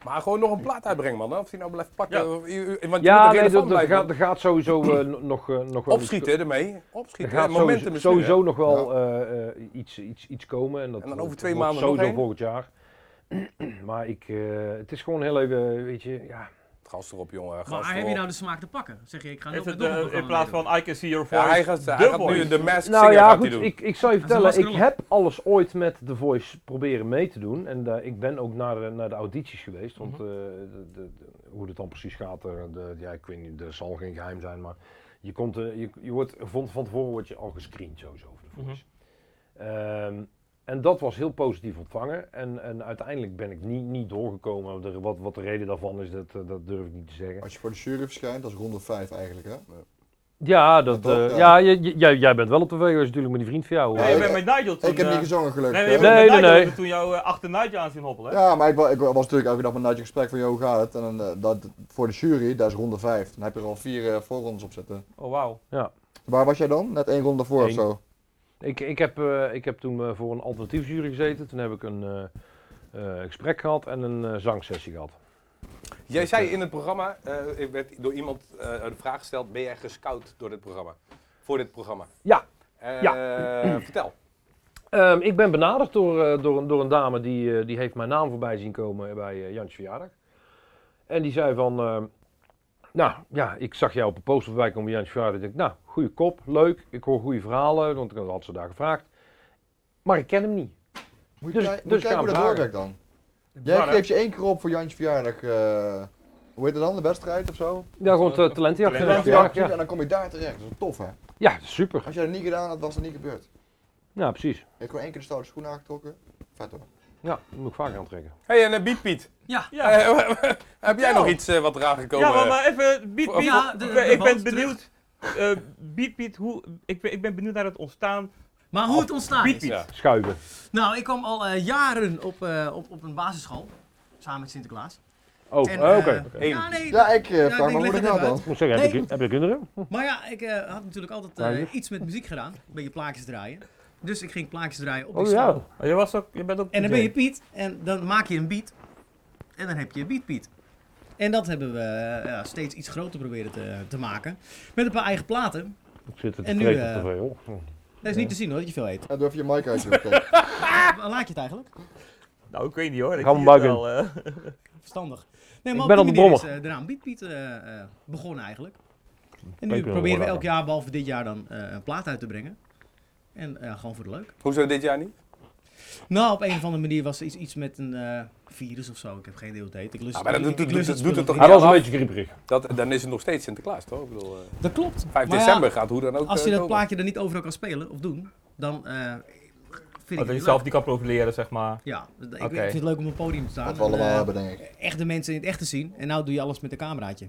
Speaker 2: Maar gewoon nog een plaat uitbrengen, man. hè. Of die nou blijft pakken.
Speaker 1: Ja.
Speaker 2: of- u- u- Want je
Speaker 3: Ja,
Speaker 2: moet er
Speaker 3: nee,
Speaker 2: relevant
Speaker 3: dat, dat
Speaker 2: blijven.
Speaker 3: gaat, dat gaat sowieso
Speaker 4: <clears throat>
Speaker 3: eh, nog, nog, eh, nog wel iets-
Speaker 2: Opschieten ermee.
Speaker 3: Er
Speaker 2: Opschieten.
Speaker 4: eh,
Speaker 3: gaat
Speaker 2: Momentum
Speaker 3: sowieso,
Speaker 2: is nu, hè.
Speaker 3: sowieso nog wel eh, eh, iets, iets, iets komen. En, dat
Speaker 2: En dan
Speaker 3: wordt-
Speaker 2: over twee
Speaker 3: wordt
Speaker 2: maanden nog
Speaker 3: Sowieso
Speaker 2: één.
Speaker 3: volgend jaar. <clears throat> maar ik, eh, het is gewoon heel even, weet je, ja.
Speaker 2: Gas erop, jongen. Gas
Speaker 7: Maar heb je
Speaker 2: erop.
Speaker 7: nou de smaak te pakken? Zeg je, ik ga nog
Speaker 1: Is
Speaker 7: nog
Speaker 1: het,
Speaker 7: een
Speaker 1: eh,
Speaker 7: programma
Speaker 1: in plaats
Speaker 7: meedoen.
Speaker 1: van I can see your voice,
Speaker 2: Ja, hij gaat, hij
Speaker 1: The
Speaker 2: gaat nu
Speaker 1: Voice.
Speaker 2: nou de Mask
Speaker 3: Nou
Speaker 2: Singer
Speaker 3: ja,
Speaker 2: gaat hij
Speaker 3: goed,
Speaker 2: doen.
Speaker 3: ik, ik zal je
Speaker 7: is
Speaker 3: vertellen, ik
Speaker 7: hartstikke
Speaker 3: heb alles ooit met The Voice proberen mee te doen. En eh, ik ben ook naar, de- naar de audities geweest, want eh, de, de, de- hoe het dan precies gaat, eh, de, ja, ik weet niet, er zal geen geheim zijn, maar je, komt, eh, je, je wordt, van, van tevoren word je al gescreend sowieso voor The Voice. Ehm, en dat was heel positief ontvangen. En, en uiteindelijk ben ik niet, niet doorgekomen. De- wat, wat de reden daarvan is, dat, eh, dat durf ik niet te zeggen.
Speaker 4: Als je voor de jury verschijnt, dat is ronde 5 eigenlijk, hè?
Speaker 3: Ja, dat,
Speaker 4: Dat ook,
Speaker 3: eh,
Speaker 4: ja.
Speaker 3: ja. j- j- jij, jij bent wel op de VO's natuurlijk met die vriend van jou.
Speaker 1: Nee,
Speaker 3: eh.
Speaker 1: je bent met Nigel toen...
Speaker 4: Ik heb
Speaker 1: eh,
Speaker 4: niet gezongen gelukkig.
Speaker 1: Nee, nee,
Speaker 4: hè.
Speaker 3: Nee,
Speaker 1: nee,
Speaker 3: nee, nee.
Speaker 1: toen jou eh, achter Nigel aan zien hobbelen. hè?
Speaker 4: Ja, maar ik, wa- ik was natuurlijk elke dag met Nigel in gesprek van, joh, hoe gaat het? En dan, eh, dat, voor de jury, dat is ronde 5. Dan heb je er al vier eh, voorrondes op zitten.
Speaker 1: Oh, wauw.
Speaker 4: Waar was jij dan? Net één ronde voor of
Speaker 3: Eén.
Speaker 4: zo?
Speaker 3: Ik, ik, heb, eh, ik heb toen eh, voor een alternatief jury gezeten. Toen heb ik een eh, eh, gesprek gehad en een eh, zangsessie gehad.
Speaker 2: Jij zei in het programma, eh, ik werd door iemand eh, de vraag gesteld, ben jij gescout door dit programma? Voor dit programma?
Speaker 3: Ja.
Speaker 2: Eh, Vertel.
Speaker 3: Ehm, ik ben benaderd door, eh, door, een- door een dame die, eh, die heeft mijn naam voorbij zien komen bij eh Jantje verjaardag. En die zei van, ehm, nou ja, ik zag jou op een poster voorbij komen bij Jantje verjaardag. Ik dacht, nou, goede kop, leuk, ik hoor goede verhalen, want ik had ze daar gevraagd. Maar ik ken hem niet.
Speaker 4: Moet je,
Speaker 3: Dus-
Speaker 4: kijk- moet
Speaker 3: dus
Speaker 4: je kijken hoe dat
Speaker 3: gaan
Speaker 4: doorwerkt dan. Jij
Speaker 1: Bar, hè?
Speaker 4: geeft je één keer op voor Jantje verjaardag. eh, hoe heet dat dan? De wedstrijd of zo?
Speaker 3: Ja, gewoon eh, talentenjacht.
Speaker 1: Talentenjacht,
Speaker 3: talentenjacht,
Speaker 4: precies, En
Speaker 3: ja.
Speaker 4: dan kom je daar terecht. Dat is tof, hè?
Speaker 3: ja, super.
Speaker 4: Als jij dat niet gedaan had, was dat niet gebeurd. Je
Speaker 3: Ja, precies.
Speaker 4: hebt gewoon één keer de stoute schoenen aangetrokken. Vet hoor.
Speaker 3: Ja, dat moet ik vaker aantrekken.
Speaker 2: hey, en eh, Beat Piet.
Speaker 7: Ja.
Speaker 1: Ja.
Speaker 2: Eh, <laughs> heb jij
Speaker 1: Ja.
Speaker 2: nog iets eh, wat eraan gekomen?
Speaker 1: Ja, maar, maar even, Piet, Piet,
Speaker 7: Ja, de-
Speaker 1: ik
Speaker 7: de
Speaker 1: ben- ik ben
Speaker 7: band
Speaker 1: benieuwd, eh Piet, Piet, hoe, ik ben, ik ben benieuwd naar het ontstaan.
Speaker 7: Maar
Speaker 1: Oh,
Speaker 7: hoe het ontstaan
Speaker 1: Piet,
Speaker 7: is.
Speaker 1: Piet.
Speaker 2: Ja.
Speaker 3: Schuiven.
Speaker 7: Nou, ik kwam al eh, jaren op, eh, op, op een basisschool. Samen met Sinterklaas.
Speaker 3: Oh,
Speaker 7: En,
Speaker 3: eh, oké.
Speaker 7: eh,
Speaker 3: oké.
Speaker 7: Ja, nee.
Speaker 4: Ja, ik eh,
Speaker 7: ik
Speaker 4: vraag me hoe
Speaker 7: leg
Speaker 4: dat gaat
Speaker 7: het even
Speaker 4: dan.
Speaker 7: uit.
Speaker 3: Ik moet zeggen, heb,
Speaker 7: Nee.
Speaker 3: je, heb je kinderen?
Speaker 7: Maar ja, ik eh, had natuurlijk altijd eh,
Speaker 3: Weinig.
Speaker 7: iets met muziek gedaan. Een beetje plaatjes draaien. Dus ik ging plaatjes draaien op die
Speaker 3: Oh
Speaker 7: school.
Speaker 3: ja.
Speaker 1: Oh, Je, was ook, je bent ook
Speaker 7: En dan
Speaker 1: DJ.
Speaker 7: ben je Piet en dan maak je een beat. En dan heb je Beat Piet. En dat hebben we eh, ja, steeds iets groter proberen te, te maken. Met een paar eigen platen.
Speaker 3: Ik zit er te
Speaker 7: En nu,
Speaker 3: vreten
Speaker 7: eh,
Speaker 3: te veel.
Speaker 7: Dat is niet te zien hoor, dat je veel eet.
Speaker 4: Ja, doe even je mic uit. joh. Kijk.
Speaker 2: Ah!
Speaker 7: Waar laat je het eigenlijk?
Speaker 1: Nou, ik weet niet hoor. Ik
Speaker 3: Gaan we
Speaker 1: zie het
Speaker 3: buiken.
Speaker 1: wel, eh.
Speaker 7: <laughs> Verstandig. Nee,
Speaker 3: Ik
Speaker 7: maar
Speaker 3: ben
Speaker 7: op
Speaker 3: al
Speaker 7: die
Speaker 3: de
Speaker 7: manier is eh, de naam Beat Piet eh, eh, begonnen eigenlijk. En nu
Speaker 3: kunnen we
Speaker 7: proberen we
Speaker 3: horen.
Speaker 7: elk jaar, behalve dit jaar, dan eh, een plaat uit te brengen. En eh, gewoon voor de leuk.
Speaker 2: Hoezo dit jaar niet?
Speaker 7: Nou, op een of andere manier was er iets, iets met een eh, virus of zo. Ik heb geen idee hoe het heet. Ik lust
Speaker 2: Ja, Ah, maar dat
Speaker 7: ik- ik
Speaker 2: doet-
Speaker 7: lust
Speaker 2: doet- doet het
Speaker 7: spul
Speaker 2: toch
Speaker 3: Hij
Speaker 7: niet.
Speaker 3: was een beetje grieperig.
Speaker 2: Dat, eh, dan is het nog steeds Sinterklaas, toch? Ik bedoel, eh,
Speaker 7: Dat klopt.
Speaker 2: 5
Speaker 7: Maar ja,
Speaker 2: december gaat hoe dan ook.
Speaker 7: Als je
Speaker 2: eh,
Speaker 7: dat
Speaker 2: komen.
Speaker 7: plaatje er niet overal kan spelen of doen, dan eh, vind
Speaker 1: Oh, dat
Speaker 7: ik het
Speaker 1: je
Speaker 7: zelf
Speaker 1: zelf niet kan profileren, zeg maar.
Speaker 7: Ja, d- ik
Speaker 1: Oké.
Speaker 7: vind het leuk om op het podium te staan.
Speaker 4: Wat we
Speaker 7: en,
Speaker 4: allemaal
Speaker 7: eh,
Speaker 4: hebben, denk ik.
Speaker 7: Echt de mensen in het echt te zien. En nou doe je alles met een cameraatje.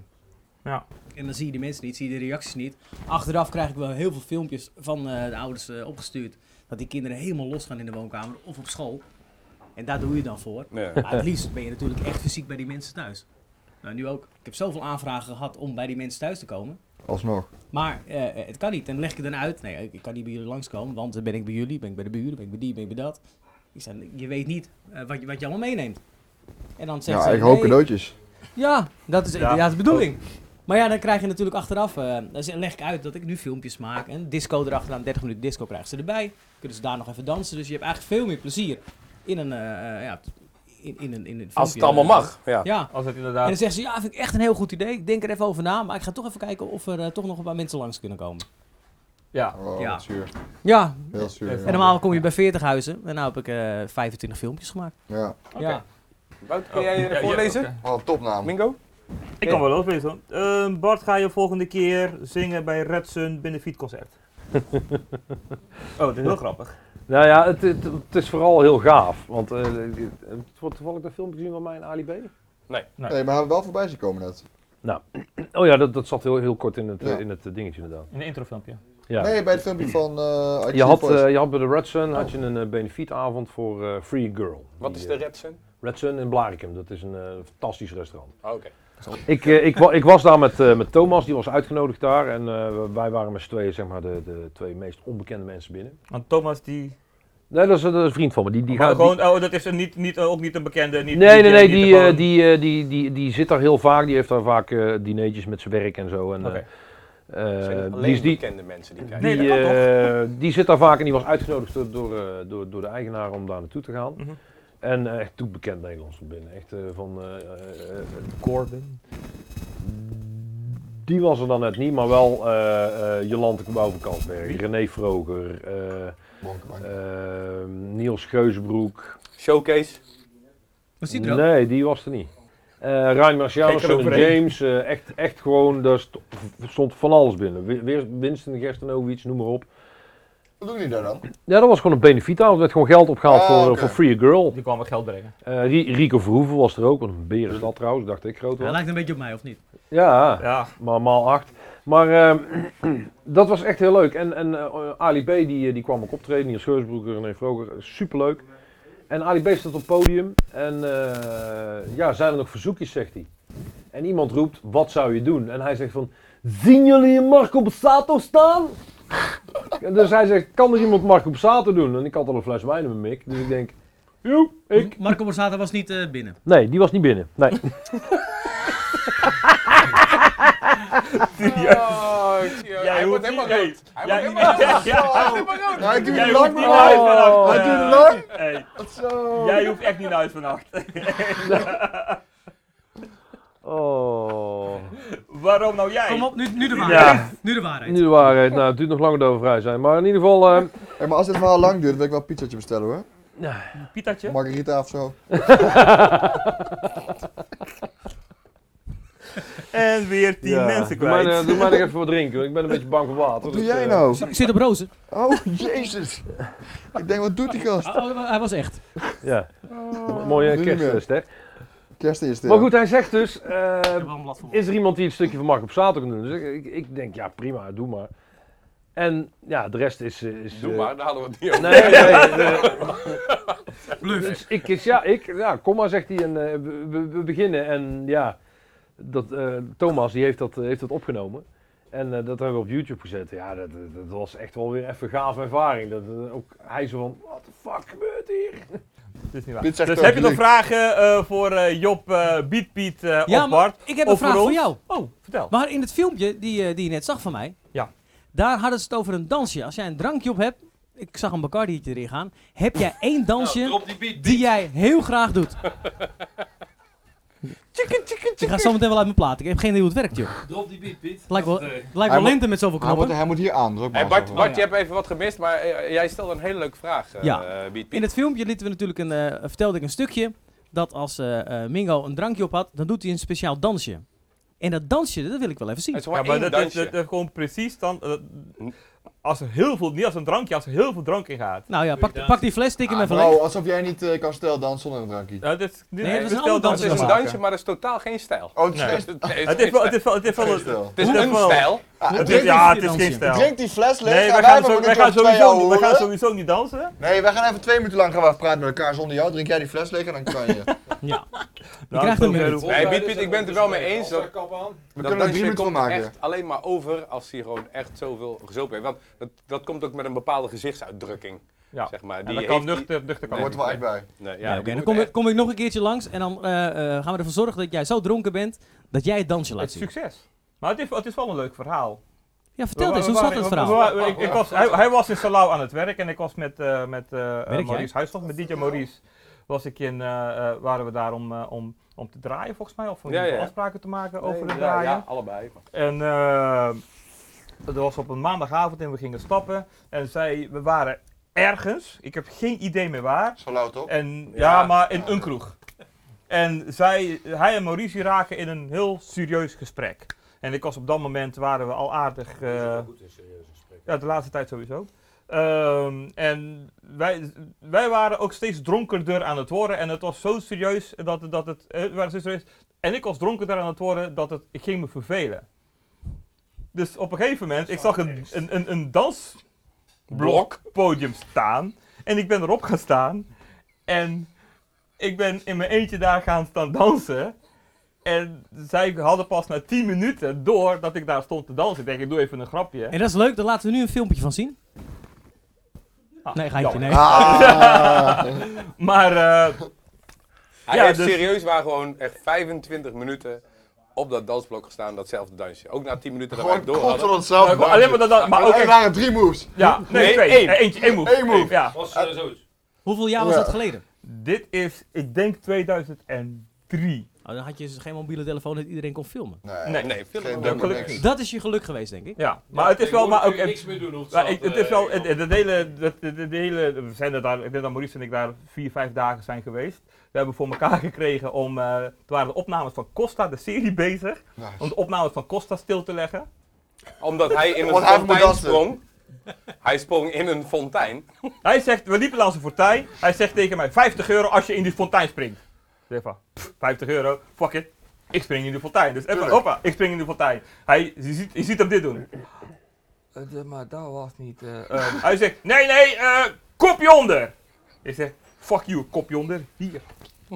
Speaker 1: Ja.
Speaker 7: En dan zie je de mensen niet, zie je de reacties niet. Achteraf krijg ik wel heel veel filmpjes van eh, de ouders eh, opgestuurd. Dat die kinderen helemaal losgaan in de woonkamer of op school. En daar doe je dan voor.
Speaker 2: Ja.
Speaker 7: Maar het liefst ben je natuurlijk echt fysiek bij die mensen thuis. Nou, nu ook. Ik heb zoveel aanvragen gehad om bij die mensen thuis te komen.
Speaker 4: Alsnog.
Speaker 7: Maar eh, het kan niet. En dan leg ik het dan uit. Nee, ik- ik kan niet bij jullie langskomen, want dan ben ik bij jullie, ben ik bij de buren, ben ik bij die, ben ik bij dat. Ik zei, je weet niet eh, wat, je, wat je allemaal meeneemt. En dan zegt
Speaker 4: Ja,
Speaker 7: ze,
Speaker 4: ik hoop
Speaker 7: nee,
Speaker 4: cadeautjes.
Speaker 7: Ja, dat is
Speaker 1: Ja.
Speaker 7: inderdaad de bedoeling.
Speaker 2: Oh.
Speaker 7: Maar ja, dan krijg je natuurlijk achteraf, eh, dan z- leg ik uit dat ik nu filmpjes maak en disco erachteraan, 30 minuten disco krijgen ze erbij. Kunnen ze daar nog even dansen, dus je hebt eigenlijk veel meer plezier in een, eh, eh, ja, in, in een, in een
Speaker 2: Als het
Speaker 7: filmpje.
Speaker 2: allemaal mag. Ja.
Speaker 7: Ja,
Speaker 1: Als het
Speaker 7: en
Speaker 1: inderdaad...
Speaker 7: dan zeggen ze, ja, vind ik echt een heel goed idee. Ik denk er even over na, maar ik ga toch even kijken of er eh, toch nog een paar mensen langs kunnen komen.
Speaker 1: Ja.
Speaker 4: Oh,
Speaker 7: Ja.
Speaker 4: wat zuur.
Speaker 7: Ja,
Speaker 4: Heel zuur.
Speaker 1: En
Speaker 7: en
Speaker 4: ja.
Speaker 7: normaal kom je bij 40 huizen. En nu
Speaker 8: nou
Speaker 7: heb ik eh 25 filmpjes gemaakt.
Speaker 4: Ja.
Speaker 7: Ja.
Speaker 2: Wouter, kun jij eh,
Speaker 1: Oh, Ja, ja,
Speaker 2: voorlezen?
Speaker 1: oké.
Speaker 4: Wat een topnaam.
Speaker 2: Mingo?
Speaker 1: Ik kan wel overlezen. Ehm Bart, ga je volgende keer zingen bij Red Sun
Speaker 3: <laughs>
Speaker 1: Benefietconcert? oh, dat is heel grappig.
Speaker 3: Nou ja, het, het, het is vooral heel gaaf. Want eh, het- het wordt toevallig dat filmpje gezien van mij en Ali B.
Speaker 4: Nee, maar we hebben wel voorbij zien komen net.
Speaker 3: Oh ja, dat, dat zat heel, heel kort in het, eh,
Speaker 4: Ja.
Speaker 3: in het eh, dingetje inderdaad.
Speaker 1: In een introfilmpje.
Speaker 3: Ja.
Speaker 4: Nee, bij het filmpje van... eh, Archie
Speaker 3: je, had,
Speaker 4: Voice.
Speaker 3: eh, je had bij de Red Sun had je een eh, benefietavond voor eh, Free Girl.
Speaker 2: Wat
Speaker 3: Die,
Speaker 2: is de
Speaker 3: eh,
Speaker 2: Red Sun?
Speaker 3: Red Sun in Blarikum. Dat is een eh, fantastisch restaurant.
Speaker 2: Oh, Oké.
Speaker 3: Ik, eh, ik, wa- ik was daar met, eh, met Thomas, die was uitgenodigd daar. En eh, wij waren met z'n tweeën zeg maar, de, de twee meest onbekende mensen binnen.
Speaker 1: Want Thomas die
Speaker 3: Nee, dat is, dat is een vriend van me. Die, die
Speaker 1: maar
Speaker 3: gaat,
Speaker 1: gewoon, oh, dat is een niet, niet, ook niet een bekende. Niet,
Speaker 3: die- nee,
Speaker 1: niet-
Speaker 3: nee, nee,
Speaker 1: niet
Speaker 3: die,
Speaker 1: gewoon-
Speaker 3: eh, die, eh, die, die, die zit daar heel vaak. Die heeft daar vaak eh dineetjes met zijn werk en zo. En,
Speaker 1: Oké.
Speaker 3: eh, eh,
Speaker 2: Zijn het
Speaker 3: die,
Speaker 2: alleen
Speaker 3: is- die,
Speaker 2: bekende mensen die kijken.
Speaker 1: Nee,
Speaker 3: die,
Speaker 1: dat kan
Speaker 3: eh, die zit daar vaak en die was uitgenodigd door, door, eh, door, door de eigenaar om daar naartoe te gaan.
Speaker 1: Mhm.
Speaker 3: En eh, echt toen bekend Nederlands binnen. Echt eh, van eh, eh, eh,
Speaker 1: Corbin.
Speaker 3: Die was er dan net niet, maar wel eh eh Jolante Kabouw van Kansberg, René Vroger, eh, eh, Niels Geusbroek.
Speaker 2: Showcase.
Speaker 8: Was die er ook?
Speaker 3: Nee, die was er niet. Eh Ryan Marcialis,
Speaker 1: Kijk er
Speaker 3: en
Speaker 1: overheen.
Speaker 3: James, eh, echt, echt gewoon, daar st- stond van alles binnen. Wi- Weer Winston Gerstenovic, noem maar op.
Speaker 4: Wat doen jullie daar dan?
Speaker 3: Ja, dat was gewoon een benefiet Er werd gewoon geld opgehaald
Speaker 4: Ah,
Speaker 3: voor, eh,
Speaker 4: oké.
Speaker 3: voor Free a Girl.
Speaker 1: Die kwam wat geld brengen.
Speaker 3: Eh, Ri- Rico Verhoeven was er ook, want een beer is dat trouwens, dacht ik groot
Speaker 8: Hij
Speaker 3: was.
Speaker 8: lijkt een beetje op mij, of niet?
Speaker 3: Ja,
Speaker 1: Ja,
Speaker 3: maar maal acht. Maar ehm, <clears throat> dat was echt heel leuk. En, en eh, Ali B die, eh, die kwam ook optreden, Niels Scheursbroeker, René Vroger, eh, superleuk. En Ali B staat op het podium en eh, ja, zijn er nog verzoekjes, zegt hij. En iemand roept, wat zou je doen? En hij zegt van, zien jullie Marco Borsato staan? En dus hij zegt, kan er iemand Marco Borsato doen? En ik had al een fles wijn in mijn mik, dus ik denk, joe, ik.
Speaker 8: Marco Borsato was niet eh, binnen.
Speaker 3: Nee, die was niet binnen, nee.
Speaker 2: Oh, zie je, hij
Speaker 1: hoeft
Speaker 2: wordt helemaal
Speaker 1: niet-
Speaker 2: rood. Hij wordt
Speaker 1: Jij-
Speaker 2: helemaal
Speaker 1: <laughs> Ja,
Speaker 2: rood.
Speaker 1: ja.
Speaker 2: Hij wordt helemaal rood.
Speaker 4: Ja, ik doe
Speaker 1: Jij
Speaker 4: Oh, het
Speaker 1: hoeft
Speaker 4: lang,
Speaker 1: niet
Speaker 4: man.
Speaker 1: naar huis vannacht.
Speaker 4: Hij doet
Speaker 1: eh,
Speaker 4: het lang.
Speaker 1: hey,
Speaker 4: Zo.
Speaker 1: Jij hoeft echt niet naar huis vannacht.
Speaker 3: <laughs> Oh.
Speaker 1: Waarom nou jij?
Speaker 8: Kom op, nu, nu de
Speaker 3: Ja.
Speaker 8: waarheid. Nu de waarheid.
Speaker 3: Nu de waarheid. Nou, het duurt nog lang dat we vrij zijn. Maar in ieder geval, eh,
Speaker 4: Hey, maar als dit verhaal lang duurt, wil ik wel een pizzatje bestellen hoor.
Speaker 1: Pietertje?
Speaker 4: Margarita of zo.
Speaker 1: En weer tien
Speaker 3: ja,
Speaker 1: mensen
Speaker 3: Doe mij,
Speaker 1: kwijt.
Speaker 3: eh, doe mij nog even wat drinken, want ik ben een beetje bang voor water. dus,
Speaker 4: Wat doe jij
Speaker 3: eh,
Speaker 4: nou?
Speaker 8: Ik zit op rozen.
Speaker 4: Oh, <laughs> jezus. Ik denk, wat doet die gast?
Speaker 8: Oh, oh, hij was echt.
Speaker 3: Ja. Mooie
Speaker 4: Oh. doe niet meer.
Speaker 3: kerstster.
Speaker 4: Kerst is dit.
Speaker 3: Maar goed, hij zegt dus, eh,
Speaker 8: voor.
Speaker 3: is er iemand die een stukje van Mark op zaterdag kan doen? Dus ik, ik, ik denk, ja prima, doe maar. En ja, de rest is... eh, is
Speaker 2: Doe
Speaker 3: eh,
Speaker 2: maar, daar hadden we het niet over.
Speaker 3: Nee, nee, eh,
Speaker 1: <laughs>
Speaker 8: Bluff.
Speaker 3: Dus ik, is- ja, ik, ja, kom maar, zegt hij. En eh, we, we- we beginnen. En ja, dat, eh, Thomas die heeft, dat, eh, heeft dat opgenomen. En eh, dat hebben we op YouTube gezet. Ja, dat, dat- dat was echt wel weer even een gave ervaring. Dat, eh, ook hij zo van, what the fuck gebeurt hier?
Speaker 1: Dat is niet waar.
Speaker 4: Dit zegt
Speaker 1: Dus
Speaker 4: ook
Speaker 1: heb je nog
Speaker 4: niks.
Speaker 1: vragen eh, voor eh, Job, eh Beat Piet eh,
Speaker 8: Ja, maar
Speaker 1: of Bart?
Speaker 8: ik heb
Speaker 1: Of
Speaker 8: een vraag
Speaker 1: voor
Speaker 8: voor
Speaker 1: ons?
Speaker 8: jou.
Speaker 1: Oh, vertel.
Speaker 8: Maar in het filmpje die, eh, die je net zag van mij,
Speaker 1: Ja.
Speaker 8: daar hadden ze het over een dansje. Als jij een drankje op hebt, ik zag een Bacardietje erin gaan, heb jij één dansje die jij heel graag <laughs> doet. Ik ga zo meteen wel uit mijn plaat. Ik heb geen idee hoe het werkt, joh.
Speaker 6: Drop die beat, Piet.
Speaker 8: Lijkt wel, lijkt
Speaker 4: Hij
Speaker 8: wel
Speaker 4: moet-
Speaker 8: lente met zoveel
Speaker 4: hij, moet,
Speaker 8: knoppen.
Speaker 4: hij moet hier aan, druk maar.
Speaker 2: Hey Bart,
Speaker 4: zo.
Speaker 2: Bart, je hebt even wat gemist, maar eh, jij stelde een hele leuke vraag, eh
Speaker 8: Ja.
Speaker 2: eh, Piet.
Speaker 8: In
Speaker 2: Piet.
Speaker 8: het filmpje lieten we natuurlijk een, eh, vertelde ik een stukje dat als eh, eh, Mingo een drankje op had, dan doet hij een speciaal dansje. En dat dansje, dat wil ik wel even zien.
Speaker 2: Het is
Speaker 1: Ja,
Speaker 2: gewoon
Speaker 1: maar
Speaker 2: één
Speaker 1: dat is,
Speaker 2: dansje. Hm.
Speaker 1: dat is gewoon precies dan... eh, als er heel veel, niet als een drankje, als er heel veel drank in gaat.
Speaker 8: Nou ja, pak, pak die fles, tik hem
Speaker 4: Ah,
Speaker 8: even
Speaker 4: bro,
Speaker 8: leeg.
Speaker 4: alsof jij niet eh, kan stel dansen zonder een drankje.
Speaker 1: Ja, dit, dit,
Speaker 8: Nee, dat is een
Speaker 1: dit
Speaker 8: ander
Speaker 1: dan-
Speaker 8: dansje.
Speaker 2: het is een
Speaker 8: maken.
Speaker 2: dansje, maar dat is totaal geen
Speaker 1: <laughs>
Speaker 2: stijl.
Speaker 4: Oh, het is
Speaker 1: Nee.
Speaker 4: geen-
Speaker 2: Nee,
Speaker 1: Het is wel, het is wel, het is wel,
Speaker 4: geen
Speaker 1: een-
Speaker 4: stijl.
Speaker 2: het is
Speaker 1: Hoe-
Speaker 2: een stijl.
Speaker 4: Ah,
Speaker 1: het is-
Speaker 4: drink,
Speaker 1: ja, het is
Speaker 8: Drink
Speaker 1: geen
Speaker 8: die
Speaker 1: stijl.
Speaker 4: drink die fles leeg
Speaker 1: nou. Nee,
Speaker 4: en
Speaker 1: wij
Speaker 4: wij
Speaker 1: gaan,
Speaker 4: hebben
Speaker 1: zo, wij,
Speaker 4: elkaar
Speaker 1: gaan
Speaker 4: twee
Speaker 1: sowieso,
Speaker 4: ouwe
Speaker 1: wij gaan
Speaker 4: hoeren.
Speaker 1: sowieso niet dansen.
Speaker 4: Nee, wij gaan even twee minuten lang gaan we praten met elkaar zonder jou. Drink jij die fles leeg en dan kan <laughs> je.
Speaker 1: nou,
Speaker 8: Je krijgt hem
Speaker 1: zover
Speaker 8: niet.
Speaker 1: hoef-
Speaker 2: Nee, Piet, Piet, ik ben het er wel mee eens. Dat, dat
Speaker 4: We kunnen er drie
Speaker 2: dansje
Speaker 4: minuten van
Speaker 2: komt
Speaker 4: maken.
Speaker 2: echt alleen maar over als hij gewoon echt zoveel gezopen heeft. Want dat, dat komt ook met een bepaalde gezichtsuitdrukking,
Speaker 1: Ja.
Speaker 2: zeg maar.
Speaker 1: En
Speaker 2: Die
Speaker 1: dat kan
Speaker 2: heeft-
Speaker 1: nuchter, nuchter kan
Speaker 4: Daar
Speaker 2: Nee.
Speaker 1: het
Speaker 4: hoort er wel echt bij.
Speaker 2: die- nee, ja,
Speaker 8: Ja,
Speaker 2: die
Speaker 8: oké. Dan
Speaker 2: moet
Speaker 8: kom ik,
Speaker 2: echt-
Speaker 8: kom ik nog een keertje langs en dan eh, eh, gaan we ervoor zorgen dat jij zo dronken bent dat jij het dansje
Speaker 1: Het
Speaker 8: laat
Speaker 1: is
Speaker 8: zien.
Speaker 1: succes. Maar het is, het is wel een leuk verhaal.
Speaker 8: Ja, vertel
Speaker 1: We-
Speaker 8: eens,
Speaker 1: we
Speaker 8: hoe zat
Speaker 1: waren-
Speaker 8: het
Speaker 1: we-
Speaker 8: verhaal?
Speaker 1: we- ik, ik was, hij, hij was in Salau aan het werk en ik was met, eh met eh,
Speaker 8: jij?
Speaker 1: Maurice Huishoff, met DJ Maurice, was ik in, eh, eh, waren we daar om, eh, om, om te draaien volgens mij, of om
Speaker 2: Ja, ja.
Speaker 1: afspraken te maken over
Speaker 2: Nee,
Speaker 1: het
Speaker 2: ja,
Speaker 1: draaien.
Speaker 2: ja, allebei.
Speaker 1: En eh, dat was op een maandagavond en we gingen stappen en zij, we waren ergens, ik heb geen idee meer waar,
Speaker 4: Zo luid op.
Speaker 1: en, ja.
Speaker 2: Ja.
Speaker 1: maar in een kroeg. En zij, hij en Maurice raken in een heel serieus gesprek. En ik was op dat moment, waren we al aardig... eh, ja, de laatste tijd sowieso. Ehm, en wij, wij waren ook steeds dronkerder aan het worden. En het was zo serieus dat, dat het... eh, we waren zo serieus, en ik was dronkerder aan het worden dat het, ik ging me vervelen. Dus op een gegeven moment, ik zag een, een, een, een dansblok podium staan. En ik ben erop gaan staan. En ik ben in mijn eentje daar gaan staan dansen. En zij hadden pas na 10 minuten door dat ik daar stond te dansen. Ik denk, ik doe even een grapje.
Speaker 8: En dat is leuk, daar laten we nu een filmpje van zien. Nee, geintje, nee.
Speaker 1: Ah.
Speaker 4: Ah.
Speaker 1: Maar eh,
Speaker 2: Hij
Speaker 1: Ja,
Speaker 2: heeft
Speaker 1: dus-
Speaker 2: serieus maar gewoon echt 25 minuten op dat dansblok gestaan, datzelfde dansje. Ook na 10 minuten dat wij
Speaker 4: <laughs> Gewoon
Speaker 2: het door hadden.
Speaker 4: constant onszelf.
Speaker 1: maar alleen maar Ah, dat, dat- maar ook
Speaker 4: echt
Speaker 1: echt,
Speaker 4: waren drie moves.
Speaker 1: ja, nee,
Speaker 2: Nee,
Speaker 1: twee.
Speaker 2: één.
Speaker 1: Eh, Eentje, één move.
Speaker 4: Eén move.
Speaker 1: Ja.
Speaker 3: Was uh, zoiets.
Speaker 8: Hoeveel jaar was
Speaker 4: Ja.
Speaker 8: dat geleden?
Speaker 1: Dit is, ik denk 2003.
Speaker 8: Oh, dan had je dus geen mobiele telefoon dat iedereen kon filmen.
Speaker 2: Nee, nee, veel
Speaker 4: Geen
Speaker 2: meer.
Speaker 4: dunk meer
Speaker 1: gelukkig
Speaker 4: niks.
Speaker 8: Dat is je geluk geweest, denk ik.
Speaker 1: Ja, maar het is wel, maar ook, het,
Speaker 3: meer doen eh, hoeft.
Speaker 1: maar ik- het is wel, het, het- het hele, het, het- het hele, we zijn er daar, ik denk dat Maurice en ik daar vier, vijf dagen zijn geweest. We hebben voor elkaar <laughs> gekregen om, eh toen waren de opnames van Costa, de serie bezig, om de opnames van Costa stil te leggen.
Speaker 2: Omdat hij in een
Speaker 4: Want hij moet
Speaker 2: fontein
Speaker 4: dansen.
Speaker 2: sprong. Hij sprong in een fontein.
Speaker 1: Hij zegt, we liepen langs een fortuin, hij zegt tegen mij 50 euro als je in die fontein springt. Ik zeg van, "Pff, 50 euro, fuck it. Ik spring in de fontein. Dus even,
Speaker 4: Tuurlijk.
Speaker 1: hoppa, ik spring in de fontein. Hij, je, ziet, je ziet hem dit doen. Eh, maar dat was niet... eh. hij zegt, nee, nee, eh, kopje onder. Ik zeg, fuck you, kopje onder. Hier,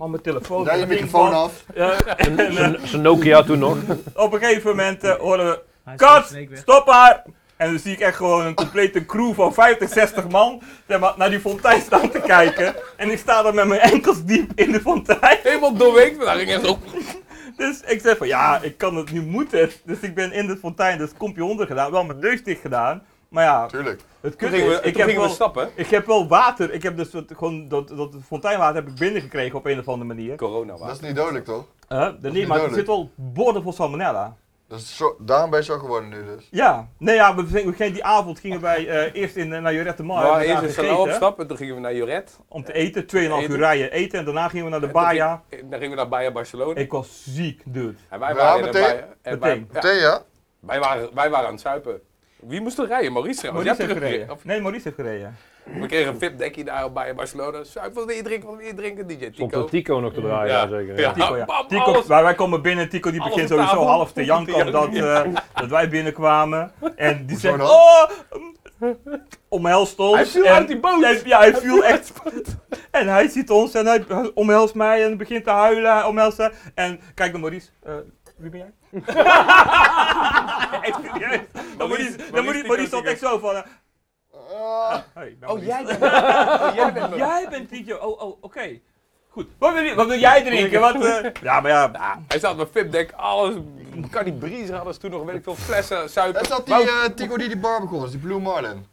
Speaker 1: aan mijn telefoon.
Speaker 4: Daar je
Speaker 1: Dat ding
Speaker 4: microfoon
Speaker 1: van.
Speaker 4: af.
Speaker 1: Eh, en, eh,
Speaker 3: Zijn Nokia toen <laughs> nog.
Speaker 1: op een gegeven moment eh, horen we,
Speaker 8: Hij is van
Speaker 1: kat,
Speaker 8: Sneek weg.
Speaker 1: stop haar. En dan zie ik echt gewoon een complete crew van 50, 60 man zeg maar, naar die fontein staan te kijken. En ik sta daar met mijn enkels diep in de fontein.
Speaker 2: Helemaal doorweekt, maar daar ging echt op.
Speaker 1: Dus ik zeg van ja, ik kan het, nu moet het. Dus ik ben in de fontein, dus kompje onder gedaan, wel mijn neus dicht gedaan. Maar ja,
Speaker 4: Tuurlijk.
Speaker 1: het
Speaker 2: Toen
Speaker 1: kut is,
Speaker 2: gingen we,
Speaker 1: ik,
Speaker 2: toen
Speaker 1: heb
Speaker 2: gingen we
Speaker 1: wel,
Speaker 2: stappen.
Speaker 1: ik heb wel water, ik heb dus dat- gewoon dat, dat fonteinwater heb ik binnengekregen op een of andere manier.
Speaker 2: Corona
Speaker 4: Dat
Speaker 2: was.
Speaker 4: is niet dodelijk toch?
Speaker 1: Eh, nee,
Speaker 4: niet
Speaker 1: maar er
Speaker 4: nodig.
Speaker 1: zit wel borden vol salmonella.
Speaker 4: Dat is zo, daarom ben je zo geworden nu dus.
Speaker 1: Ja, nee ja, we zijn- we gingen die avond gingen wij eh, eerst in, eh, naar Jorette Mar.
Speaker 2: Maar
Speaker 1: hebben we
Speaker 2: eerst
Speaker 1: daar
Speaker 2: een
Speaker 1: gegeten,
Speaker 2: salon opstappen, toen gingen we naar Joret.
Speaker 1: Om te eten, 2,5 uur
Speaker 2: Eten.
Speaker 1: rijden eten en daarna gingen we naar de
Speaker 2: En toen
Speaker 1: Baja.
Speaker 2: ging- Dan gingen we naar Baja Barcelona.
Speaker 1: Ik was ziek, dude.
Speaker 2: En wij
Speaker 4: Ja,
Speaker 2: waren, in de
Speaker 4: meteen.
Speaker 2: Baia- en
Speaker 1: Meteen.
Speaker 2: wij- ja,
Speaker 4: Thea?
Speaker 2: wij waren- Wij waren aan het zuipen. Wie moest er rijden? Maurice trouwens.
Speaker 1: Maurice
Speaker 2: Jij
Speaker 1: heeft
Speaker 2: hebt
Speaker 1: gereden.
Speaker 2: teruggereden, of-
Speaker 1: Nee, Maurice heeft gereden.
Speaker 2: We kregen een VIP-dekkie daar op Baja Barcelona. Zuip, wat wil je drinken? Wat wil je drinken? DJ
Speaker 3: Stond
Speaker 2: Tico.
Speaker 3: er Tico nog te draaien, ja. zeker. Ja.
Speaker 1: Tico, ja.
Speaker 2: Bam,
Speaker 1: Tico,
Speaker 2: alles.
Speaker 1: wij, wij komen binnen, Tico die
Speaker 2: Alles
Speaker 1: begint
Speaker 2: op
Speaker 1: sowieso
Speaker 2: tafel.
Speaker 1: half te janken
Speaker 2: Ja.
Speaker 1: omdat eh, dat wij binnenkwamen. En die zegt,
Speaker 4: dan?
Speaker 1: oh, omhelst ons.
Speaker 2: Hij viel
Speaker 1: en,
Speaker 2: uit die boot.
Speaker 1: en- ja, hij viel echt. En hij ziet ons en hij omhelst mij en begint te huilen, hij omhelst haar. En kijk naar Maurice, eh, wie ben
Speaker 2: <laughs>
Speaker 1: jij? <laughs> Echt serieus. Dan Maurice,
Speaker 2: Maurice,
Speaker 1: dan Maurice,
Speaker 2: Tico,
Speaker 1: Maurice stond
Speaker 2: Tico.
Speaker 1: echt zo van, eh,
Speaker 4: Ah,
Speaker 1: hey, ik ben
Speaker 2: Oh,
Speaker 1: Maurice. <laughs>
Speaker 2: jij bent, oh, jij bent Maurice.
Speaker 1: Jij bent DJ, oh, oh, oké. Goed, wat wil, je- wat wil jij drinken? Wat,
Speaker 3: <laughs>
Speaker 1: eh, Ja, maar ja,
Speaker 2: Hij zat met VIP-dek, alles. Kan die briezen hadden ze toen nog, weet ik veel, flessen,
Speaker 4: dat
Speaker 2: zuipen.
Speaker 4: is dat die
Speaker 2: Wout-
Speaker 4: eh, Tico die die bar begon, is, die Blue Marlin.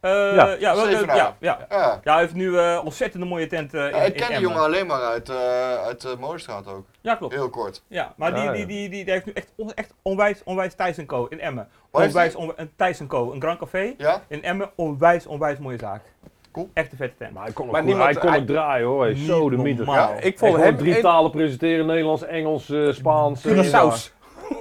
Speaker 1: Eh,
Speaker 3: Ja,
Speaker 1: ja, ja, wel,
Speaker 4: zeven
Speaker 1: eh,
Speaker 4: dagen.
Speaker 1: ja, ja.
Speaker 4: Ja.
Speaker 1: Ja, hij heeft nu eh ontzettend een mooie tent eh, in,
Speaker 4: Ja, ik
Speaker 1: in
Speaker 4: ken die
Speaker 1: Emmen.
Speaker 4: jongen alleen maar uit, eh uit de Molenstraat ook.
Speaker 1: Ja, klopt.
Speaker 4: Heel kort.
Speaker 1: Ja, maar die,
Speaker 3: Ah, Ja,
Speaker 1: die,
Speaker 3: ja.
Speaker 1: die, die, die heeft nu echt, on- echt onwijs, onwijs Thijs Co. in Emmen.
Speaker 4: Waar is
Speaker 1: Onwijs, onwij- een Thijs Co. Een Grand Café
Speaker 4: Ja?
Speaker 1: in Emmen. Onwijs, onwijs mooie zaak.
Speaker 4: Cool.
Speaker 1: Echt een vette tent.
Speaker 3: Maar hij kon ook,
Speaker 2: Maar
Speaker 3: goed-
Speaker 2: niemand-
Speaker 3: hij kon
Speaker 2: hij-
Speaker 3: ook draaien hoor. Hij is
Speaker 1: Niet
Speaker 3: Zo de mythe.
Speaker 1: normaal.
Speaker 2: Ja, ik
Speaker 3: Hij
Speaker 2: vond
Speaker 3: kon
Speaker 2: hem...
Speaker 3: drie
Speaker 2: en-
Speaker 3: talen presenteren. Nederlands, Engels, eh, Spaans. eh,
Speaker 1: Curaçao's.
Speaker 3: Ja,
Speaker 1: <laughs>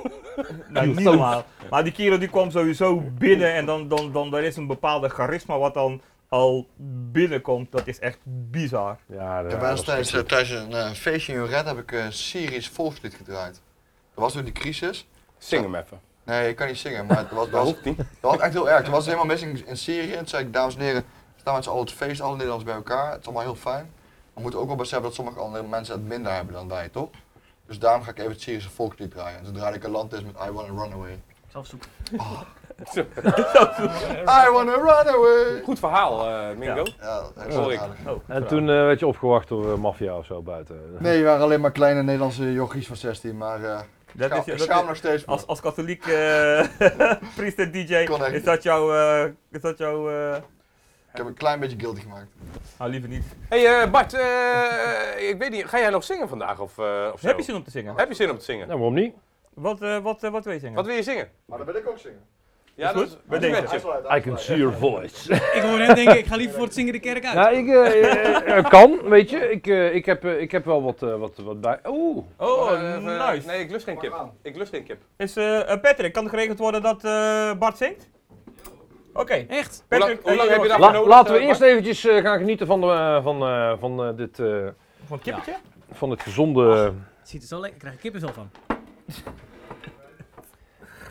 Speaker 1: Nou, niet
Speaker 3: zo.
Speaker 1: normaal. Maar die Kiro die kwam sowieso binnen en dan, dan, dan er is een bepaalde charisma wat dan al binnenkomt. Dat is echt bizar.
Speaker 3: Ja, dat
Speaker 4: Ja, wij was tijdens, eh, tijdens een eh, feestje in Red heb ik een Syrisch volkslied gedraaid. Dat was toen die crisis.
Speaker 2: Zing hem even.
Speaker 4: Nee, ik kan niet zingen, maar het <laughs> was,
Speaker 2: Dat
Speaker 4: dat was,
Speaker 2: hoeft niet.
Speaker 4: dat was echt heel erg. Toen was het helemaal mis in, in Syrië. En toen zei ik, dames en heren, we staan met z'n allen het feest, alle Nederlanders bij elkaar. Het is allemaal heel fijn. We moeten ook wel beseffen dat sommige andere mensen het minder hebben dan wij, toch? Dus daarom ga ik even het Syrische volkslied draaien. En toen draaide ik een land is met I Wanna Run Away. Ah. I Wanna Run Away!
Speaker 2: Goed verhaal, eh, Mingo.
Speaker 4: Ja, dat is
Speaker 2: Hoor
Speaker 4: wel
Speaker 2: ik.
Speaker 4: aardig.
Speaker 1: Oh,
Speaker 3: En
Speaker 1: verhaal.
Speaker 3: toen eh, werd je opgewacht door eh, maffia of zo buiten.
Speaker 4: Nee, we waren alleen maar kleine Nederlandse jochies van 16, maar eh
Speaker 1: Dat
Speaker 4: schaam-
Speaker 1: is-
Speaker 4: ik
Speaker 1: dat
Speaker 4: schaam
Speaker 1: is-
Speaker 4: nog steeds voor.
Speaker 1: Als, als katholiek eh, <laughs> priester DJ,
Speaker 4: Kon echt
Speaker 1: is
Speaker 4: niet.
Speaker 1: dat jouw... eh, is dat jouw... eh,
Speaker 4: Ik heb een klein beetje guilty gemaakt.
Speaker 1: Nou, liever niet.
Speaker 2: hey, eh, Bart, eh, ik weet niet, ga jij nog zingen vandaag of, eh, of zo?
Speaker 1: Heb je zin om te zingen?
Speaker 2: Heb je zin om te zingen?
Speaker 3: Nou, waarom niet?
Speaker 1: Wat, eh, wat, eh, wat wil je zingen?
Speaker 2: Wat wil je zingen?
Speaker 4: Maar dat wil ik ook zingen.
Speaker 2: Ja,
Speaker 1: goed.
Speaker 2: dat
Speaker 1: Bij
Speaker 2: dat
Speaker 1: deze.
Speaker 2: werd je.
Speaker 3: I can see your voice.
Speaker 8: Ik hoor net denken, ik ga liever voor het zingen de kerk uit.
Speaker 3: Ja, ik eh, eh, eh, kan, weet je. Ik, eh, ik, heb, eh, ik heb wel wat, eh, wat, wat bij. Oeh,
Speaker 1: Oh,
Speaker 2: Eh, eh,
Speaker 1: nice.
Speaker 2: Nee, ik lust geen kip. Ik lust geen kip.
Speaker 1: Is, eh, eh, Patrick, kan er geregeld worden dat eh, Bart zingt? Oké.
Speaker 8: Echt?
Speaker 2: Hoe lang,
Speaker 1: Patrick,
Speaker 2: hoe lang
Speaker 1: eh,
Speaker 2: heb
Speaker 1: jongens,
Speaker 2: je daarvoor
Speaker 3: La-
Speaker 2: nodig?
Speaker 3: laten we
Speaker 2: eh,
Speaker 3: eerst
Speaker 2: Bart?
Speaker 3: eventjes eh, gaan genieten van, de, eh, van, eh, van eh, dit, eh,
Speaker 1: Van het kippetje?
Speaker 3: van het gezonde.
Speaker 8: Ziet er zo lekker, ik krijg er kippenvel van.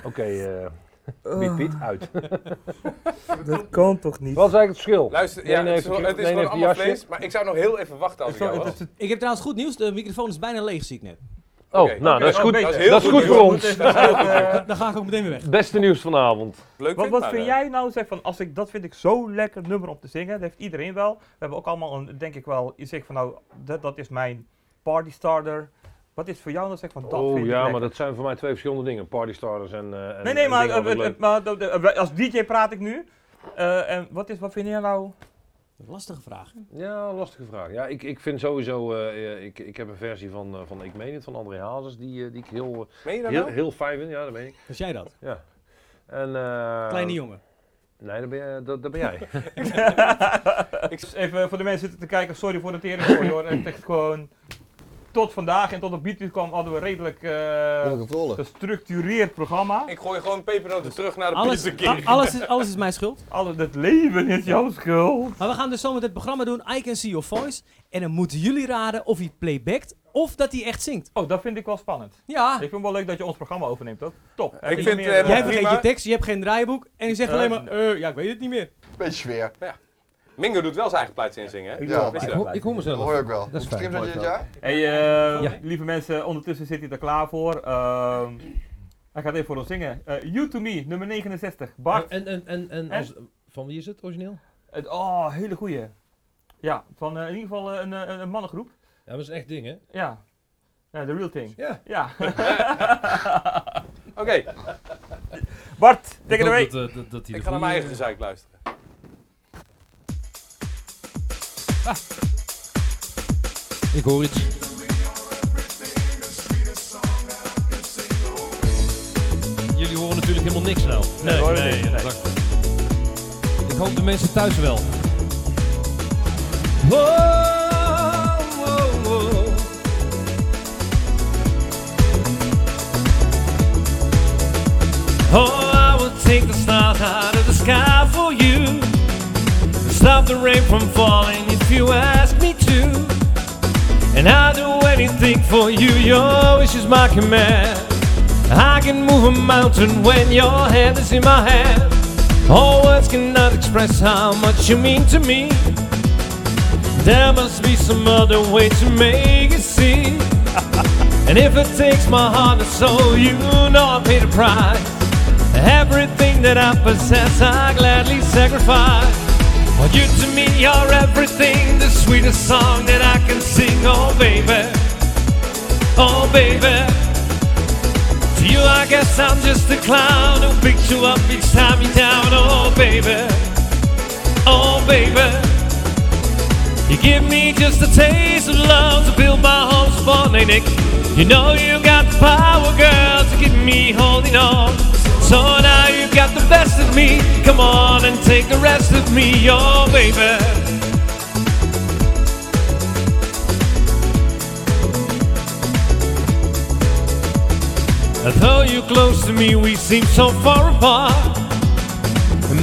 Speaker 3: Oké, eh Piet Piet, uit.
Speaker 1: Dat kan toch niet?
Speaker 3: Wat is eigenlijk het verschil?
Speaker 2: Luister,
Speaker 3: De
Speaker 2: ja,
Speaker 3: een
Speaker 2: het is,
Speaker 3: heeft
Speaker 2: gewoon-
Speaker 3: een-
Speaker 2: het
Speaker 3: de
Speaker 2: is
Speaker 3: een
Speaker 2: gewoon
Speaker 3: heeft een
Speaker 2: allemaal
Speaker 3: jasje.
Speaker 2: vlees, maar ik zou nog heel even wachten als ik jou was.
Speaker 8: Ik heb trouwens goed nieuws, de microfoon is bijna leeg, zie ik net.
Speaker 3: Oh,
Speaker 2: Oké.
Speaker 3: nou, dat is goed.
Speaker 2: Dat
Speaker 1: beter.
Speaker 2: is heel
Speaker 3: dat is goed
Speaker 2: nieuws.
Speaker 3: voor ons.
Speaker 1: Dat is ook, eh,
Speaker 3: <laughs>
Speaker 8: Dan ga ik ook meteen weer weg.
Speaker 3: Beste nieuws vanavond.
Speaker 2: Leuk
Speaker 1: Wat,
Speaker 2: vind,
Speaker 1: wat
Speaker 2: maar,
Speaker 1: vind
Speaker 2: eh,
Speaker 1: jij nou, zeg van, als ik, dat vind ik zo'n lekker nummer om te zingen. Dat heeft iedereen wel. We hebben ook allemaal, een, denk ik wel, je zegt van nou, dat, dat is mijn party starter. Wat is voor jou nou, zeg van, dat vind
Speaker 3: oh
Speaker 1: ik
Speaker 3: ja,
Speaker 1: lekker?
Speaker 3: maar dat zijn voor mij twee verschillende dingen. Partystarters en. eh, en-
Speaker 1: Nee, nee,
Speaker 3: en
Speaker 1: maar,
Speaker 3: dingen wat ik
Speaker 1: eh, eh,
Speaker 3: leuk-
Speaker 1: maar de- de- eh, als DJ praat ik nu. Eh, en wat, is, wat vind jij nou?
Speaker 8: Lastige vraag. hè?
Speaker 3: Ja, lastige vraag. Ja, ik, ik vind sowieso. eh, eh, ik, ik heb een versie van, eh, van Ik Meen Het van André Hazes. Die, eh, die ik heel, eh,
Speaker 2: Meen je dat
Speaker 3: heel,
Speaker 2: nou?
Speaker 3: heel fijn vind. Ja, dat ben ik.
Speaker 8: Was jij dat?
Speaker 3: Ja. En, eh,
Speaker 8: Kleine jongen.
Speaker 3: Nee, dat ben, jij- dat, dat ben jij.
Speaker 1: Ik s- even voor de mensen zitten te kijken, sorry voor het teringzooi hoor. Het is echt gewoon, tot vandaag en tot op Beatles kwam hadden we een redelijk eh,
Speaker 4: Onder controle.
Speaker 1: gestructureerd programma.
Speaker 2: Ik gooi gewoon pepernoten terug naar de
Speaker 8: Alles,
Speaker 2: Pizza
Speaker 8: a-
Speaker 2: King.
Speaker 8: alles, is, alles is mijn schuld.
Speaker 1: Alle, het leven is jouw schuld.
Speaker 8: Maar we gaan dus zo met het programma doen. I can see your voice. En dan moeten jullie raden of hij playbackt of dat hij echt zingt.
Speaker 1: Oh, dat vind ik wel spannend.
Speaker 8: Ja.
Speaker 1: Ik vind het wel leuk dat je ons programma overneemt ook. Top. Heb je
Speaker 2: vind,
Speaker 1: nog meer,
Speaker 2: eh,
Speaker 1: eh,
Speaker 8: Jij
Speaker 2: Prima.
Speaker 8: vergeet je tekst, je hebt geen draaiboek. En je zegt
Speaker 1: Eh,
Speaker 8: alleen maar, eh, ja, ik weet het niet meer.
Speaker 4: Beetje sfeer.
Speaker 2: Mingo doet wel zijn eigen plaats inzingen, hè?
Speaker 4: Ja,
Speaker 2: Wist
Speaker 4: dat
Speaker 2: je dat?
Speaker 3: ik hoor
Speaker 4: dat
Speaker 3: mezelf.
Speaker 4: hoor je ook wel.
Speaker 3: is
Speaker 4: Hoeveel streams
Speaker 3: fijn.
Speaker 4: had je dit jaar?
Speaker 1: hey, eh, lieve mensen, ondertussen zit hij er klaar voor. Ehm, hij gaat even voor ons zingen. Eh, you to me, nummer 69. Bart.
Speaker 9: En, en, en, en
Speaker 1: En?
Speaker 9: als, van wie is het origineel?
Speaker 1: Het- oh, hele goeie. Ja, van eh, in ieder geval eh, een, eh, een mannengroep.
Speaker 9: Ja, dat is echt ding, hè?
Speaker 1: Ja. Ja, the real thing.
Speaker 9: Ja.
Speaker 1: Ja. <laughs>
Speaker 2: Oké,
Speaker 1: Bart,
Speaker 9: Ik
Speaker 1: take it
Speaker 9: hoop
Speaker 1: away.
Speaker 9: Dat, eh, dat, dat hij
Speaker 2: ik
Speaker 9: de
Speaker 2: ga naar mijn
Speaker 9: goeie-
Speaker 2: eigen gezeik luisteren.
Speaker 9: Ik hoor iets. Jullie horen natuurlijk helemaal niks nou. Nee,
Speaker 1: horen niks, nee.
Speaker 9: dacht ik. Ik hoop de mensen thuis wel. Oh, oh, oh. Oh, I will take the stars out of the sky for you. Stop the rain from falling if you ask me to. And I'll do anything for you, your wish is my command. I can move a mountain when your hand is in my hand. All words cannot express how much you mean to me. There must be some other way to make it see. and if it takes my heart and soul, you know I pay the price. Everything that I possess, I gladly sacrifice. Well, you to me are everything, the sweetest song that I can sing. Oh, baby, oh, baby. To you, I guess I'm just a clown who picks you up each time you're down. Oh, baby, oh, baby. You give me just a taste of love to build my home spontaneous. You know you got the power, girl, to keep me holding on. So now you got the best of me. Come on and take the rest of me, oh baby. Though you're close to me, we seem so far apart.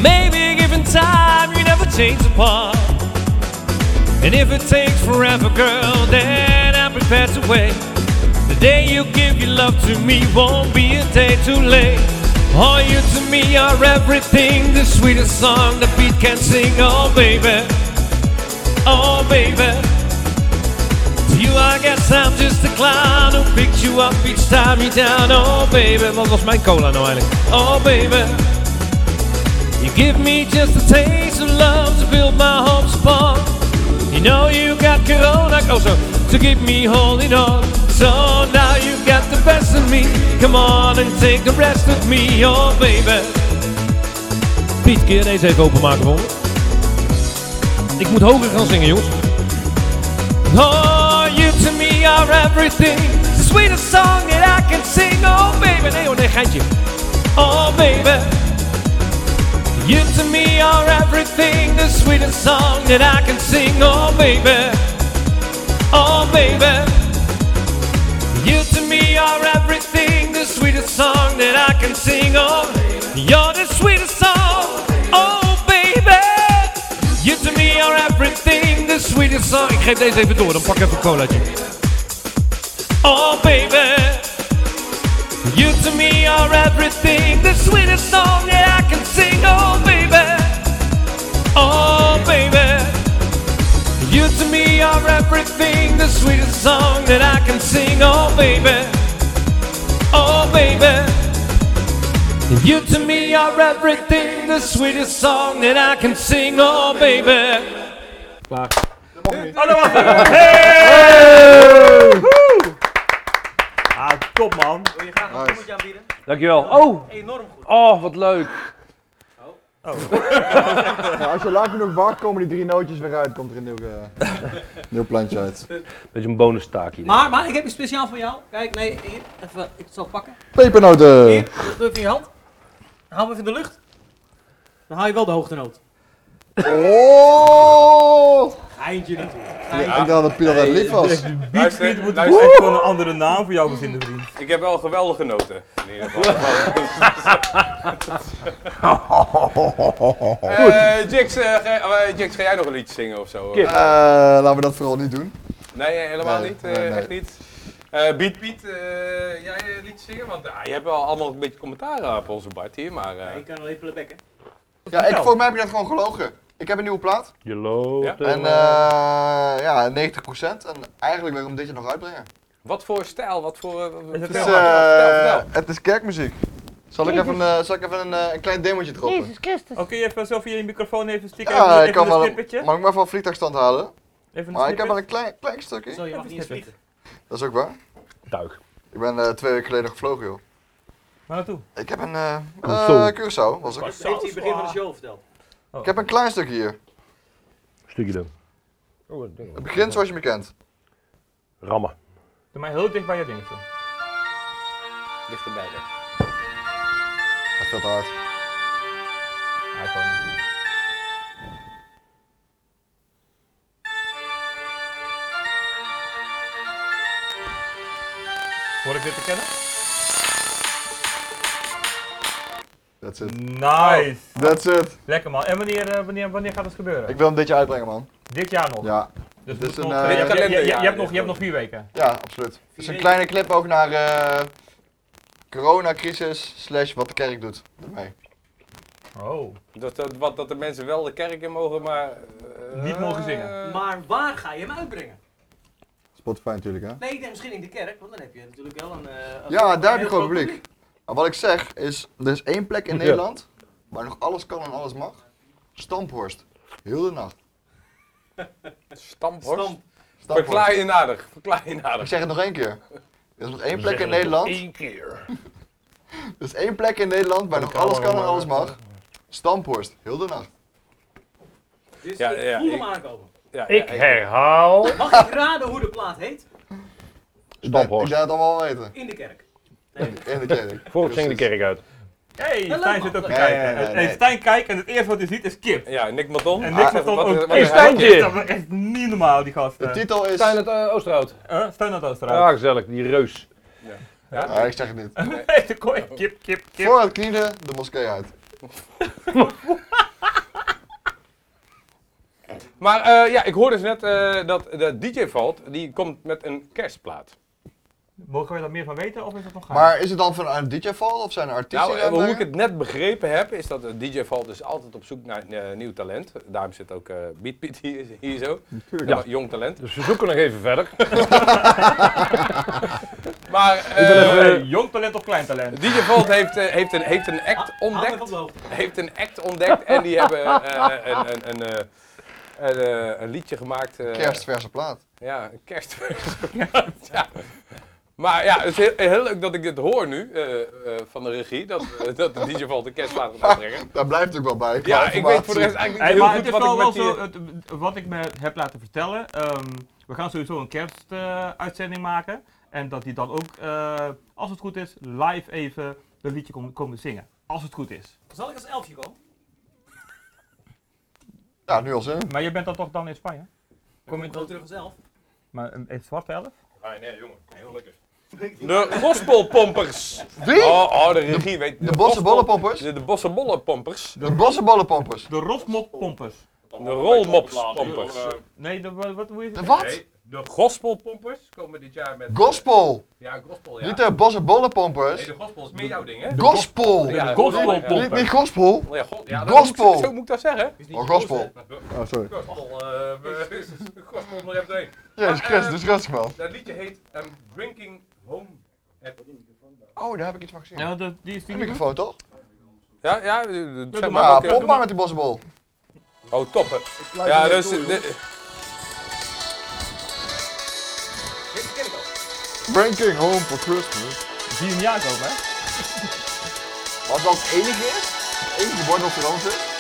Speaker 9: Maybe given time, you never change apart. And if it takes forever, girl, then I'm prepared to wait. The day you give your love to me won't be a day too late. All you to me are everything, the sweetest song the beat can sing. Oh, baby, oh, baby. To you, I guess I'm just a clown who picks you up each time you're down. Oh, baby, wat was mijn cola nou eigenlijk? Oh, baby. You give me just a taste of love to build my hopes upon. You know you got Corona, oh so, to keep me holding on. So now you got the best of me. Come on and take the rest of me, oh baby. Piet, kun je deze even openmaken voor me? Ik moet hoger gaan zingen, jongens. Oh, you to me are everything. The sweetest song that I can sing, oh baby. Nee, oh nee, geintje. Oh baby. You to me are everything, the sweetest song that I can sing. Oh, baby, oh, baby. You to me are everything, the sweetest song that I can sing. Oh, you're the sweetest song. Oh, baby. You to me are everything, the sweetest song. Ik geef deze even door, dan pak ik even een colaatje. Oh, baby. You to me are everything, the sweetest song that I can sing. Oh, baby, oh, baby. You to me are everything, the sweetest song that I can sing. Oh, baby. Oh, baby. And you to me are everything, the sweetest song that I can sing, oh baby.
Speaker 1: Oh, dat was hem! Woehoe! Ah, top man.
Speaker 7: Wil je graag een bloemetje aanbieden?
Speaker 3: Dankjewel. Oh,
Speaker 7: Enorm goed.
Speaker 3: oh, wat leuk.
Speaker 4: Ja, als je lang genoeg wacht, komen die drie nootjes weer uit. Komt er een nieuw, eh, <laughs> nieuw plantje uit.
Speaker 3: Beetje een bonus taak hier.
Speaker 7: Maar, maar ik heb iets speciaal voor jou. Kijk, nee, hier, even, ik zal het pakken.
Speaker 4: Pepernoten!
Speaker 7: Hier, doe even in je hand. Hou hem even in de lucht. Dan haal je wel de hoogtenoot.
Speaker 4: Oh!
Speaker 7: Geintje niet.
Speaker 4: Ja, ik dacht dat Pilar dat lief was.
Speaker 1: Beatfried
Speaker 2: Luister,
Speaker 1: moet
Speaker 2: luister.
Speaker 1: ik gewoon een andere naam voor jou verzinnen, vriend.
Speaker 2: Ik heb wel geweldig genoten. In ieder geval. Eh, Jix, eh, ga- eh, Jix, ga jij nog een liedje zingen of zo?
Speaker 3: Kip.
Speaker 4: Eh, laten we dat vooral niet doen.
Speaker 2: Nee, eh, helemaal
Speaker 4: Nee,
Speaker 2: niet. eh,
Speaker 4: nee, nee.
Speaker 2: Echt niet. Eh Piet, Piet, eh, jij eh, liedje zingen? Want ah, je hebt wel allemaal een beetje commentaar op onze Bart hier, maar... eh,
Speaker 7: Ik kan alleen plebekken.
Speaker 4: Ja, ik, volgens mij heb je dat gewoon gelogen. Ik heb een nieuwe plaat.
Speaker 3: Je loopt
Speaker 2: Ja.
Speaker 4: En
Speaker 3: en,
Speaker 4: eh ja, 90%. En eigenlijk wil ik hem dit jaar nog uitbrengen.
Speaker 2: wat voor stijl, wat voor... eh, vertel,
Speaker 4: Het is,
Speaker 2: vertel, vertel,
Speaker 4: eh, het is kerkmuziek. Zal ik even, eh, zal ik even een, eh, een klein demontje droppen?
Speaker 1: Oké, even zo via je microfoon even stikken.
Speaker 4: Ja,
Speaker 1: even,
Speaker 4: ik kan
Speaker 1: even een
Speaker 4: wel.
Speaker 1: snippetje.
Speaker 4: Mag ik maar van vliegtuigstand halen?
Speaker 1: Even een
Speaker 4: Maar ik heb wel
Speaker 1: snippet.
Speaker 4: een klein, klein
Speaker 7: Zo,
Speaker 4: stukje.
Speaker 7: je mag niet eens
Speaker 1: Even
Speaker 7: vliegen.
Speaker 4: Dat is ook waar.
Speaker 3: Tuig.
Speaker 4: Ik ben eh, twee weken geleden gevlogen, joh.
Speaker 1: Waar naartoe?
Speaker 4: Ik heb een eh
Speaker 3: Console.
Speaker 4: eh, Curaçao, was ik.
Speaker 7: Dat heeft hij in het begin van de show verteld.
Speaker 4: Ik heb een klein stukje hier.
Speaker 3: Stukje dan.
Speaker 4: Oh, Het begint zoals je me kent.
Speaker 3: Rammen.
Speaker 1: Doe maar heel dicht bij je ding. zo.
Speaker 2: vertel. Dichterbij, hè.
Speaker 4: Dat veel te hard.
Speaker 1: iPhone. Hoor ik dit te kennen?
Speaker 4: That's it.
Speaker 1: Nice!
Speaker 4: That's it.
Speaker 1: Lekker man. En wanneer, eh, wanneer, wanneer gaat het gebeuren?
Speaker 4: Ik wil hem dit jaar uitbrengen, man.
Speaker 1: Dit jaar nog.
Speaker 4: Ja,
Speaker 1: Dus
Speaker 4: dit is
Speaker 1: nog-
Speaker 4: een,
Speaker 1: je-
Speaker 4: eh,
Speaker 1: je- je- je- je- je,
Speaker 2: kalenderjaar
Speaker 1: hebt nog, je hebt nog vier weken.
Speaker 4: ja, absoluut. Het is een kleine clip ook naar eh coronacrisis slash wat de kerk doet. Daarmee.
Speaker 1: Oh.
Speaker 2: Dat, dat, wat, dat de mensen wel de kerk in mogen, maar... eh,
Speaker 1: Niet mogen zingen.
Speaker 7: Maar waar ga je hem uitbrengen?
Speaker 4: Spotify natuurlijk, hè?
Speaker 7: Nee, ik denk misschien in de kerk, want dan heb je natuurlijk wel een... eh, een-
Speaker 4: Ja, daar heb je
Speaker 7: heel
Speaker 4: gewoon
Speaker 7: groot
Speaker 4: publiek. Maar wat ik zeg is, er is één plek in
Speaker 3: Ja.
Speaker 4: Nederland waar nog alles kan en alles mag. Stamphorst. Heel de nacht.
Speaker 2: Stamphorst.
Speaker 7: Stamp.
Speaker 4: Stamphorst.
Speaker 2: Verklaar je nadig, verklaar je
Speaker 4: Ik
Speaker 2: nadig.
Speaker 4: zeg het nog één keer. Er is nog één plek in Nederland. Eén keer. <laughs> Er is één plek in Nederland waar nog alles kan en alles mag. Stamphorst, heel de nacht.
Speaker 7: Dus
Speaker 2: Ja,
Speaker 7: ik
Speaker 2: ja,
Speaker 7: voel
Speaker 2: ik-
Speaker 7: hem aankomen.
Speaker 2: Ja,
Speaker 3: Ik
Speaker 2: ja,
Speaker 3: herhaal.
Speaker 7: Mag ik raden hoe de plaat heet?
Speaker 4: Ik
Speaker 3: Stamphorst.
Speaker 4: zou het allemaal wel weten.
Speaker 7: In de kerk.
Speaker 4: In de <laughs> kerk.
Speaker 3: Volgens zing de kerk uit.
Speaker 1: Hey,
Speaker 7: leuk,
Speaker 1: Stijn
Speaker 7: man.
Speaker 1: zit ook te
Speaker 4: Nee,
Speaker 1: kijken.
Speaker 4: nee, nee,
Speaker 1: En-
Speaker 4: nee.
Speaker 1: en Stijn kijkt en het eerste wat hij ziet is kip.
Speaker 2: ja, Nick Madon.
Speaker 1: En niks
Speaker 4: Ah,
Speaker 1: met dan
Speaker 2: wat- eh,
Speaker 1: ook.
Speaker 2: wat-
Speaker 1: Hey,
Speaker 2: wat-
Speaker 1: Stijntje!
Speaker 3: wat-
Speaker 1: Dat is echt niet normaal, die gast.
Speaker 4: De
Speaker 1: eh.
Speaker 4: titel is...
Speaker 3: Stijn uit eh, Oosterhout.
Speaker 1: Eh, Steun dat Oosterhout.
Speaker 3: Ja, gezellig. Die reus.
Speaker 4: Ah, ik zeg het
Speaker 1: <laughs>
Speaker 4: niet.
Speaker 1: Hey, de kooi. Kip, kip, kip.
Speaker 4: Voor het knielen de moskee uit.
Speaker 2: Maar eh, ja, ik hoorde dus net eh, dat de DJ Valt, die komt met een kerstplaat.
Speaker 1: Mogen we daar meer van weten of is dat nog gaaf?
Speaker 4: Maar is het dan van een DJ-val of zijn er artiesten?
Speaker 2: Nou,
Speaker 4: die dat
Speaker 2: eh, hoe ik
Speaker 4: brengen?
Speaker 2: het net begrepen heb, is dat eh, DJ Valt dus altijd op zoek naar eh, nieuw talent. Daarom zit ook eh Beat Piet hier, hier zo. Ja, Jong talent.
Speaker 3: Dus we zoeken nog even verder.
Speaker 2: Maar
Speaker 3: ben
Speaker 2: eh,
Speaker 1: Eh, jong talent of klein talent?
Speaker 2: DJ Valt heeft, eh, heeft, een, heeft een act
Speaker 7: Hou hem even op
Speaker 2: ontdekt.
Speaker 7: de hoogte.
Speaker 2: heeft een act ontdekt en die hebben eh, een, een, een, eh, een, eh, een liedje gemaakt. eh,
Speaker 4: Kerstverse plaat.
Speaker 2: Ja, een kerst. <laughs> ja. Maar ja, het is heel, heel leuk dat ik dit hoor nu eh, eh, van de regie, dat, eh, dat de DJ valt de kerstplaat gaat uitbrengen.
Speaker 4: Daar blijft ook wel bij. qua
Speaker 2: Ja, ik weet voor de rest
Speaker 4: informatie.
Speaker 2: eigenlijk
Speaker 1: Hey,
Speaker 2: niet
Speaker 1: maar
Speaker 2: heel
Speaker 1: het
Speaker 2: goed
Speaker 1: is
Speaker 2: wat ik
Speaker 1: wel, wel
Speaker 2: met
Speaker 1: zo,
Speaker 2: die...
Speaker 1: het, wat ik me heb laten vertellen. ehm, we gaan sowieso een kerstuitzending maken. En dat die dan ook, eh, als het goed is, live even een liedje komen, komen zingen. Als het goed is.
Speaker 7: Zal ik als elfje komen?
Speaker 4: Ja, nu al zin.
Speaker 1: Maar je bent dan toch dan in Spanje? Kom je
Speaker 7: Ik wil
Speaker 1: dan
Speaker 7: terug als elf.
Speaker 1: Maar een, een zwarte elf?
Speaker 2: Ah, nee, jongen. Heel lekker. De gospelpompers. Oh, oh, de regie weet...
Speaker 4: De bossenbollenpompers?
Speaker 2: De, de bossenbollenpompers.
Speaker 4: De bossenbollenpompers.
Speaker 1: De rosmoppompers.
Speaker 2: De rolmopspompers.
Speaker 1: Nee, de, wa- wat moet je
Speaker 4: De
Speaker 1: zeggen?
Speaker 4: wat?
Speaker 2: eh, De gospelpompers komen dit jaar met...
Speaker 4: Gospel.
Speaker 2: Ja, gospel, ja.
Speaker 4: Niet de bossenbollenpompers.
Speaker 2: Nee, de gospel is meer jouw ding, hè?
Speaker 4: Gospel.
Speaker 2: Ja,
Speaker 1: gospelpomper.
Speaker 4: Niet, niet gospel.
Speaker 2: Ja, god, ja, dat
Speaker 4: Gospel.
Speaker 2: Moet, ik- zo moet ik dat zeggen.
Speaker 4: Oh, gospel. Oh, sorry.
Speaker 2: Gospel, eh, we- <laughs> gospel nog even
Speaker 4: Ah.
Speaker 2: doorheen. ehm,
Speaker 4: Jezus Christus, rustig wel.
Speaker 2: Dat liedje heet I'm Drinking Home. at-
Speaker 4: Oh, daar heb ik iets van gezien.
Speaker 1: Ja, dat, die is die
Speaker 4: Een microfoon toch?
Speaker 2: Ja, ja, eh, zeg
Speaker 1: doe
Speaker 2: maar.
Speaker 1: maar.
Speaker 4: Ja,
Speaker 2: ook, eh,
Speaker 4: pop maar met die bossenbol.
Speaker 2: Oh, toppen.
Speaker 4: Sluit
Speaker 2: Ja,
Speaker 4: hem
Speaker 2: dus...
Speaker 4: even toe,
Speaker 2: dit-
Speaker 4: joh. Ranking home for Christmas.
Speaker 1: Zie je hem niet aankomen, hè?
Speaker 4: Wat dat het enige is? Het enige bord op de rand is?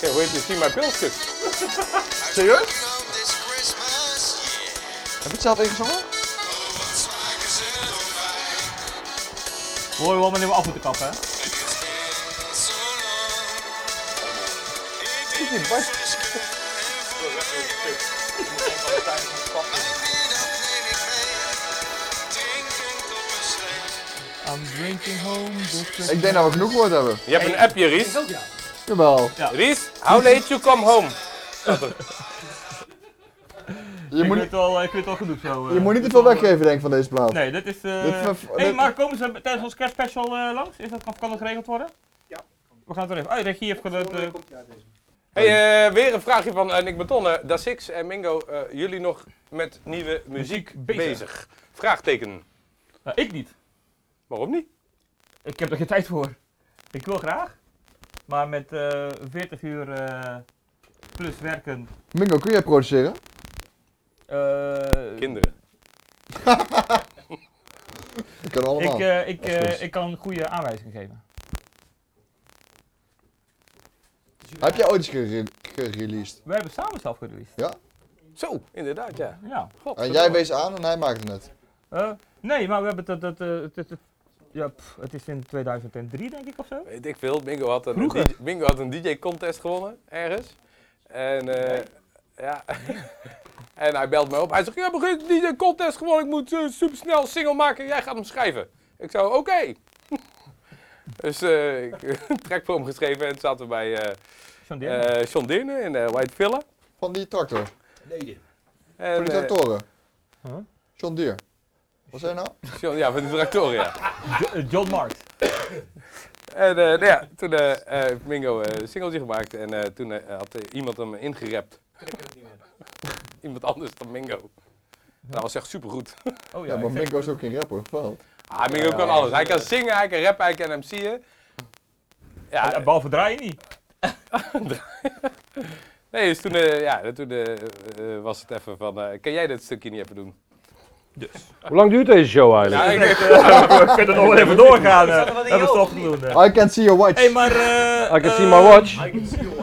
Speaker 2: Kijk, hoe heet je? Zie mijn pilsjes.
Speaker 4: Serieus? Heb je het zelf ingezongen?
Speaker 1: Hoor je wel wanneer we af moeten kappen, hè? I'm drinking home this
Speaker 4: Ik denk dat we genoeg gehoord hebben.
Speaker 2: Je hebt een appje, Ries.
Speaker 4: Jawel.
Speaker 2: Ries, how late you come home?
Speaker 4: Je
Speaker 1: ik,
Speaker 4: moet,
Speaker 1: weet
Speaker 4: niet-
Speaker 1: het wel, ik weet het wel genoeg zo. eh.
Speaker 4: je moet niet te veel weggeven denk ik van deze plaat.
Speaker 1: Nee, dat is... eh
Speaker 4: Dit ver-
Speaker 1: hey,
Speaker 4: dit-
Speaker 1: maar komen ze tijdens ons Crash Special eh, langs? Is dat, kan dat geregeld worden? Ja. We gaan het er even... Oh, regie heeft geluid... eh,
Speaker 2: Hey, eh, weer een vraagje van eh, Nick Betonne. Da Six en Mingo, eh, jullie nog met nieuwe muziek
Speaker 1: Muziek bezig.
Speaker 2: bezig? Vraagteken.
Speaker 1: nou, ik niet.
Speaker 2: Waarom niet?
Speaker 1: Ik heb er geen tijd voor. Ik wil graag. Maar met eh 40 uur eh, plus werken...
Speaker 4: Mingo, kun jij produceren?
Speaker 1: eh,
Speaker 2: Kinderen.
Speaker 4: Dat
Speaker 1: ik,
Speaker 4: kan allemaal.
Speaker 1: eh, ik, eh,
Speaker 3: goed.
Speaker 1: ik kan goede aanwijzingen geven.
Speaker 4: Heb jij ooit eens gere- gereleased?
Speaker 1: We hebben samen zelf gereleased.
Speaker 2: Zo, inderdaad, ja.
Speaker 1: Ja.
Speaker 2: God,
Speaker 4: En jij wees aan en hij maakte het net.
Speaker 1: Eh, nee, maar we hebben dat... dat eh, het, het, het- ja, pff, het is in 2003 denk ik of zo.
Speaker 2: Weet ik veel, Mingo had een,
Speaker 1: Vroeger.
Speaker 2: DJ, Mingo had een DJ-contest gewonnen, ergens. En, eh, ja. <laughs> en hij belt me op. Hij zegt, ik heb een DJ-contest gewonnen, ik moet super supersnel een single maken. Jij gaat hem schrijven. Ik zou, oké. <laughs> dus eh, ik trek voor hem geschreven en zaten we bij... eh,
Speaker 1: John Deere.
Speaker 2: eh John Deerne in eh, White Villa.
Speaker 4: Van die tractor.
Speaker 2: En,
Speaker 4: Van die
Speaker 2: eh,
Speaker 4: tractoren.
Speaker 1: Huh?
Speaker 4: John Deere. Wat zei je nou?
Speaker 2: John- ja, van die tractoren, ja.
Speaker 1: Jo- eh, John Marks.
Speaker 2: En eh, nou ja, toen eh eh, heeft Mingo eh, een singeltje gemaakt en eh, toen eh, had eh, iemand hem ingerept. <laughs> iemand anders dan Mingo. Dat was echt supergoed.
Speaker 1: Oh ja,
Speaker 4: Ja, maar
Speaker 1: ik-
Speaker 4: Mingo is ook geen rapper. Wel.
Speaker 2: Ah, Mingo kan alles. Hij kan zingen, hij kan rappen, hij kan MC'en. Ja,
Speaker 1: Ja, behalve draaien niet.
Speaker 2: nee, dus toen, eh, ja, toen eh, eh, was het even van, eh, kan jij dit stukje niet even doen?
Speaker 3: Hoe lang duurt deze show eigenlijk?
Speaker 2: Ja, ik,
Speaker 1: We kunnen nog wel even doorgaan. eh.
Speaker 7: er wat in
Speaker 1: hebben
Speaker 7: je
Speaker 1: we
Speaker 7: oog,
Speaker 1: toch doen. eh.
Speaker 4: I can see your watch.
Speaker 1: hey, maar... eh,
Speaker 3: I can see
Speaker 1: eh,
Speaker 3: my watch.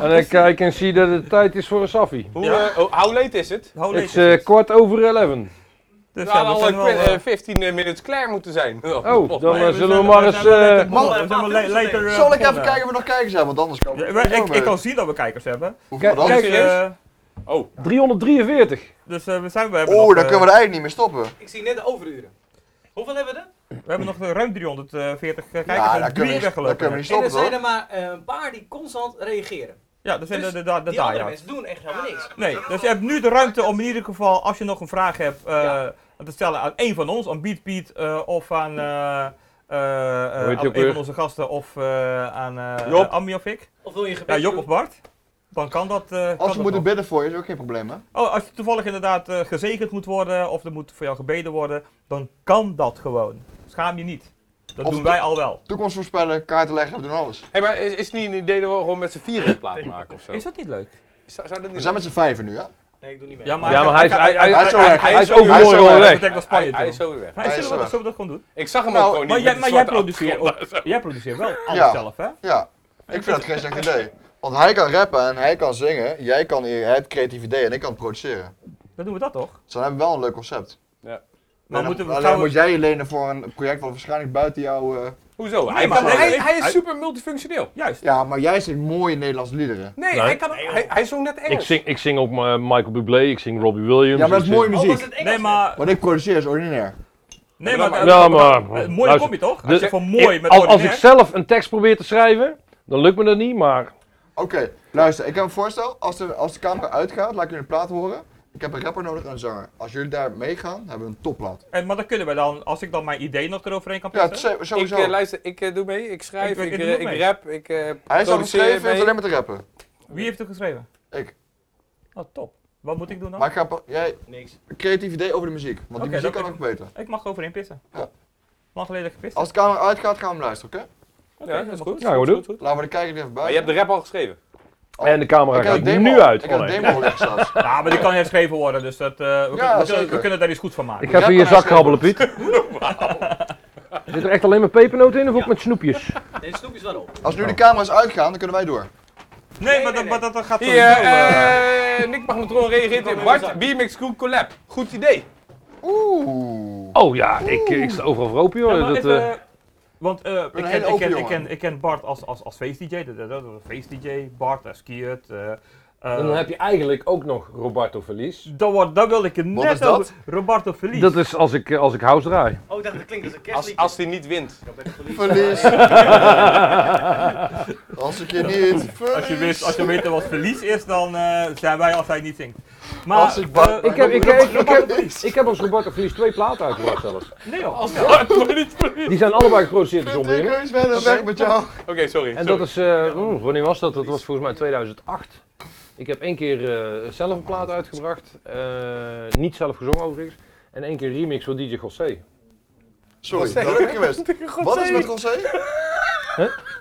Speaker 3: En ik I can see dat het tijd is voor een saffie.
Speaker 2: hoe,
Speaker 1: Ja.
Speaker 2: eh, oh, how late is het?
Speaker 1: Holy
Speaker 3: Het is eh, kwart over 11.
Speaker 1: Dus
Speaker 2: We
Speaker 1: ja,
Speaker 2: hadden
Speaker 1: we
Speaker 2: al
Speaker 1: zijn
Speaker 2: eh,
Speaker 1: wel... eh,
Speaker 2: eh, 15 minutes klaar moeten zijn.
Speaker 3: Oh, dan eh,
Speaker 1: we
Speaker 3: zullen we
Speaker 1: zijn-
Speaker 3: maar
Speaker 1: we
Speaker 3: eens...
Speaker 1: zijn wel
Speaker 3: eh,
Speaker 1: net- we zijn wel la- later, eh,
Speaker 4: Zal ik even
Speaker 1: begonnen.
Speaker 4: kijken of we nog kijkers hebben? Want anders kan
Speaker 1: Ja, maar ik, ik kan zien dat we kijkers hebben.
Speaker 3: Kijk,
Speaker 4: Kijk,
Speaker 3: kijk,
Speaker 1: Dus,
Speaker 2: serieus?
Speaker 1: eh,
Speaker 2: Oh,
Speaker 3: 343.
Speaker 1: dus eh, we zijn... We hebben
Speaker 4: Oeh,
Speaker 1: nog,
Speaker 4: dan
Speaker 1: eh,
Speaker 4: kunnen we er eigenlijk niet meer stoppen.
Speaker 7: Ik zie net de overuren. Hoeveel hebben we er?
Speaker 1: We hebben nog eh, ruim 340 eh, kijkers
Speaker 4: Ja,
Speaker 1: en
Speaker 4: daar
Speaker 1: drie
Speaker 4: kunnen we niet- daar
Speaker 1: weggelopen.
Speaker 4: kunnen we niet
Speaker 7: En er
Speaker 4: stoppen
Speaker 7: zijn
Speaker 4: hoor.
Speaker 7: er maar eh, een paar die constant reageren.
Speaker 1: ja, dat zijn
Speaker 7: Dus
Speaker 1: de, de, de, de
Speaker 7: Die andere
Speaker 1: die-hards.
Speaker 7: mensen doen echt helemaal niks.
Speaker 1: Nee, dus je hebt nu de ruimte om in ieder geval, als je nog een vraag hebt, eh, te stellen aan één van ons, aan Beat Piet eh, of aan, eh, eh, eh,
Speaker 3: Hoe heet
Speaker 1: aan
Speaker 3: je ook
Speaker 1: een
Speaker 3: weer?
Speaker 1: van onze gasten of eh, aan eh
Speaker 2: Job.
Speaker 1: Ammi of ik.
Speaker 7: Of wil je
Speaker 1: Ja,
Speaker 7: gebed
Speaker 1: Job
Speaker 7: doen?
Speaker 1: of Bart. Dan kan dat. eh, kan dat
Speaker 4: Als we moeten
Speaker 1: nog.
Speaker 4: bidden voor je is ook geen probleem hè.
Speaker 1: Oh, als je toevallig inderdaad eh, gezegend moet worden of er moet voor jou gebeden worden, dan kan dat gewoon. Schaam je niet. Dat
Speaker 4: Of
Speaker 1: doen
Speaker 4: de-
Speaker 1: wij al wel.
Speaker 4: Toekomst voorspellen, kaarten leggen, we doen alles.
Speaker 2: hey, maar is, is het niet een idee dat we gewoon met z'n vieren een plaat maken of zo?
Speaker 1: Is dat niet leuk?
Speaker 2: Zou, zou dat
Speaker 4: We
Speaker 2: niet
Speaker 4: zijn met z'n vijven nu hè.
Speaker 7: Nee, ik doe niet mee.
Speaker 1: Ja, maar,
Speaker 3: Ja, maar hij is, hij, hij,
Speaker 4: hij is zo
Speaker 3: hij,
Speaker 4: weg.
Speaker 3: hij is
Speaker 2: Hij is
Speaker 4: zo
Speaker 3: overmorgen al
Speaker 4: weg.
Speaker 3: weg.
Speaker 1: dat naar Spanje.
Speaker 2: hij, hij
Speaker 1: toe.
Speaker 2: is zo weer weg.
Speaker 1: Maar zullen we
Speaker 4: weg.
Speaker 1: dat- zullen we dat gewoon doen?
Speaker 2: Ik zag hem
Speaker 4: Nou,
Speaker 2: ook gewoon
Speaker 1: Maar
Speaker 2: niet.
Speaker 1: jij,
Speaker 2: met
Speaker 1: maar
Speaker 2: die
Speaker 1: jij,
Speaker 2: zwarte
Speaker 1: produceert,
Speaker 2: achtergrond.
Speaker 1: ook- jij produceert wel alles
Speaker 4: Ja.
Speaker 1: zelf, hè?
Speaker 4: Ja, ik vind dat geen slecht idee. Want hij kan rappen en hij kan zingen, jij, kan, jij hebt creatief ideeën en ik kan produceren.
Speaker 1: Dan doen we dat toch?
Speaker 4: Dus dan hebben we wel een leuk concept.
Speaker 1: Maar
Speaker 4: En dan-
Speaker 1: moeten we,
Speaker 4: alleen
Speaker 1: gaan we-
Speaker 4: moet jij je lenen voor een project wat waarschijnlijk buiten jou... eh,
Speaker 2: Hoezo?
Speaker 1: Nee,
Speaker 2: hij,
Speaker 1: maar
Speaker 2: kan-
Speaker 1: nee,
Speaker 2: hij,
Speaker 1: nee.
Speaker 2: hij
Speaker 1: Hij-
Speaker 2: is super multifunctioneel.
Speaker 1: Juist.
Speaker 4: Ja, maar jij zingt mooie Nederlandse liederen.
Speaker 2: Nee, oh, hij, kan, hij, hij is zo net
Speaker 3: Ik
Speaker 2: Engels.
Speaker 3: zing, ik zing ook eh, Michael Bublé, ik zing Robbie Williams.
Speaker 4: Ja, maar dat
Speaker 3: ik
Speaker 4: is mooie
Speaker 3: zing-
Speaker 7: Oh, was
Speaker 4: muziek.
Speaker 7: het Engels?
Speaker 1: Nee, maar.
Speaker 4: Wat ik produceer is ordinair.
Speaker 1: Nee,
Speaker 2: maar-
Speaker 1: maar.
Speaker 3: Ja, maar-
Speaker 1: eh, Mooi
Speaker 3: luister.
Speaker 1: kom je toch?
Speaker 3: Dus-
Speaker 1: Als je van mooi
Speaker 3: Ik-
Speaker 1: met
Speaker 3: als, als ik
Speaker 1: ordinair-
Speaker 3: zelf een tekst probeer te schrijven, dan lukt me dat niet, maar...
Speaker 4: Oké, luister, ik heb een voorstel. Als de, als de camera uitgaat, laat ik jullie een plaat horen. Ik heb een rapper nodig en een zanger. Als jullie daar meegaan, hebben we een topplaat.
Speaker 1: En, maar dan kunnen we dan, als ik dan mijn idee nog eroverheen kan
Speaker 4: Ja,
Speaker 1: plaatsen.
Speaker 4: zo-
Speaker 2: Ik,
Speaker 4: sowieso.
Speaker 2: eh, luister, ik eh, doe mee, ik schrijf,
Speaker 1: Ik- ik
Speaker 2: ik, eh,
Speaker 1: doe ook
Speaker 2: ik
Speaker 1: mee.
Speaker 2: rap, ik eh,
Speaker 4: hij is al
Speaker 2: produceer
Speaker 4: geschreven en
Speaker 2: mee.
Speaker 4: heeft alleen maar te rappen.
Speaker 1: Wie heeft het geschreven?
Speaker 4: Ik.
Speaker 1: Oh, top. Wat moet ik doen dan?
Speaker 4: Maar ik ga pa- jij
Speaker 8: Niks.
Speaker 4: creatief idee over de muziek. Want
Speaker 1: Oké,
Speaker 4: die muziek
Speaker 1: dat
Speaker 4: kan
Speaker 1: kan
Speaker 4: ook beter.
Speaker 1: Ik mag overheen pissen.
Speaker 4: Ja.
Speaker 1: Lang geleden dat ik gepist.
Speaker 4: Als de camera uitgaat, gaan we hem luisteren, oké?
Speaker 1: heb.
Speaker 2: Ja, dat is goed.
Speaker 3: Ja, goed, goed,
Speaker 4: Laten we de kijker er even
Speaker 2: Maar
Speaker 4: bij.
Speaker 2: je hebt de rap al geschreven.
Speaker 3: En de camera
Speaker 4: Ik heb
Speaker 3: gaat
Speaker 4: de demo-
Speaker 3: nu uit.
Speaker 4: Ik heb
Speaker 3: Oh,
Speaker 4: de
Speaker 3: nee.
Speaker 4: demo liggen zelfs.
Speaker 3: <laughs>
Speaker 1: Ja, maar die kan herschreven worden, dus dat, eh, we, kunnen, we, kunnen, we
Speaker 4: zeker.
Speaker 1: kunnen daar iets goed van maken.
Speaker 3: Ik ga
Speaker 4: Ja,
Speaker 3: even in je
Speaker 4: maar
Speaker 3: zak
Speaker 4: hij
Speaker 3: krabbelen, Piet. Zit er echt alleen maar pepernoten in of ook met snoepjes?
Speaker 8: Deze snoepjes wel op.
Speaker 4: Als nu de camera's uitgaan, dan kunnen wij door.
Speaker 1: Nee, maar, dat- maar dat, dat gaat
Speaker 2: Hier,
Speaker 1: sowieso, eh,
Speaker 2: eh, Nick Magnetron reageert in Bart, B-Mix Cool Collab. Goed idee.
Speaker 4: Oeh.
Speaker 3: Oh ja, ik, ik sta overal voor open,
Speaker 1: Ja,
Speaker 3: hoor.
Speaker 1: maar
Speaker 3: dat,
Speaker 1: even,
Speaker 3: eh,
Speaker 1: eh, want eh, ik,
Speaker 4: hele
Speaker 1: ken, ik,
Speaker 4: open
Speaker 1: ken, ik,
Speaker 4: jongen.
Speaker 1: ken, ik ken Bart als, als, als feest-dj, dat- dat- dat- dat- feest-dj, Bart, eh, Skiert. eh, eh,
Speaker 3: dan heb je eigenlijk ook nog Roberto Verlies.
Speaker 1: dat, wordt, dat wilde ik het net
Speaker 4: is dat?
Speaker 1: over- Roberto Feliz.
Speaker 3: Dat is als ik, eh, als ik house draai.
Speaker 7: Oh, ik dacht dat klinkt als een
Speaker 2: Als,
Speaker 7: kerstliedje.
Speaker 2: als hij niet wint.
Speaker 3: <laughs>
Speaker 4: Verlies. Als ik je niet verlies.
Speaker 1: Als je, wist, als je weet wat verlies is, dan eh, zijn wij als hij niet zingt. Maar,
Speaker 4: Als ik bang
Speaker 1: eh,
Speaker 4: ben,
Speaker 3: Ik heb, ik,
Speaker 4: dan
Speaker 1: <laughs>
Speaker 3: ik, ik,
Speaker 4: moet je
Speaker 3: ik
Speaker 4: maar
Speaker 3: heb,
Speaker 4: verlies.
Speaker 3: ik heb als Roberto Verlies twee platen uitgebracht zelfs.
Speaker 1: nee joh.
Speaker 3: Die zijn allebei geproduceerd door John
Speaker 4: Ik
Speaker 3: Deere.
Speaker 4: ben verder weg met jou.
Speaker 2: Oké, sorry.
Speaker 3: En
Speaker 2: sorry.
Speaker 3: dat is, eh, oeh, wanneer was dat? Dat was volgens mij 2008. Ik heb één keer eh, zelf een plaat uitgebracht. eh, niet zelf gezongen overigens. En één keer remix voor DJ José.
Speaker 4: Sorry, dat heb ik geweest. Wat is met José?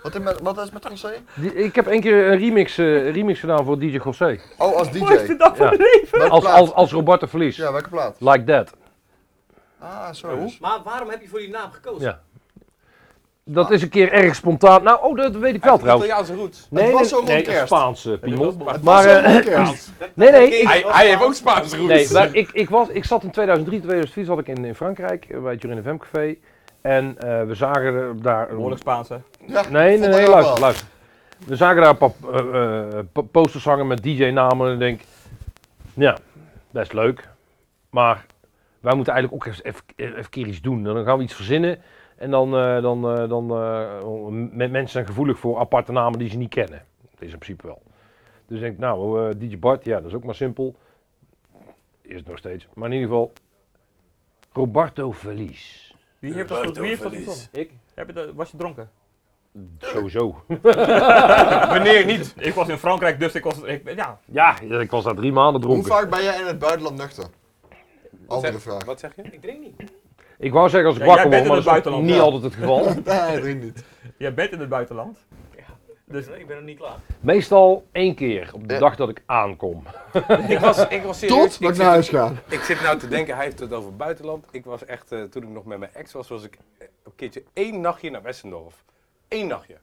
Speaker 4: Wat is met, wat is met José?
Speaker 3: Die- ik heb één keer een remix, eh, remix gedaan voor DJ José.
Speaker 4: Oh, als DJ.
Speaker 1: Mooiste dag van
Speaker 3: Ja.
Speaker 1: mijn leven.
Speaker 4: Welke
Speaker 3: Als,
Speaker 4: plaat?
Speaker 3: als, als Roberto Verlies.
Speaker 4: Ja, welke plaat?
Speaker 3: Like that.
Speaker 4: Ah, sorry.
Speaker 7: Maar waarom heb je voor die naam gekozen?
Speaker 3: Ja. Dat is een keer erg spontaan. Nou, oh, dat weet ik wel trouwens.
Speaker 2: Italiaanse roots.
Speaker 3: Nee,
Speaker 4: Het was
Speaker 3: nee,
Speaker 4: zo rond
Speaker 3: nee,
Speaker 4: kerst.
Speaker 3: Spaanse piemel.
Speaker 4: Het
Speaker 3: Maar,
Speaker 4: was
Speaker 3: eh,
Speaker 4: helemaal
Speaker 3: <clears throat>
Speaker 4: kerst.
Speaker 3: Nee, nee, ik-
Speaker 2: Hij, hij heeft ook Spaanse roots.
Speaker 3: Nee, maar ik, ik, was, ik zat in 2003, 2004 zat ik in, in Frankrijk eh, bij het Jurin FM Café. En eh, we zagen er daar. een-
Speaker 1: Behoorlijk Spaanse.
Speaker 4: Ja,
Speaker 3: Nee, nee,
Speaker 4: vond ik
Speaker 3: nee,
Speaker 4: ook
Speaker 3: luister,
Speaker 4: wel.
Speaker 3: luister. We zagen daar een paar eh, eh, po- posters hangen met DJ-namen. En ik denk, ja, best leuk. Maar wij moeten eigenlijk ook even, even, even keer iets doen. Dan gaan we iets verzinnen. En dan, eh, dan, eh, dan eh, m- mensen zijn gevoelig voor aparte namen die ze niet kennen. Dat is in principe wel. Dus ik denk, nou, eh, DJ Bart, ja, dat is ook maar simpel. Is het nog steeds. Maar in ieder geval, Roberto Verlies.
Speaker 1: Wie heeft dat, wie heeft dat gezongen?
Speaker 3: Ik?
Speaker 1: Heb je dat, was je
Speaker 2: <laughs>
Speaker 1: dronken?
Speaker 3: Sowieso.
Speaker 2: Wanneer niet?
Speaker 1: Ik was in Frankrijk, dus ik was... Ik, ja,
Speaker 3: Ja, ik was daar drie maanden
Speaker 4: Hoe
Speaker 3: dronken.
Speaker 4: vaak ben jij in het buitenland nuchter? Andere
Speaker 2: Zeg-
Speaker 4: vraag.
Speaker 2: Wat zeg je?
Speaker 7: Ik drink niet.
Speaker 3: Ik wou zeggen als ik
Speaker 1: Ja, jij
Speaker 3: wakker
Speaker 1: bent
Speaker 3: word,
Speaker 1: in
Speaker 3: maar
Speaker 1: het
Speaker 3: dat is
Speaker 1: buitenland,
Speaker 3: ook niet
Speaker 1: ja.
Speaker 3: altijd het geval.
Speaker 1: <laughs>
Speaker 4: Nee, drink niet.
Speaker 1: jij bent in het buitenland. Dus
Speaker 7: Ik ben nog niet klaar.
Speaker 3: Meestal één keer op de
Speaker 4: Ja.
Speaker 3: dag dat ik aankom.
Speaker 2: Ik was, ik was serieus.
Speaker 4: Tot
Speaker 2: ik,
Speaker 4: dat ik
Speaker 2: zit,
Speaker 4: naar huis ga.
Speaker 2: ik zit nou te denken, hij heeft het over buitenland. Ik was echt, eh, toen ik nog met mijn ex was, was ik eh, een keertje één nachtje naar Westendorf. Eén nachtje.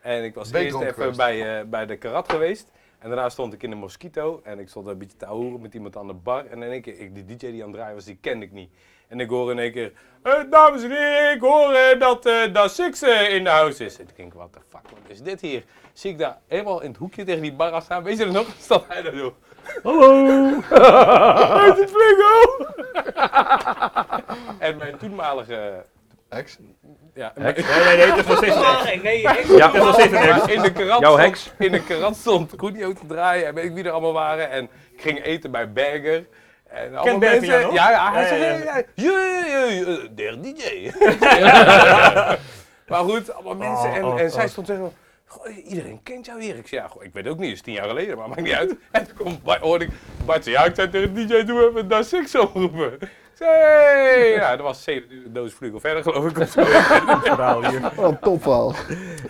Speaker 2: En ik was
Speaker 4: Ben je
Speaker 2: eerst even
Speaker 4: dronken geweest?
Speaker 2: bij, eh, bij de karat geweest. En daarna stond ik in de Mosquito en ik stond daar een beetje te ahoeren met iemand aan de bar. En in één keer, ik, die DJ die aan het draaien was, die kende ik niet. En ik hoor in één keer, eh, dames en heren, ik hoor eh, dat, eh, dat Six eh, in de house is. En ik denk, wat de fuck, wat is dit hier? Zie ik daar helemaal in het hoekje tegen die bar aan staan. Weet je er nog? Stond hij daar zo. Hallo! Uit het Flingo! en mijn toenmalige,
Speaker 4: Ex.
Speaker 2: ja,
Speaker 1: Nee, nee, nee, het is nog steeds een ex.
Speaker 7: Nee, nee, ik
Speaker 3: Ja,
Speaker 1: Het is nog steeds een ex.
Speaker 2: Maar in de
Speaker 3: Jouw
Speaker 2: krant stond,
Speaker 3: heks.
Speaker 2: In de krant stond Coenio te draaien en weet ik wie er allemaal waren. En ik ging eten bij Berger. En allemaal
Speaker 1: Berger
Speaker 2: mensen.
Speaker 1: jou nog?
Speaker 2: Ja, ja, hij
Speaker 1: Ja, ja,
Speaker 2: zei,
Speaker 1: ja.
Speaker 2: ja, ja, ja, ja, der
Speaker 1: <laughs>
Speaker 2: DJ. maar goed, allemaal mensen. En,
Speaker 1: oh,
Speaker 2: en zij
Speaker 1: oh.
Speaker 2: stond tegen me, "Goh, iedereen kent jou hier. Ik zei, ja, goh, ik weet ook niet, het is tien jaar geleden, maar maakt niet uit. <laughs> En toen komt Bart, hoorde ik, Bart zei, ja, ik zei tegen DJ, doe even daar Six oproepen. <laughs> Ik zei, hey. Ja, dat was zeven uur, doos vlugel verder, geloof ik. of zo.
Speaker 1: verhaal hier.
Speaker 4: <laughs>
Speaker 1: eh,
Speaker 4: Wat een topverhaal.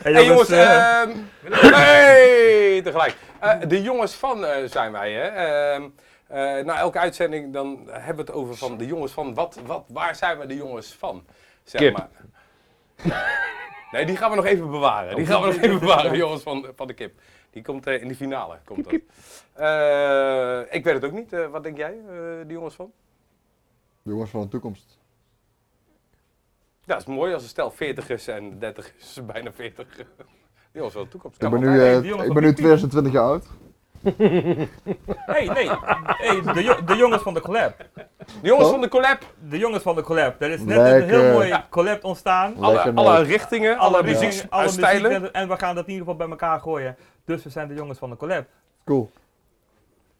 Speaker 2: Hey jongens, ehm hey, tegelijk. Eh, de jongens van eh, zijn wij, hè? Ehm, eh, na elke uitzending dan hebben we het over van de jongens van. Wat, wat, waar zijn we de jongens van? Zeg
Speaker 3: Kip.
Speaker 2: maar. Nee, die gaan we nog even bewaren. Die gaan we nog even bewaren, de jongens van, van de kip. Die komt eh, in de finale. Komt dat. Eh, ik weet het ook niet. Eh, wat denk jij, eh, de jongens van?
Speaker 4: Jongens van de toekomst.
Speaker 2: Ja, dat is mooi als een stel 40ers en 30ers, <laughs> bijna 40. De jongens van de toekomst.
Speaker 4: Ik ben nu,
Speaker 1: nee,
Speaker 4: eh,
Speaker 1: die jongens
Speaker 4: ik
Speaker 1: van
Speaker 4: ben nu 2020 jaar oud.
Speaker 1: Hey, nee. Hey, de, jo- de jongens van de collab.
Speaker 2: De jongens van de collab.
Speaker 1: De jongens van de collab. Er is net een
Speaker 4: Lekker.
Speaker 1: heel mooi collab ontstaan.
Speaker 2: Alle,
Speaker 4: Lekker
Speaker 2: alle
Speaker 4: nooit.
Speaker 2: richtingen, alle,
Speaker 1: Alle
Speaker 2: muziek,
Speaker 1: muziek, alle muziek
Speaker 2: stijlen.
Speaker 1: en- en we gaan dat in ieder geval bij elkaar gooien. Dus we zijn de jongens van de collab.
Speaker 4: Cool.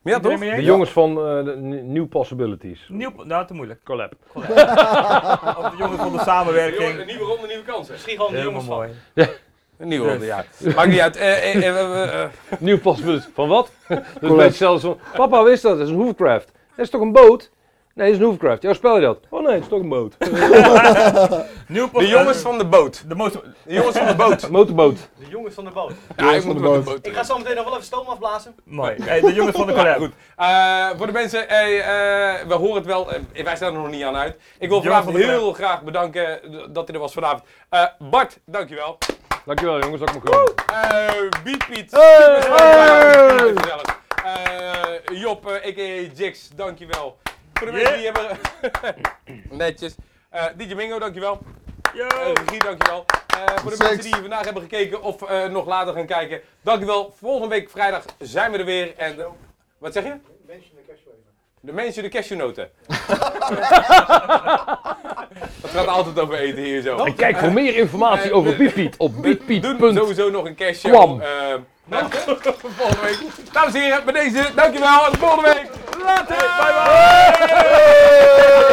Speaker 2: ja,
Speaker 1: Iedereen
Speaker 2: toch?
Speaker 1: mee
Speaker 3: De
Speaker 1: eens?
Speaker 3: jongens van eh, de N- New Possibilities.
Speaker 1: Nieuw, nou, te moeilijk.
Speaker 3: <laughs> Collab.
Speaker 1: Of de jongens van de
Speaker 2: Jongen,
Speaker 1: samenwerking.
Speaker 2: nieuwe ronde, nieuwe kansen.
Speaker 7: Misschien gewoon de
Speaker 1: Helemaal
Speaker 7: jongens van.
Speaker 1: mooi.
Speaker 2: Een nieuwe ronde, ja. Maakt niet uit. Eh, eh, eh, eh, eh,
Speaker 3: Nieuw paspoort.
Speaker 1: <laughs>
Speaker 3: Van wat? dat is een beetje hetzelfde als van, papa, wist dat? Dat is een hovercraft. Dat is toch een boot? Nee, dat is een hovercraft. Ja, spel je dat? Oh nee, het is toch een boot.
Speaker 1: Nieuw eh,
Speaker 2: de jongens van de boot.
Speaker 1: de motor.
Speaker 2: De jongens van de boot.
Speaker 3: Een motorboot.
Speaker 7: De jongens van de boot.
Speaker 2: Ja, ik
Speaker 4: van
Speaker 2: moet
Speaker 4: de
Speaker 2: wel de
Speaker 4: boot.
Speaker 2: boot.
Speaker 7: Ik ga zo meteen nog wel even stoom afblazen.
Speaker 1: Mooi. Hey, de jongens van de
Speaker 2: Ja,
Speaker 1: collab.
Speaker 2: goed. Eh, voor de mensen, eh, eh, we horen het wel. Eh, wij staan er nog niet aan uit. Ik wil
Speaker 1: Jongens van
Speaker 2: vanavond
Speaker 1: de
Speaker 2: heel graag bedanken dat hij er was vanavond. Eh, Bart, dankjewel.
Speaker 3: Dankjewel jongens, dat ik mag komen.
Speaker 2: Eh Beat Piet.
Speaker 3: Hey!
Speaker 2: Hey! Eh, Job, eh, a.k.a. Jix, dankjewel. Voor de mensen die hebben... <laughs> Netjes. Eh DJ Mingo, dankjewel. Eh, Regie, dankjewel. Eh voor de
Speaker 4: Thanks.
Speaker 2: mensen die vandaag hebben gekeken of eh, nog later gaan kijken, dankjewel. Volgende week vrijdag zijn we er weer. En, eh, wat zeg je? De mensen de cashewnoten. Het gaat altijd over eten hier zo.
Speaker 3: En kijk voor meer informatie
Speaker 2: eh,
Speaker 3: over
Speaker 2: eh,
Speaker 3: Bietpiet op
Speaker 2: Doen
Speaker 3: bietpiet.nl.
Speaker 2: sowieso nog een cashje.
Speaker 3: Kwam.
Speaker 2: nou, volgende week. Dames en heren, bij deze, dankjewel. En volgende week. Later. Bye bye.